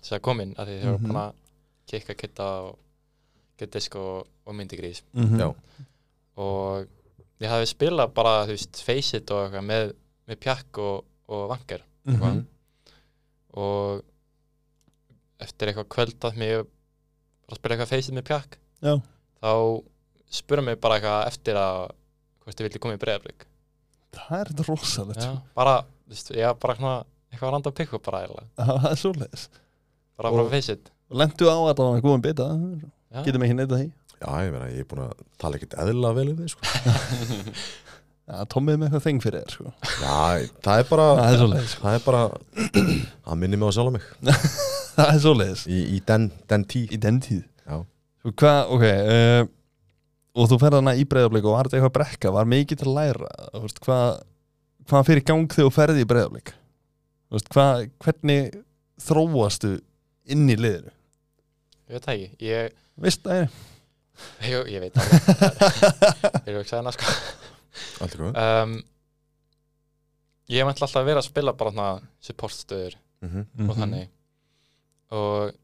Speaker 4: sem að komin að því þeir voru
Speaker 3: Mhm.
Speaker 4: búin að kikka kitta og geta disk og, og myndigrís
Speaker 3: mm
Speaker 2: Já.
Speaker 4: og ég hafði spilað bara, þú veist, face it og eitthvað með, með pjakk og, og vangar
Speaker 3: Mhm.
Speaker 4: og eftir eitthvað kvöld að mér var að spila eitthvað face it með pjakk
Speaker 3: Já.
Speaker 4: þá spurði mig bara eitthvað eftir að hvort ég vildi koma í Breiðarblik
Speaker 3: Það er þetta rosalegt
Speaker 4: Já,
Speaker 3: sko.
Speaker 4: bara, þú veist, ég var bara svona eitthvað randa að pikka upp bara eiginlega
Speaker 3: Það er svoleiðis
Speaker 4: bara
Speaker 3: Og-
Speaker 4: bara face it
Speaker 3: Lendu á að það var góðum bita
Speaker 4: Já.
Speaker 3: Getum ekki neyta því
Speaker 2: Já, ég meina, ég er búin að tala ekkert eðlilega vel um þig sko.
Speaker 3: Já, Tommið með eitthvað þeng fyrir þér sko.
Speaker 2: Já, það er bara
Speaker 3: Það er svoleiðis
Speaker 2: það er bara að minni mig á sjálf mig
Speaker 3: Það er svoleiðis
Speaker 2: í, í den, den tí
Speaker 3: Í den tíð
Speaker 2: Já.
Speaker 3: Svo hvað, ok uh, Og þú ferð hana í breyðablik og var þetta eitthvað brekka Var mikið til að læra Þú veist, Hvað hva fyrir gang þegar þú ferði í breyðablik hvað, Hvernig þróastu inn í liðinu
Speaker 4: ég veit það ekki, ég,
Speaker 3: Veist það er
Speaker 4: ég, ég veit það alveg. ég er ekki sæðina sko
Speaker 2: Allt í góðu
Speaker 4: um, ég hef ætla alltaf að vera að spila bara svona supportstöður
Speaker 2: Mhm.
Speaker 4: og þannig og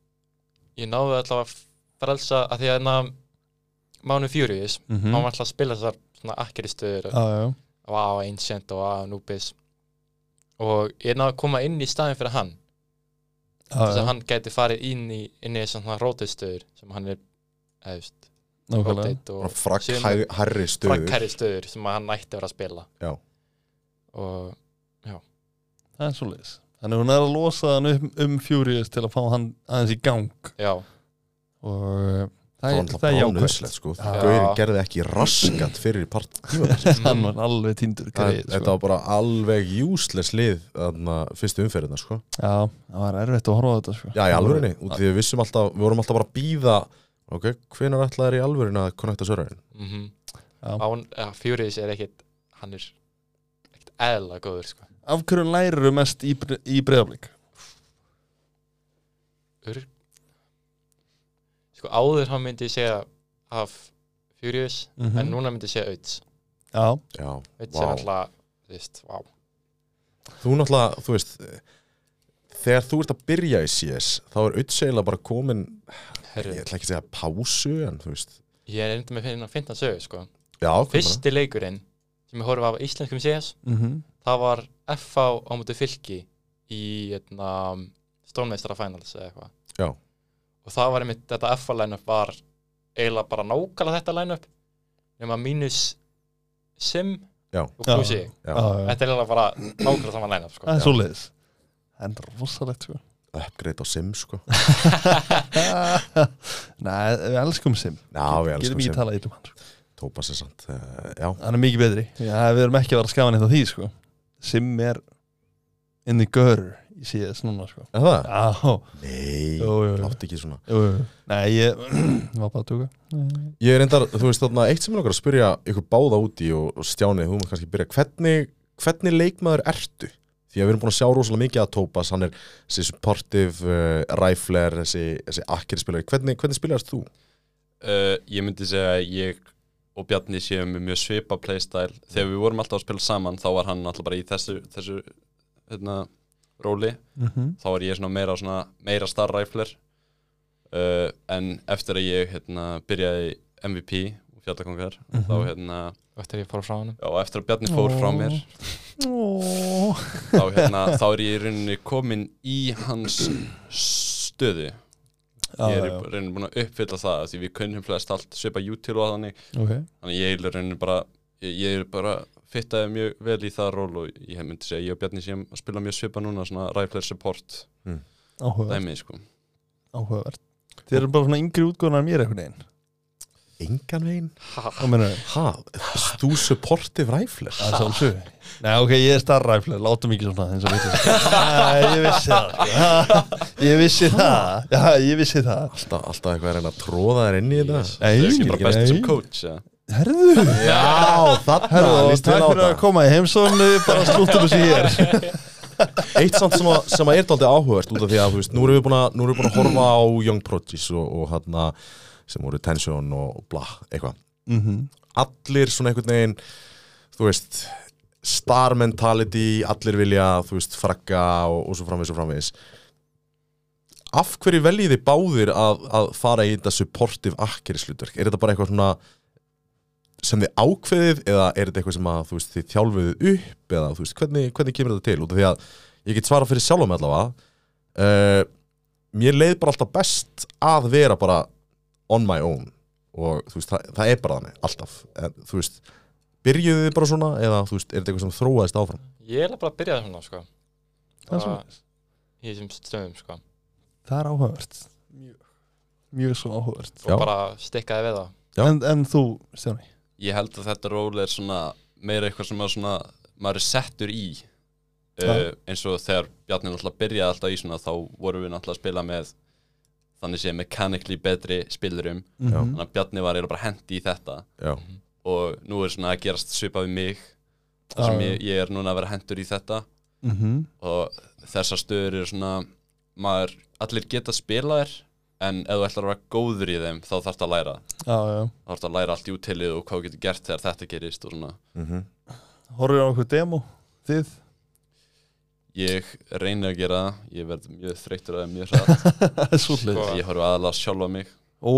Speaker 4: ég náði alltaf að frelsa að því að hérna Mánu Furious,
Speaker 2: mhm.
Speaker 3: mm
Speaker 4: hann var alltaf að spila þessar svona akkeri stöður
Speaker 3: Já, já, já.
Speaker 4: á Ancient og á Nubis og ég náði að koma inn í staðin fyrir hann
Speaker 3: Já,
Speaker 4: þess
Speaker 3: já.
Speaker 4: að hann gæti farið inn í inn í þessan svona rótistöður sem hann er eðust,
Speaker 3: Nákvæmlega.
Speaker 4: rótit
Speaker 2: Bara
Speaker 4: og
Speaker 2: Frakk
Speaker 4: Síðan-
Speaker 2: hæ- hærri stöðu
Speaker 4: frakkæri stöður sem hann ætti að vera að spila
Speaker 2: Já.
Speaker 4: og
Speaker 3: Það er svoleiðis Þannig hún er að losa hann um, um Furious til að fá hann aðeins í gang
Speaker 4: já,
Speaker 3: og uh,
Speaker 2: Það
Speaker 3: það,
Speaker 2: var
Speaker 3: er-
Speaker 2: alltaf
Speaker 3: það er
Speaker 2: bránuðslegt
Speaker 3: jákvæmt
Speaker 2: sko
Speaker 3: Já.
Speaker 2: Gaurin gerði ekki raskat fyrir part tíma
Speaker 3: Hann var alveg tindur
Speaker 2: Það,
Speaker 3: greið
Speaker 2: Þetta
Speaker 3: sko.
Speaker 2: var bara alveg useless lið þarna, fyrstu umferðina sko.
Speaker 3: Já, það var erfitt að horfa á þetta sko.
Speaker 2: Já, í alvörinni, út af því við vissum alltaf við vorum alltaf bara að býða ok, hvenær ætlaði þér í alvörinni að connecta sörðarinn?
Speaker 4: mm -hmm.
Speaker 3: Já.
Speaker 4: Án, ja, Furious er ekkit hann er ekkit eðla góður sko.
Speaker 3: Af hverju læriru mest í, Bre- í breyðablík?
Speaker 4: Ör, sko áður hann myndi ég segja af Furious
Speaker 3: Mhm.
Speaker 4: en núna myndi ég segja Öds
Speaker 3: Já,
Speaker 2: Já,
Speaker 4: Öds
Speaker 2: vá.
Speaker 4: er alltaf, þú veist, vá
Speaker 2: Þú náttúrulega, þú veist eh, þegar þú ert að byrja í CS þá er auðsegilega bara komin ég
Speaker 4: Herru,
Speaker 2: ætla ekki að segja pásu en þú veist
Speaker 4: ég er enda með finna að finna sögu sko.
Speaker 2: Já, hvað bara?
Speaker 4: fyrsti leikurinn sem ég horfði af á íslenskum CS
Speaker 3: mm -hmm.
Speaker 4: það var FH á mútu fylki í eitna, stónmeistara finals eða eitthvað
Speaker 2: Já.
Speaker 4: og það var einmitt, þetta FH line-up var eiginlega bara nákvæmlega þetta line-up nema mínus Sim
Speaker 2: Já.
Speaker 4: og Kusi
Speaker 2: Já.
Speaker 3: já, já.
Speaker 4: þetta er eiginlega bara nákvæmlega saman line-up sko.
Speaker 3: Það er svoleiðis Það er rosalegt sko.
Speaker 2: Upgrade á Sim sko
Speaker 3: Nei, við elskum Sim
Speaker 2: Já, við elskum
Speaker 3: Getum ekki
Speaker 2: Sim,
Speaker 3: talað ítlum hann sko.
Speaker 2: tópa sér samt uh, Já,
Speaker 3: Hann er mikið betri Já, við erum ekki að vera að skafa neitt á því sko. Sim er in the girl í CS núna sko.
Speaker 2: er það?
Speaker 3: Já,
Speaker 2: Nei,
Speaker 3: jú, jú, jú.
Speaker 2: látt ekki svona
Speaker 3: Jú, jú. Nei, ég var bara að tuga
Speaker 2: Ég er reyndar, þú veist þarna, eitt sem er okkar að spyrja ykkur báða úti og, og Stjáni, þú maður kannski byrja hvernig, hvernig leikmaður ertu? Því að við erum búin að sjá rosalega mikið að Tópas, hann er þessi supportive, uh, rifler, þessi, þessi akkeri spilari, hvernig, hvernig spilaðast þú?
Speaker 5: uh, Ég myndi segja að ég og Bjarni séum með mjög svipa playstyle Þegar við vorum alltaf að spila saman þá var hann alltaf bara í þessu, þessu hérna, róli
Speaker 3: mm -hmm.
Speaker 5: þá var ég svona meira, svona, meira star rifler uh, en eftir að ég hérna, byrjaði í MVP og fjallakongar þá hérna,
Speaker 4: og eftir ég fór frá hann
Speaker 5: já, og eftir að Bjarni fór frá mér
Speaker 3: oh.
Speaker 5: þá, hérna, þá er ég í rauninni komin í hans stöðu ég er í rauninni búin að uppfylla það af því við kunnum flest allt svipa YouTube og þannig
Speaker 3: okay.
Speaker 5: þannig ég er í rauninni bara ég, ég er bara fittaði mjög vel í það ról og ég myndi segja ég og Bjarni séum að spila mjög svipa núna svona rifler support
Speaker 3: áhugavert,
Speaker 5: dæmið sko
Speaker 3: áhugavert Þið eru bara svona yngri útgóðan en mér einhvern veginn
Speaker 2: engan veginn
Speaker 3: Hvað mennur
Speaker 2: ha, þú supportive rifler
Speaker 3: Það er svolítið Nei, ok, ég er starræflur, látum ekki svona eins og vitið Já, ég vissi það sko. Ég vissi það Já, ég vissi það
Speaker 2: alltaf, alltaf eitthvað er að reyna að tróða þér inn í þetta
Speaker 3: Nei,
Speaker 5: Það er ekki bara best sem
Speaker 3: nei.
Speaker 5: coach ja.
Speaker 3: Herðu
Speaker 2: já, þarna
Speaker 3: Herðu, og
Speaker 2: líst vel
Speaker 3: takk
Speaker 2: á
Speaker 3: fyrir að
Speaker 2: þetta.
Speaker 3: koma í heimsón bara slúttum þessu hér
Speaker 2: eitt samt sem, að, sem að er dálítið áhugavert út af því að þú veist, nú erum við búin að, nú erum við búin að horfa á Young Prodigies og, og hérna sem voru Tension og bla, eitthvað allir svona einhvern veginn þú veist, star mentality allir vilja, þú veist, frakka og, og svo framvegis og framvegis af hverju veljið þið báðir að, að fara í þetta supportive akkerisluturk, er þetta bara eitthvað svona sem þið ákveðið eða er þetta eitthvað sem að þú veist, þið þjálfiðið upp eða þú veist, hvernig, hvernig kemur þetta til út af því að ég get svarað fyrir sjálfum allavega uh, mér leið bara alltaf best að vera bara on my own og þú veist, það, það er bara þannig, alltaf en, þú veist, byrjuðu þið bara svona eða þú veist, er þetta eitthvað sem þróaðist áfram
Speaker 4: Ég er bara að byrja svona, sko
Speaker 3: Það er
Speaker 4: Bara
Speaker 3: svoleiðis.
Speaker 4: Í þessum stöðum, sko
Speaker 3: Það er áhugavert Mjög, mjög svo áhugavert
Speaker 2: Já.
Speaker 4: Og bara stikkaði við það
Speaker 3: en, en þú, Stjáni
Speaker 5: Ég held að þetta ról er svona meira eitthvað sem að svona, maður er settur í uh,
Speaker 3: Já.
Speaker 5: eins og þegar Bjarni náttúrulega byrjaði alltaf í svona þá vorum við náttúrulega að spila með þannig sé mechanically betri spilurum
Speaker 3: Mhm.
Speaker 5: þannig að Bjarni var eiginlega bara hendi í þetta
Speaker 2: já,
Speaker 5: og nú er svona að gerast svipað við mig þar sem
Speaker 3: Já.
Speaker 5: ég, ég er núna að vera hendur í þetta
Speaker 3: Mhm.
Speaker 5: og þessar stöður eru svona maður, allir geta spila þér en ef þú ætlar að vera góður í þeim þá þarfst að læra
Speaker 3: Já, já
Speaker 5: þá þarfst að læra allt í útilið og hvað þú getur gert þegar þetta gerist og svona
Speaker 2: mm
Speaker 3: Horfir á einhver demo, þið
Speaker 5: ég reyni að gera það, ég verð mjög þreyttur að það mjög hratt
Speaker 3: Það er svolítið
Speaker 4: Sko.
Speaker 5: ég horfa aðalega sjálfa mig,
Speaker 3: Ó,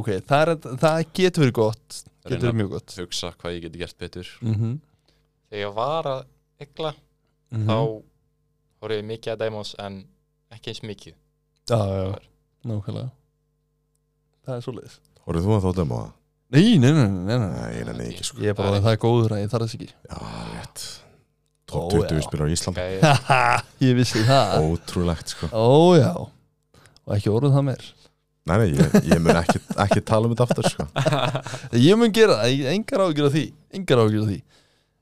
Speaker 3: ok, það, er, það getur verið gott Getur
Speaker 5: Reyna.
Speaker 3: verið mjög gott
Speaker 5: hugsa hvað ég geti gert betur
Speaker 3: Mhm.
Speaker 4: Þegar ég var að ykla
Speaker 3: Mhm.
Speaker 4: Þá horfði ég mikið að demos En ekki eins mikið
Speaker 3: Já, já, nákvæmlega Það er svolítið
Speaker 2: horfðu þú að þá dæma það?
Speaker 3: Nei, nei, nei, nei, nei, nei.
Speaker 2: nei, ég nenni því ekki sko
Speaker 3: Ég er bara
Speaker 4: Það
Speaker 3: að
Speaker 4: er-
Speaker 3: það er góður að ég þarf þess ekki
Speaker 2: já, rétt top
Speaker 3: Ó,
Speaker 2: 20
Speaker 3: já.
Speaker 2: spilar í Ísland
Speaker 4: okay,
Speaker 3: Haha, ég vissi það
Speaker 2: ótrúlegt sko
Speaker 3: Ó, já Og ekki orðið það meir
Speaker 2: nei, nei, ég, ég mun ekki, ekki tala um þetta aftur sko
Speaker 3: Ég mun gera það, ég- engar ágjur af því Engar ágjur af því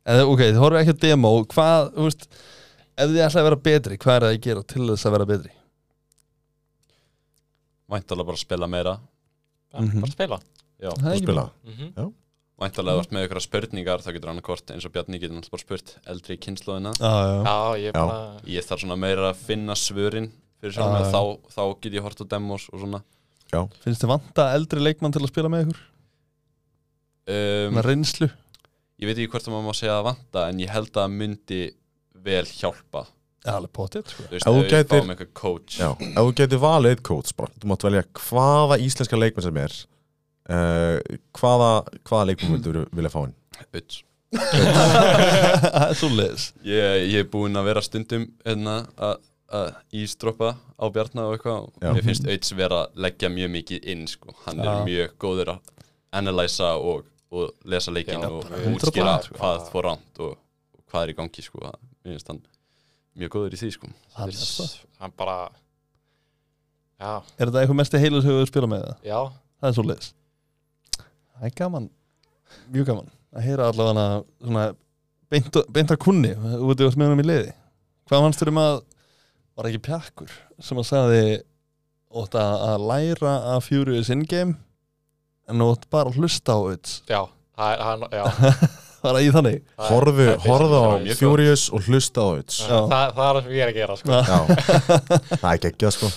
Speaker 3: En ok, þið horfum ekki að demo Hvað, þú veist Ef þið ætlaði að vera betri, hvað er það að gera til þess að vera betri?
Speaker 5: væntalega bara að spila meira
Speaker 3: Mhm.
Speaker 4: Bara að spila
Speaker 5: Já.
Speaker 3: Það er
Speaker 2: og
Speaker 3: ekki-
Speaker 2: spila
Speaker 4: Mhm.
Speaker 5: væntalega að þú ert með ykkur spurningar þá getur hann kort eins og Bjarni getur náttúrulega bara spurt eldri kynnslóðina
Speaker 3: Já, já, já.
Speaker 4: Já,
Speaker 2: Já.
Speaker 4: ég bara
Speaker 5: ég þarf svona meira að finna svörin
Speaker 3: Já,
Speaker 5: fyrir sjálfum
Speaker 2: Ah.
Speaker 3: já.
Speaker 5: mig þá, þá get ég hort á demos og svona
Speaker 3: Finnst þið vanta eldri leikmann til að spila með ykkur?
Speaker 5: um,
Speaker 3: Með reynslu?
Speaker 5: ég veit ekki hvort að maður má segja að vanta en ég held að það myndi vel hjálpa
Speaker 3: Já, alveg potið, sko
Speaker 5: þú veist,
Speaker 2: Ef þú
Speaker 5: ef við
Speaker 2: gætir-
Speaker 5: fáum eitthvað coach
Speaker 2: já, ef þú getur valið eitt coach bara, þú mátt velja hvaða íslenska leikmenn sem er Uh, hvaða, hvaða leikmenn vildur vilja fá inn
Speaker 5: Uts.
Speaker 3: Það er svo leis
Speaker 5: ég, ég er búinn að vera stundum hérna, að- að ístroppa á Bjarnar og eitthvað
Speaker 2: Já.
Speaker 5: og mér finnst Uts vera að leggja mjög mikið inn sko. hann
Speaker 3: Já.
Speaker 5: er mjög góður að analysa og, og lesa leikin
Speaker 4: Já,
Speaker 5: og
Speaker 4: bara 100%
Speaker 5: útskýra
Speaker 4: sko.
Speaker 5: hvað fór ránt og, og hvað er í gangi sko. Það- mér finnst hann mjög góður í því sko.
Speaker 3: Hann er það.
Speaker 4: Hann bara Já,
Speaker 3: Er þetta eitthvað mesti heilus hefur spilað með það?
Speaker 4: já
Speaker 3: það er svo leiðis það er gaman, mjög gaman að heyra allavega svona beint, beint að kunni út í með honum í liði hvað fannst þér um að var ekki pjakkur sem að sagði ótt að, að læra að Furious Ingame en ótt bara að hlusta á öll
Speaker 4: Já, það er, hann, já
Speaker 3: var það í þannig
Speaker 4: það er-
Speaker 2: horfðu,
Speaker 4: það er basically
Speaker 2: horfðu á
Speaker 4: svona
Speaker 5: mjög gott.
Speaker 2: Furious og hlusta á Uts
Speaker 4: Já, Það, það er það sem ég er að gera sko.
Speaker 3: Já.
Speaker 2: Já, það er geggjað sko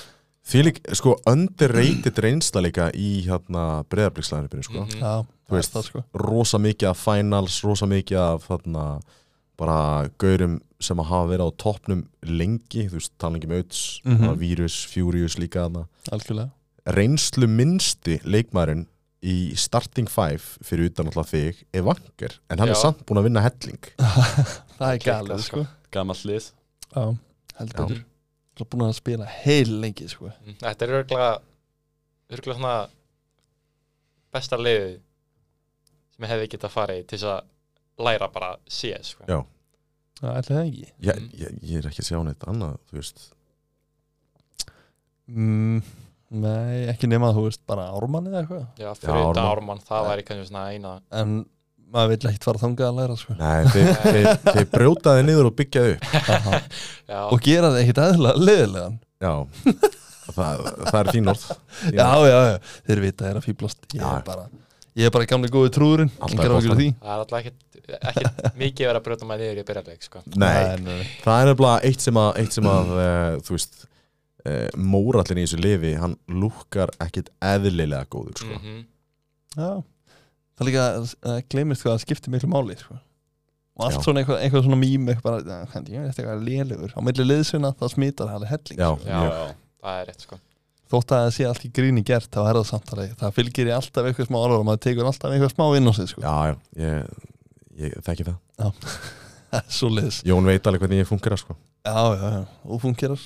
Speaker 2: Því lík, sko, underrated reynsla líka í hérna breyðarblikkslæðinu sko.
Speaker 4: Mhm.
Speaker 3: já,
Speaker 2: Þú veist.
Speaker 3: það sko
Speaker 2: Rosa mikið af finals, rosa mikið af þarna bara gaurum sem að hafa verið á toppnum lengi, þú veist, talangi með auðs mm
Speaker 3: Mhm.
Speaker 2: Vírus, Furious líka þarna
Speaker 3: algjörlega
Speaker 2: Reynslu minnsti leikmaðurinn í starting five fyrir utan alltaf þig er vanger, en hann er
Speaker 4: Já.
Speaker 2: samt búin að vinna helling
Speaker 3: það er
Speaker 4: Klikkað,
Speaker 3: galið
Speaker 4: sko.
Speaker 3: sko
Speaker 5: gammal hlið
Speaker 3: já, heldur
Speaker 2: Já.
Speaker 3: betur Það er búin að spila heil lengi sko
Speaker 4: Mhm. Þetta er örgulega örgulega svona besta liðið sem ég hefði getað farið í til þess að læra bara CS sko.
Speaker 2: Já.
Speaker 3: Það ætlaði það ekki
Speaker 2: ég,
Speaker 4: Mhm.
Speaker 2: ég, ég er ekki að sjá neitt annað, þú veist
Speaker 3: mm, Nei, ekki nema að þú veist bara ármann eða eitthvað
Speaker 4: Já, fyrir
Speaker 2: Ármann.
Speaker 4: þetta Ármann, það væri kannski svona eina
Speaker 3: En maður vill ekkert fara þangað að læra sko.
Speaker 2: Nei, þeir, þeir, þeir brjótaði niður og byggjaði upp
Speaker 3: Aha.
Speaker 4: Já,
Speaker 3: Og gera það ekkert aðeinslega leðilegan
Speaker 2: Já, það, það er þín orð Þín
Speaker 3: já,
Speaker 2: orð.
Speaker 3: já, já, þeir vita þeir að fýblast Ég
Speaker 2: Já.
Speaker 3: er bara, ég er bara gamli góði trúðurinn
Speaker 2: Alltaf
Speaker 3: Engar
Speaker 2: í
Speaker 3: ágjur því
Speaker 4: það er alltaf ekkit, ekkit mikið verið að brjóta maður niður í byrjarleik sko.
Speaker 2: Nei,
Speaker 3: nei, nei.
Speaker 2: það er nefnilega eitt sem að, eitt sem að uh, þú veist uh, mórallin í þessu lifi, hann lúkkar ekkit eðlilega góður sko.
Speaker 4: mm -hmm.
Speaker 3: Já. Það er líka að gleymist hvað það skiptir miklu máli sko. Og allt
Speaker 2: Já.
Speaker 3: svona eitthvað, eitthvað svona mím eitthvað bara, "Já, ég veit eitthvað lélugur Á milli liðsina það smitar hæli helling
Speaker 2: Já,
Speaker 3: sko.
Speaker 4: Já.
Speaker 2: mjög.
Speaker 4: Það er rétt sko.
Speaker 3: Þótt að það sé allt í gríni gert þá er það samtalið Það fylgir í alltaf eitthvað smá orður og maður tekur alltaf eitthvað smá inn á sig sko.
Speaker 2: já, já ég, ég þekki það
Speaker 3: Svo liðs
Speaker 2: Jón veit alveg hvernig ég funkar sko.
Speaker 3: Já, já, já, og fungerar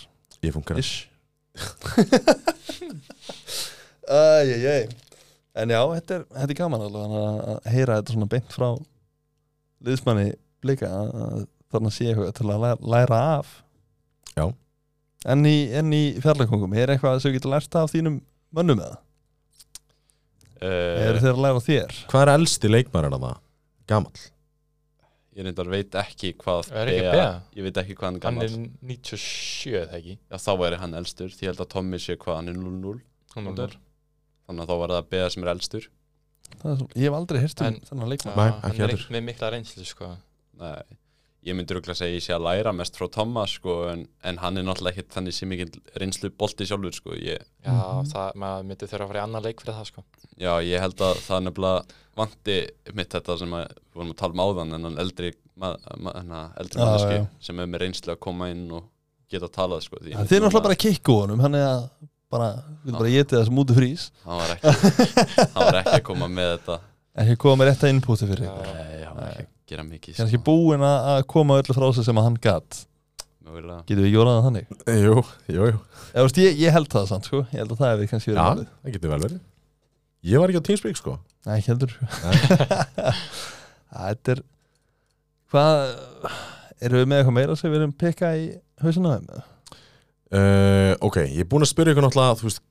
Speaker 2: Ég funkar
Speaker 3: Ish Æjæjæj En já, þetta er, þetta er gaman alveg þannig að að heyra þetta svona beint frá liðsmanni blika þannig að sé eitthvað til að læra, læra af
Speaker 2: Já.
Speaker 3: En í, en í fjarlækungum, er eitthvað sem þú getur lært af þínum mönnum eða?
Speaker 5: Eh,
Speaker 3: Eru þeir að læra af þér?
Speaker 2: Hvað er elsti leikmærin að það? Gamall
Speaker 5: Ég reyndar veit ekki hvað
Speaker 4: Er ekki Bea?
Speaker 5: Ég veit ekki hvað hann er
Speaker 4: Hann
Speaker 5: gammal
Speaker 4: er 97 eða ekki
Speaker 5: Já, þá væri hann elstur Því ég held að Tommy sé hvað hann er 0-0
Speaker 4: Hún er
Speaker 5: Hún er. Þannig að þá var það Bea sem er elstur
Speaker 3: Það er Svo, ég hef aldrei heyrt um
Speaker 4: En-
Speaker 3: þennan leikmann
Speaker 2: Nei,
Speaker 4: Já,
Speaker 2: ekki
Speaker 4: Hann er
Speaker 2: heldur.
Speaker 4: með mikla reynslu sko.
Speaker 5: Nei Ég myndi rúkla að segja að ég sé að læra mest frá Thomas sko, en, en hann er náttúrulega ekkit þannig sem ekki reynslu bolti sjálfur sko. ég,
Speaker 4: Já,
Speaker 3: Mhm.
Speaker 4: það, maður myndi þurfa að fara í annan leik fyrir það sko.
Speaker 5: Já, ég held að það er nefnilega vanti mitt þetta sem að, við vorum að tala um áðan en hann eldri, ma, ma, hana, eldri
Speaker 3: Já,
Speaker 5: manneski
Speaker 3: já.
Speaker 5: sem er með reynslu að koma inn og geta að tala sko, því
Speaker 3: Þið
Speaker 5: ég
Speaker 3: er
Speaker 5: veit núna
Speaker 3: náttúrulega bara að kikku honum, hann er að bara, vil bara getið það sem út frís
Speaker 5: að hann var, ekki, hann var ekki að koma með þetta
Speaker 3: ekki koma með rétta innbúti fyrir ykkur
Speaker 4: Já,
Speaker 5: Nei, hann var ekki að gera mikið sko.
Speaker 3: kannski búinn að að koma öllu frá sig sem að hann gatt
Speaker 5: Mögulega
Speaker 3: getum við ekki orðað það þannig
Speaker 2: Eh, Jú, jú, jú
Speaker 3: ég, veist, ég, ég held það samt sko, ég held að það hefði kannski verið
Speaker 2: Já,
Speaker 3: málið.
Speaker 2: það getur vel verið Ég var ekki á Teamspeak sko
Speaker 3: Nei, ekki heldur það er hvað erum við með eitthvað meira sem við erum pikka í hausinu þeim
Speaker 2: uh, Ok, ég er búin að spyrja ykkur náttúrulega Þú veist,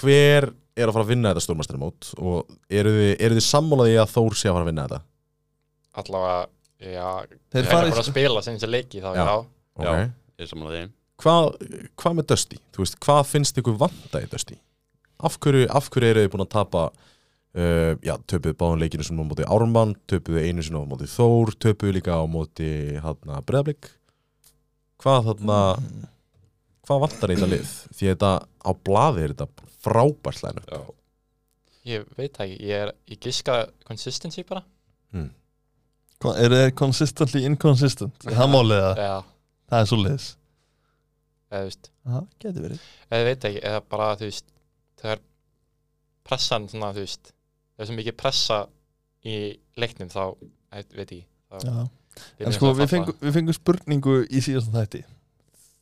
Speaker 2: hver er að fara að vinna þetta stórmasternamót Og eru þið, eru þið sammálaði að Þór sé að fara að vinna þetta?
Speaker 4: Allavega, já
Speaker 3: þeir
Speaker 4: Það er
Speaker 3: farið
Speaker 4: bara að spila sem þessi leiki þá,
Speaker 2: Já.
Speaker 4: já,
Speaker 2: Ok
Speaker 5: Já. Ég er samanlega því
Speaker 2: Hvað hva með Dusty? Þú veist, hvað finnst ykkur vanda í Dusty? Af hverju, af hverju eru þið búin að tapa uh, Já, töpuðu báðan leikinu sem á móti Ármann Töpuðu einu sinna á móti Þór Töpuðu líka á móti hana, Breðablik Hvað þarna hvað vantar í þetta lið? Því að þetta á blaði er þetta frábært lænu.
Speaker 5: Já.
Speaker 4: Ég veit það ekki, ég er Ég giska consistency bara
Speaker 3: Kon- eru þeir consistently inconsistent Er það málið að
Speaker 4: Já,
Speaker 3: það er svo leiðis
Speaker 4: eða þú veist
Speaker 3: það getur verið
Speaker 4: Eða ég veit ekki, eða bara þú veist Þegar pressan svona þú veist Það er svo mikið pressa í leiknum þá Ég veit ekki þá
Speaker 3: Já.
Speaker 4: byrjum
Speaker 3: en sko við
Speaker 4: að falla.
Speaker 3: fengum, við fengum spurningu í síðastan þætti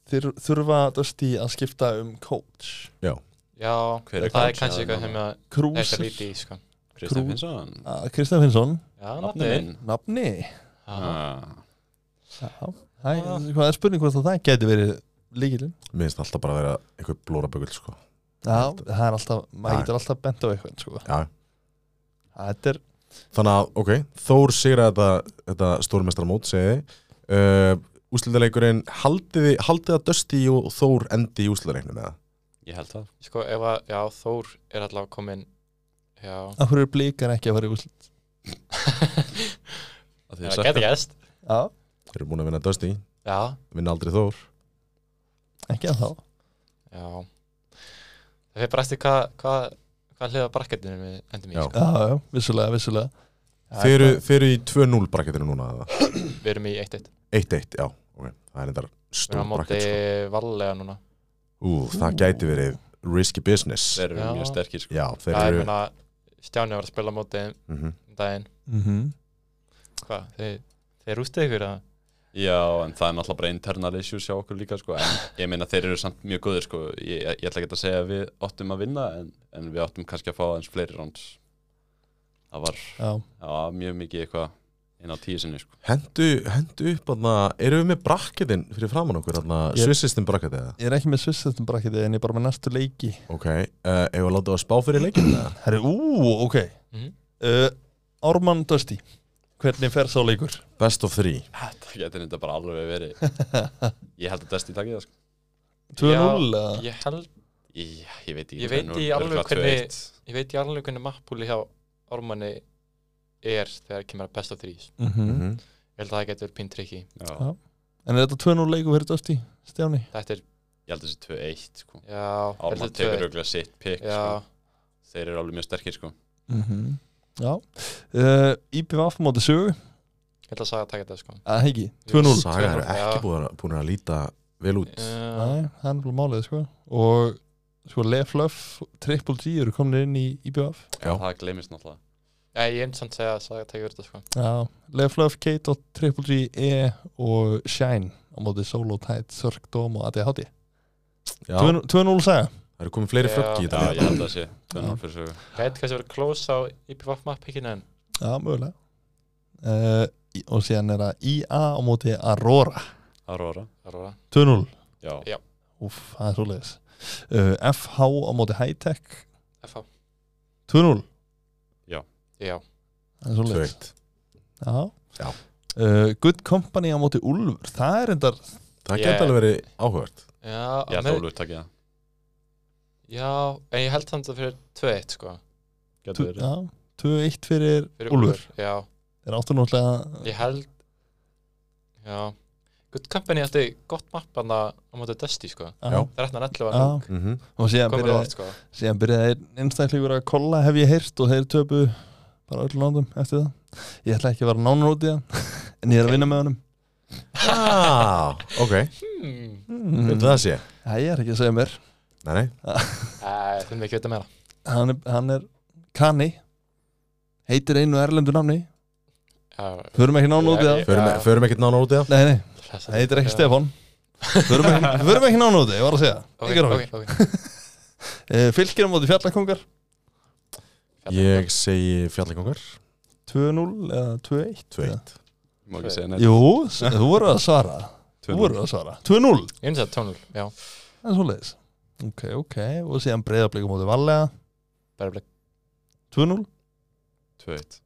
Speaker 3: Þur, þurfa Dusty að skipta um coach
Speaker 4: Já,
Speaker 5: Hver er
Speaker 4: það er
Speaker 5: coach
Speaker 4: kannski
Speaker 5: hérna
Speaker 4: eitthvað sem að Þetta
Speaker 3: Krúsir
Speaker 4: líti í sko
Speaker 5: Kristján
Speaker 3: Krú-
Speaker 5: Finnsson
Speaker 3: Ah, Kristján Finnsson
Speaker 4: Já,
Speaker 5: Nafni
Speaker 4: náttúrulega
Speaker 5: minn
Speaker 3: Nafni
Speaker 5: Ah.
Speaker 3: Já, það er- hvað er spurning hvort að það geti verið líkilinn
Speaker 2: Mér finnst alltaf bara að vera eitthvað blórabögul, sko.
Speaker 3: Já, það er alltaf, maður
Speaker 2: Já.
Speaker 3: getur alltaf bent á eitthvað sko.
Speaker 2: Já.
Speaker 3: Þetta er
Speaker 2: Þannig að, ok, Þór sigra þetta, þetta stórmestaramót, segiði. Uh, úslitaleikurinn, haldið, þið- haldið að Dusty og Þór endi í úslitaleiknum eða?
Speaker 5: Ég held það
Speaker 4: Sko ef að, já, Þór er allavega komin Já
Speaker 3: Af hverju eru blikar ekki að fara í úslit
Speaker 5: Af því að
Speaker 4: Það
Speaker 5: Sækkar-
Speaker 4: geti gæst
Speaker 3: Já,
Speaker 2: Þeir eru búin að vinna Dusty,
Speaker 4: Já,
Speaker 2: vinna aldrei Þór.
Speaker 3: ekki að þá
Speaker 4: já Það fyrir bara eftir hvað hvað hvað hliða brakketinu við endum í
Speaker 2: Já.
Speaker 4: sko.
Speaker 3: Já, já, vissulega, vissulega Já,
Speaker 2: Þeir eru,
Speaker 3: þetta-
Speaker 2: þeir eru í 2-0 brakketinu núna eða?
Speaker 4: Við erum í 1-1
Speaker 2: 1-1, já, ok. Það er endar
Speaker 4: Við erum
Speaker 2: stór
Speaker 4: á móti
Speaker 2: brakkett, sko.
Speaker 4: vallega núna
Speaker 2: Ú, það gæti verið risky business.
Speaker 5: Þeir eru
Speaker 4: Já.
Speaker 5: mjög sterkir sko.
Speaker 2: Já, þeir
Speaker 4: Það er
Speaker 2: eru...
Speaker 4: meina Stjáni var að spila á móti þeim
Speaker 2: Mm
Speaker 4: um daginn
Speaker 3: Mhm.
Speaker 4: Hvað? Þeir, þeir rústu ykkur að
Speaker 5: Já, en það er náttúrulega bara internal issues hjá okkur líka sko. en ég meina þeir eru samt mjög góðir sko. ég, ég ætla ekki að segja að við óttum að vinna en, en við óttum kannski að fá aðeins fleiri rounds Það var
Speaker 3: Já,
Speaker 5: já, mjög mikið eitthvað inn á tíu sinni sko.
Speaker 2: hendu, hendu upp aðna, erum við með brakketin fyrir framann okkur, aðna,
Speaker 3: Ég-
Speaker 2: yeah. svissistin brakket eða?
Speaker 3: Ég er ekki með svissastum brakkiti en ég er bara með næstu leiki
Speaker 2: Ok, uh, ef við láta að spá fyrir leikin eða?
Speaker 3: Herri, ú, ok
Speaker 4: Mhm.
Speaker 3: uh, Ármann Dusty Hvernig fer sá leikur?
Speaker 2: Best of three.
Speaker 5: Þetta getur þetta bara alveg verið Ég held að Dusty takki það sko.
Speaker 3: 2-0
Speaker 4: Já,
Speaker 3: eða?
Speaker 4: Ég held,
Speaker 5: ég, ég veit ekki
Speaker 4: Ég veit
Speaker 5: hvernig-
Speaker 4: í alveg
Speaker 5: örugglega
Speaker 4: hvernig-
Speaker 5: 2-1.
Speaker 4: ég veit ég alveg hvernig mappúli hjá Ormanni er þegar kemur að best of threes
Speaker 2: Mm
Speaker 3: Mhm.
Speaker 4: Ég held að það getur pinn trikki
Speaker 5: Já,
Speaker 3: En er þetta 2-0 leikur fyrir Dusty, Stjáni?
Speaker 4: Þetta er,
Speaker 5: Ég held að þessi 2-1 sko.
Speaker 4: já ég held
Speaker 5: Ármann
Speaker 4: þetta
Speaker 5: tekur
Speaker 4: er-
Speaker 5: auðvitað sitt pick
Speaker 4: Já,
Speaker 5: sko. Þeir eru alveg mjög sterkir sko.
Speaker 3: Mm Já uh, IPVF móti sögu
Speaker 4: ég held að saga taka þetta sko
Speaker 3: Að ekki, 2-0
Speaker 2: Saga eru
Speaker 4: 2-0, já. Eh,
Speaker 2: ekki búin að, búin að líta vel út.
Speaker 4: Já,
Speaker 3: Nei, það er nefnilega málið sko Og sko Leflöf, Triple G eru komin inn í IPVF
Speaker 2: Já.
Speaker 5: Það gleymist náttúrulega
Speaker 4: Nei, ég hef samt segja að saga taka þetta sko
Speaker 3: Já, Leflöf, Kate og Triple G E og Shine á móti Solo Tide, Sörg Dóm og ADHD
Speaker 2: Já,
Speaker 3: 2-0 saga
Speaker 2: það eru komið fleiri
Speaker 4: Já.
Speaker 2: fröggi í
Speaker 5: Já,
Speaker 2: þetta.
Speaker 5: ég held að það sé 2-0 fyrir sögu
Speaker 4: Gæti kannski verið close á IPVF mappíkinu en
Speaker 3: Já, mögulega uh, Og síðan er það IA á móti Aurora
Speaker 5: Aurora
Speaker 3: 2-0
Speaker 5: Já,
Speaker 4: Já.
Speaker 3: Úff, það er svoleiðis uh, FH á móti Hightech
Speaker 4: FH
Speaker 3: 2-0
Speaker 4: Já,
Speaker 3: Það er svoleiðis
Speaker 2: Tveitt.
Speaker 3: Já,
Speaker 2: Já.
Speaker 3: Uh, Good Company á móti Ulfur Það er endar
Speaker 2: Það
Speaker 4: Ég-
Speaker 2: geti alveg verið áhugvert.
Speaker 4: já,
Speaker 5: ég held
Speaker 4: með-
Speaker 5: að Ólfur takki það
Speaker 4: já En ég held samt að fyrir 2-1 sko
Speaker 5: Gæti verið
Speaker 3: 2-1 fyrir,
Speaker 4: Fyrir
Speaker 3: Úlfur
Speaker 4: Úlfur, Já,
Speaker 3: Þeir áttu náttúrulega
Speaker 4: ég held Já Good Company átti gott mapp hann á móti Dusty sko
Speaker 2: Já.
Speaker 4: Það er hættan
Speaker 3: Já.
Speaker 4: 11 var
Speaker 2: Mm -hmm.
Speaker 3: Og síðan
Speaker 4: komið
Speaker 3: byrjaði
Speaker 4: óvart sko
Speaker 3: síðan byrjaði einn einstaklingur að kolla hef ég heyrt og þeir töpu bara öllum nándum eftir það ég ætla ekki að vera nánar út í það en ég er að vinna með honum
Speaker 2: ah, ok,
Speaker 4: Hmm,
Speaker 3: Mm.
Speaker 2: veitum það sé.
Speaker 3: Æ, ég er ekki að segja mér
Speaker 2: Nei, nei,
Speaker 4: Æ, Þeim ekki vita meira
Speaker 3: hann er, hann er kanni heitir einu erlendu namni
Speaker 4: Já,
Speaker 3: förum ekki nánar út í
Speaker 4: Já,
Speaker 3: það
Speaker 4: ég-
Speaker 2: förum, e- förum ekkert nánar út í það.
Speaker 3: nei, nei,
Speaker 4: hressandi.
Speaker 3: hann heitir ekki
Speaker 4: Já.
Speaker 3: Stefan förum ekki, förum ekki nánar út í það, ég var að segja
Speaker 4: Ok,
Speaker 3: okay, okay.
Speaker 4: ok, ok
Speaker 3: Eh, fylgir á móti fjallakongar
Speaker 4: um
Speaker 2: Ég segi fjallakongar,
Speaker 3: 2-0 eða 2-1
Speaker 2: tveitt.
Speaker 5: Má ekki segja neitt
Speaker 3: jú, s- þú voru að svara þú
Speaker 5: 2-0.
Speaker 3: voru að svara 2-0
Speaker 4: Ég finnst það tónul, já
Speaker 3: Það er svoleiðis Ok, ok, og síðan breyðablík á móti Vallega
Speaker 4: Bara bleið
Speaker 3: 2-0
Speaker 5: 2-1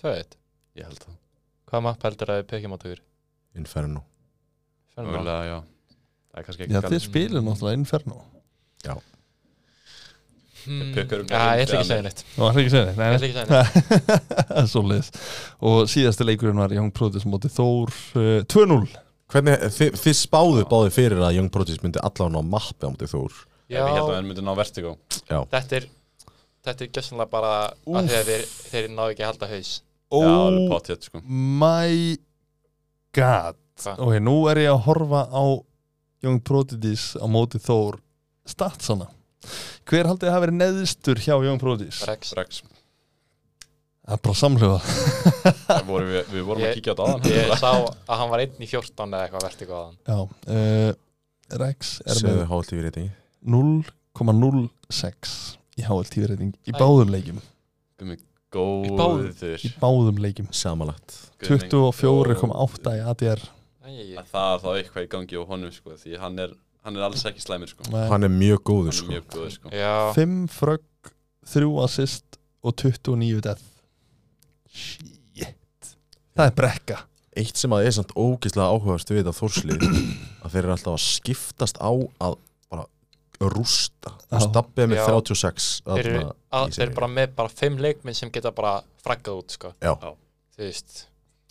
Speaker 4: 2-1
Speaker 5: Ég held það
Speaker 4: Hvað mapp heldur að við pekjum á tökur?
Speaker 2: Inferno.
Speaker 5: Mögulega, já Það er kannski ekki
Speaker 3: Já, þið spilir náttúrulega Inferno
Speaker 2: Hmm.
Speaker 5: Pukkur
Speaker 4: Já, ég ætla ekki að segja neitt Ég
Speaker 3: Nú, það er ekki segni Nei,
Speaker 4: ætla ekki að segja neitt
Speaker 3: Það er svoleiðis Og síðasti leikurinn var Young Produce móti Þór uh, 2-0
Speaker 2: Hvernig, þið, þið spáðu báði fyrir að Young Prodigy myndi allavega á mappi á mútið Þór.
Speaker 5: Já Ég held að
Speaker 4: Já,
Speaker 5: hann myndi ná vertigo
Speaker 4: þetta er Þetta er gjössanlega bara að
Speaker 3: Úff.
Speaker 4: þegar þeir, þeir náðu ekki að halda haus
Speaker 5: Já, alveg
Speaker 3: Oh
Speaker 5: pott hér sko
Speaker 3: my god
Speaker 4: Hva?
Speaker 3: Ok, nú er ég að horfa á Young Prodigies á móti Þór Statsana Hver haldið það hafi verið neðstur hjá Young Prodigies?
Speaker 4: Rex
Speaker 5: Strax
Speaker 3: Það er bara samlega
Speaker 5: Það voru Við við vorum
Speaker 4: Ég-
Speaker 5: að kíkja á þetta aðan
Speaker 4: Ég sá að hann var einn í 14 eða eitthvað verti góðan
Speaker 3: Já, uh, Rex er með
Speaker 2: Segðu hálf tífið reytingi.
Speaker 3: 0,06 í HLTV reyting í
Speaker 4: Æ.
Speaker 3: báðum leikjum
Speaker 4: báðum.
Speaker 5: Góður
Speaker 3: í báðum leikjum
Speaker 2: Samanlagt.
Speaker 5: Guðni.
Speaker 3: 24,8 í ADR
Speaker 4: Æ,
Speaker 5: Að Það er þá eitthvað í gangi á honum sko Því hann er Hann er alls ekki slæmur sko Hann
Speaker 2: Hann er mjög góður,
Speaker 5: er
Speaker 2: sko.
Speaker 5: mjög góður sko
Speaker 4: Já,
Speaker 3: 5 frögg 3 assist og 29 death shit það er brekka
Speaker 2: Eitt sem að er samt ógeðslega áhugast við þetta Þórslið, að þeir eru alltaf að skiptast á að bara rústa.
Speaker 3: Já.
Speaker 2: Og stabbið með
Speaker 4: Já.
Speaker 2: 36.
Speaker 4: þeir eru
Speaker 2: þarna
Speaker 4: að-
Speaker 2: í
Speaker 4: þeir eru
Speaker 2: seríu.
Speaker 4: bara með bara 5 leikminn sem geta bara fraggað út sko
Speaker 2: Já.
Speaker 5: Já.
Speaker 4: Þú veist,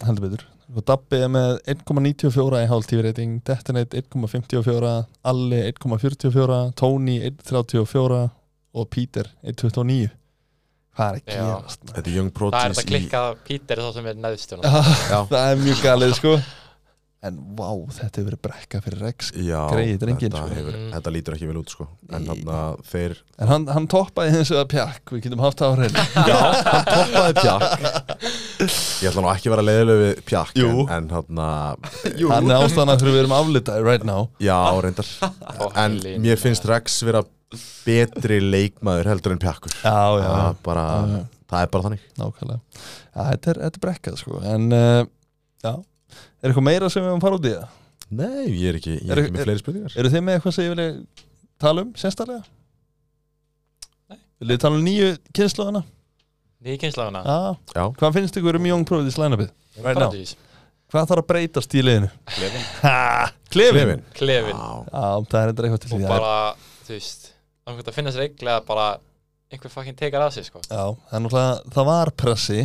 Speaker 3: heldur betur og Dabbi er með 1,94 í HLTV reyting Detonate 1,54 Alli 1,44 Tony 1,34 og Peter 1,29 hvað er að
Speaker 4: Já.
Speaker 3: gerast maður?
Speaker 2: Þetta er Young
Speaker 4: það er þetta
Speaker 2: Prodigy
Speaker 4: að klikka að Pítur er þá sem er hérna. neðstjóna
Speaker 2: Já.
Speaker 3: það er mjög galið sko en vá, þetta hefur verið brekka fyrir Rex sko.
Speaker 2: Já,
Speaker 3: greyið drenginn,
Speaker 2: þetta,
Speaker 3: sko.
Speaker 2: hefur,
Speaker 4: Mm.
Speaker 2: þetta lítur ekki vel út sko. En
Speaker 3: Í-
Speaker 2: hann að þeir
Speaker 3: en hann, hann toppaði hins vegar pjakk við getum haft það á hreinu
Speaker 2: Já, hann toppaði pjakk Ég ætla nú ekki að vera leiðilegu við pjakk En,
Speaker 3: Jú.
Speaker 2: en hann að
Speaker 3: hann er ástæðan fyrir við erum aflitaði right now
Speaker 2: Já, reyndar En mér finnst Rex vera betri leikmaður heldur en pjakkur
Speaker 3: já, já,
Speaker 2: Ah. Það er bara
Speaker 3: já.
Speaker 2: það er bara þannig
Speaker 3: nákvæmlega Já, þetta er, þetta er brekkað sko En, uh, já Er eitthvað meira sem við höfum fara út í það?
Speaker 2: Nei, ég er ekki, ég
Speaker 3: Er-
Speaker 2: er ekki
Speaker 3: er-
Speaker 2: með fleiri spurningar
Speaker 3: Eru þið með eitthvað sem ég vilja tala um sérstaklega?
Speaker 4: Nei.
Speaker 3: Viljið þið tala um nýju kynnslóðina?
Speaker 4: Nýja kynslaðuna
Speaker 3: Já
Speaker 2: Já.
Speaker 3: Hvað finnst ykkur um Young Providence line-upið? Right now Hvað þarf að breytast í liðinu?
Speaker 4: Klefin
Speaker 3: Ha, klefin
Speaker 2: Klefinn.
Speaker 4: Klefin
Speaker 2: Já,
Speaker 3: Já, það er enda eitthvað til
Speaker 4: Og
Speaker 3: því
Speaker 4: bara, þú veist Þannig að finna sér eiginlega bara Einhver fucking tekar af sig, sko
Speaker 3: Já, það er náttúrulega, það var pressi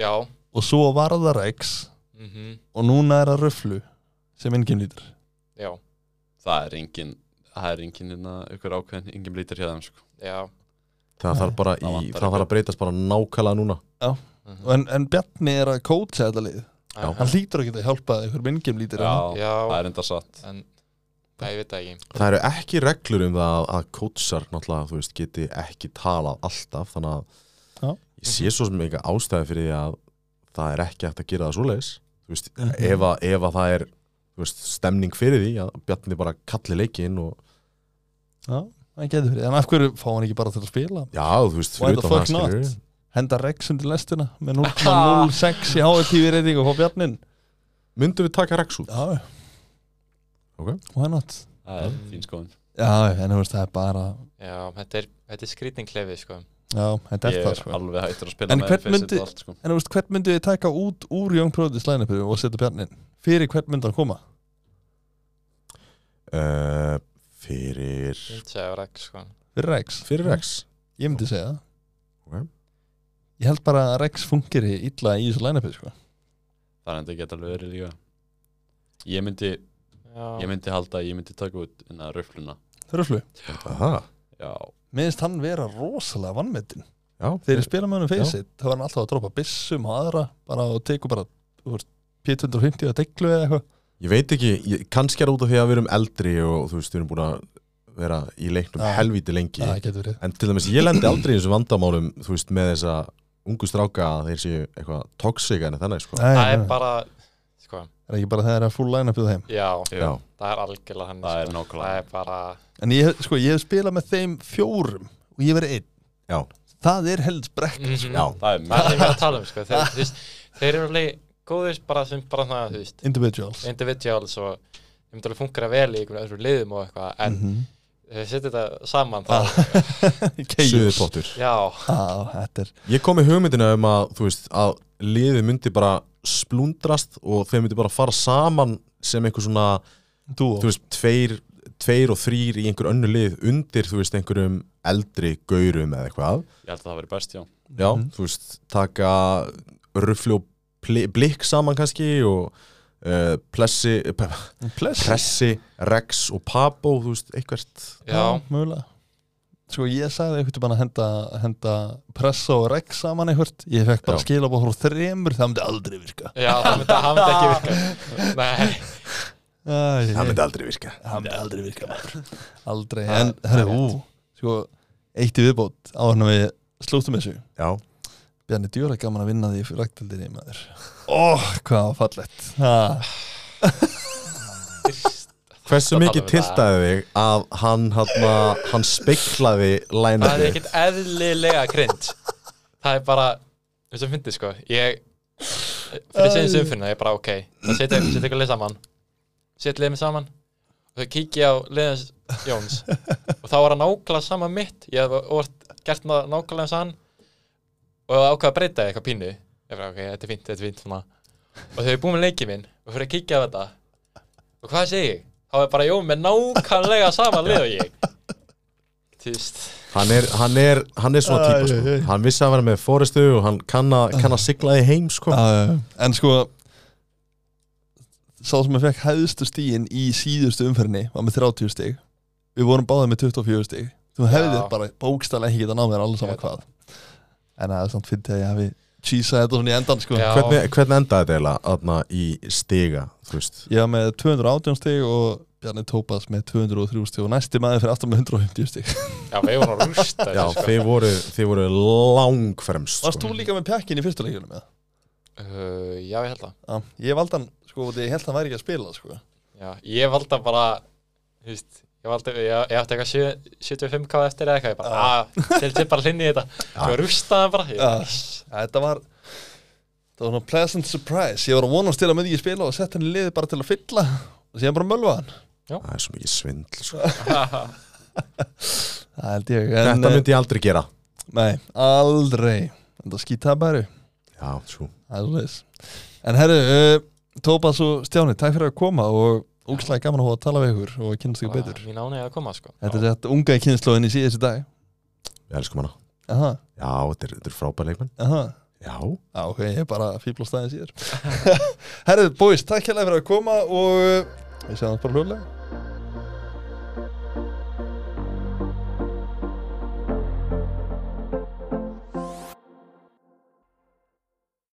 Speaker 4: Já
Speaker 3: og svo var það Rex
Speaker 4: mm
Speaker 5: Mhm.
Speaker 3: og núna er það röflu sem enginn lítur
Speaker 4: Já
Speaker 5: það er engin það er engin hérna ykkur ákveðin engin blítir hjá þeim sko.
Speaker 4: Já
Speaker 2: það þarf bara
Speaker 5: Það
Speaker 2: í,
Speaker 5: vantar
Speaker 2: það þarf að breytast bara nákvæmlega núna
Speaker 4: Mhm.
Speaker 3: en, en Bjarni er að kótsa þetta lið
Speaker 2: Já.
Speaker 4: Aha.
Speaker 3: hann hlýtur ekki að hjálpa ykkur enginn lítur en hann.
Speaker 5: já, það
Speaker 4: Já
Speaker 5: er enda satt
Speaker 4: En Nei, ég veit það ekki
Speaker 2: Það eru ekki reglur um það að- að kótsar náttúrulega, þú veist, geti ekki talað alltaf, þannig að
Speaker 3: Já.
Speaker 2: ég sé svo sem eitthvað ástæði fyrir því að það er ekki hægt að gera það svoleiðis þú veist,
Speaker 3: Mhm.
Speaker 2: ef, að, ef að það er þú veist, stemning fyrir því að Bjarni bara kalli leikinn og
Speaker 3: já, hann getur fyrir en af hverju fá hann ekki bara til að spila
Speaker 2: já, þú veist,
Speaker 3: Why
Speaker 2: fyrir
Speaker 3: the
Speaker 2: utan það
Speaker 3: fuck not?
Speaker 2: skilurðu.
Speaker 3: henda Rex undir lestina með 0,06 í HTV reyting og fá Bjarnin
Speaker 2: myndum við taka Rex út
Speaker 3: já,
Speaker 2: Ok.
Speaker 3: why not
Speaker 5: það
Speaker 3: Mm.
Speaker 5: er fín skoðun
Speaker 3: já, en þú veist, það er bara
Speaker 4: Já, þetta er, þetta er skrýtning klefið, sko
Speaker 3: já, þetta er
Speaker 5: ég
Speaker 3: það
Speaker 5: er
Speaker 3: sko
Speaker 5: alveg hættur að spila
Speaker 3: En
Speaker 5: með
Speaker 3: hvern
Speaker 5: þeim, finnst
Speaker 3: myndi-
Speaker 5: þetta allt, sko.
Speaker 3: en þú veist, hvern myndu þið taka út úr Young Prodigy line-upinu og setja Bjarnin fyrir hvern myndu hann koma
Speaker 2: uh, fyrir
Speaker 4: Ég myndi segja Rex, sko
Speaker 3: fyrir Rex
Speaker 2: fyrir Rex
Speaker 3: Ég myndi segja það
Speaker 2: Ok.
Speaker 3: Ég held bara að Rex fungir illa í þessu line-upi sko.
Speaker 5: það er enda geta alveg verið líka ég myndi
Speaker 4: Já
Speaker 5: ég myndi halda að ég myndi taka út innan röfluna
Speaker 3: Röflu
Speaker 2: Aha.
Speaker 5: já
Speaker 3: Miðist hann vera rosalega vannmetinn
Speaker 2: já,
Speaker 3: Þegar ég spila með hann um feysið þá var hann alltaf að droppa byssum og aðra bara og teku bara þú veist, P250 að deglu eða eitthvað
Speaker 2: Ég veit ekki, ég, kannski er það út af því að við erum eldri og þú veist, við erum búin að vera í leiknum
Speaker 3: Já.
Speaker 2: helvíti lengi
Speaker 3: Það getur verið
Speaker 2: en til dæmis, ég lendi aldrei í þessum vandamálum þú veist, með þessa ungu stráka að þeir séu eitthvað toxic en þannig, sko
Speaker 3: Nei,
Speaker 4: Það er
Speaker 3: nei, nei.
Speaker 4: bara Sko
Speaker 3: er ekki bara þegar það er full line-upið þeim
Speaker 4: Já
Speaker 2: Já,
Speaker 4: Það er algjörlega hann
Speaker 5: það er
Speaker 4: sko.
Speaker 5: nákvæmlega
Speaker 4: Það er bara
Speaker 3: En ég, hef- sko, ég hef spilað með þeim fjórum og ég verið einn
Speaker 2: já,
Speaker 3: Það er held brekk
Speaker 4: Mhm.
Speaker 2: já,
Speaker 5: það er
Speaker 4: Það
Speaker 5: mjög
Speaker 4: er mér að tala um, sko Þeir, þú veist, þeir eru alveg góðir bara sem bara svona, þú veist
Speaker 3: Individuals
Speaker 4: individuals og þeim til að fungera vel í einhverjum öðrum liðum og eitthvað en mm
Speaker 3: Mhm.
Speaker 4: þeir setja þetta saman þá,
Speaker 3: Ah. Chaos.
Speaker 2: suðupottur
Speaker 4: já,
Speaker 3: Á, Þetta er
Speaker 2: Ég kom með hugmyndina um að, þú veist, að liðið myndi bara splundrast og þeir myndi bara fara saman sem einhver svona,
Speaker 3: dúo
Speaker 2: þú veist, tveir, tveir og þrýr í einhver önnu lið undir, þú veist, einhverjum eldri gaurum eða eitthvað
Speaker 5: ég held að það væri best já
Speaker 2: Já,
Speaker 3: Mhm.
Speaker 2: þú veist, taka rufli og pli- blikk saman kannski og uh, plessi, pe-
Speaker 3: Pless
Speaker 2: pressi, rex og pabo, þú veist, eitthvert
Speaker 4: já,
Speaker 3: mögulega Sko ég sagði einhvern veginn að henda, henda pressa og regg saman einhvert Ég fekk bara
Speaker 2: Já.
Speaker 3: skila bá frá þremur Það myndi aldrei virka
Speaker 4: já það myndi það myndi ekki virka nei,
Speaker 3: Æ,
Speaker 2: Það myndi aldrei virka
Speaker 3: það myndi aldrei virka maður. Aldrei
Speaker 4: Það-
Speaker 3: En
Speaker 4: það er
Speaker 3: herri, ú, sko, eitt í viðbót á hann við slúttum þessu
Speaker 2: Já,
Speaker 3: Bjarni djúra gaman að vinna því fyrir ræktildinni maður Ó, hvað var fallegt Oh. ha,
Speaker 2: hversu
Speaker 4: Það
Speaker 2: mikið
Speaker 4: tala við það.
Speaker 2: tiltaði þig að hann, hann, hann speiklaði
Speaker 4: það er
Speaker 2: lænabið
Speaker 4: ekkit eðlilega krynd það er bara, þú veist að fyndi sko ég, fyrir segjum sumfinna ég bara ok, það setja setja ykkur lið saman setja liðum saman og þau kíkja á liðans Jóns og þá var hann nákvæmlega sama mitt ég hef orð gert ná- nákvæmlega eins og hann og ákvað að breyta eitthvað pínu ég bara ok, þetta er fínt, þetta er fínt svona. og þau er búin með leikið minn og fyrir að kíkja á þetta og hvað segi ég? þá er bara Jón með nákvæmlega sama lið og ég þú veist
Speaker 2: hann er, hann, er, hann er svona
Speaker 3: Æ,
Speaker 2: típa sko.
Speaker 3: æ, æ.
Speaker 2: Hann vissi að vera með fóristu og hann kann að kann að sigla þig heim sko.
Speaker 3: uh, En sko Sá sem að fekk hæðustu stíin í síðustu umferðinni var með 30 stíg Við vorum báðið með 24 stíg Þú hefðir
Speaker 4: Já.
Speaker 3: bara bókstælega ekki getað náð þér allir saman
Speaker 4: Ég veit
Speaker 3: hvað En það er samt fyrir til að ég hafi Cheesað þetta svona í endan sko
Speaker 4: Já.
Speaker 2: hvernig, hvernig endaði þetta eiginlega þarna í stiga þú veist
Speaker 3: Ég var með 218 stíg og Bjarni Tópas með 203 stíg og næsti maður fyrir aftur með 150 stíg
Speaker 4: Já, við vorum að rústa
Speaker 2: Já,
Speaker 4: þessu, sko.
Speaker 2: þeir voru, þeir voru langfremst
Speaker 3: Varst
Speaker 2: sko.
Speaker 3: þú líka með pjakkin í fyrstu leikjunum eða?
Speaker 4: Uh, já, ég held það
Speaker 3: Já, ég valdi hann sko og ég held hann væri ekki að spila sko
Speaker 4: já, Ég valda bara þú veist, ég, var aldrei, ég, ég átti eitthvað sjö- 75k eftir eða eitthvað, ég bara, að, til til bara hlinni í þetta, svo rústaði hann bara, ég,
Speaker 3: Já, Þetta var Þetta var svona pleasant surprise Ég var að vonast til að með ég spila og sett hann í liði bara til að fylla og síðan bara mölva hann
Speaker 2: Það er svo mikið svindl sko.
Speaker 3: Það held ég en,
Speaker 2: Þetta myndi ég aldrei gera
Speaker 3: eh, Nei, aldrei Þetta skýta bara
Speaker 2: Já, svo
Speaker 3: Það er svoleiðis En herru, uh, Tópas og Stjáni Takk fyrir að koma og úkslega gaman að hóða að tala við ykkur og kynast ykkur betur
Speaker 4: mín ánægja að koma, sko.
Speaker 3: Þetta er þetta unga kynnslóðin í síðast dag
Speaker 2: Við elskum hana
Speaker 3: Aha,
Speaker 2: Já, þetta er, þetta er frábær leikmenn
Speaker 3: aha
Speaker 2: Já,
Speaker 3: Já, ok, ég er bara fíbl á staðin síður Herru, boys, takk hérlega fyrir að koma og uh, eh, við sjáum þetta bara hljóðlega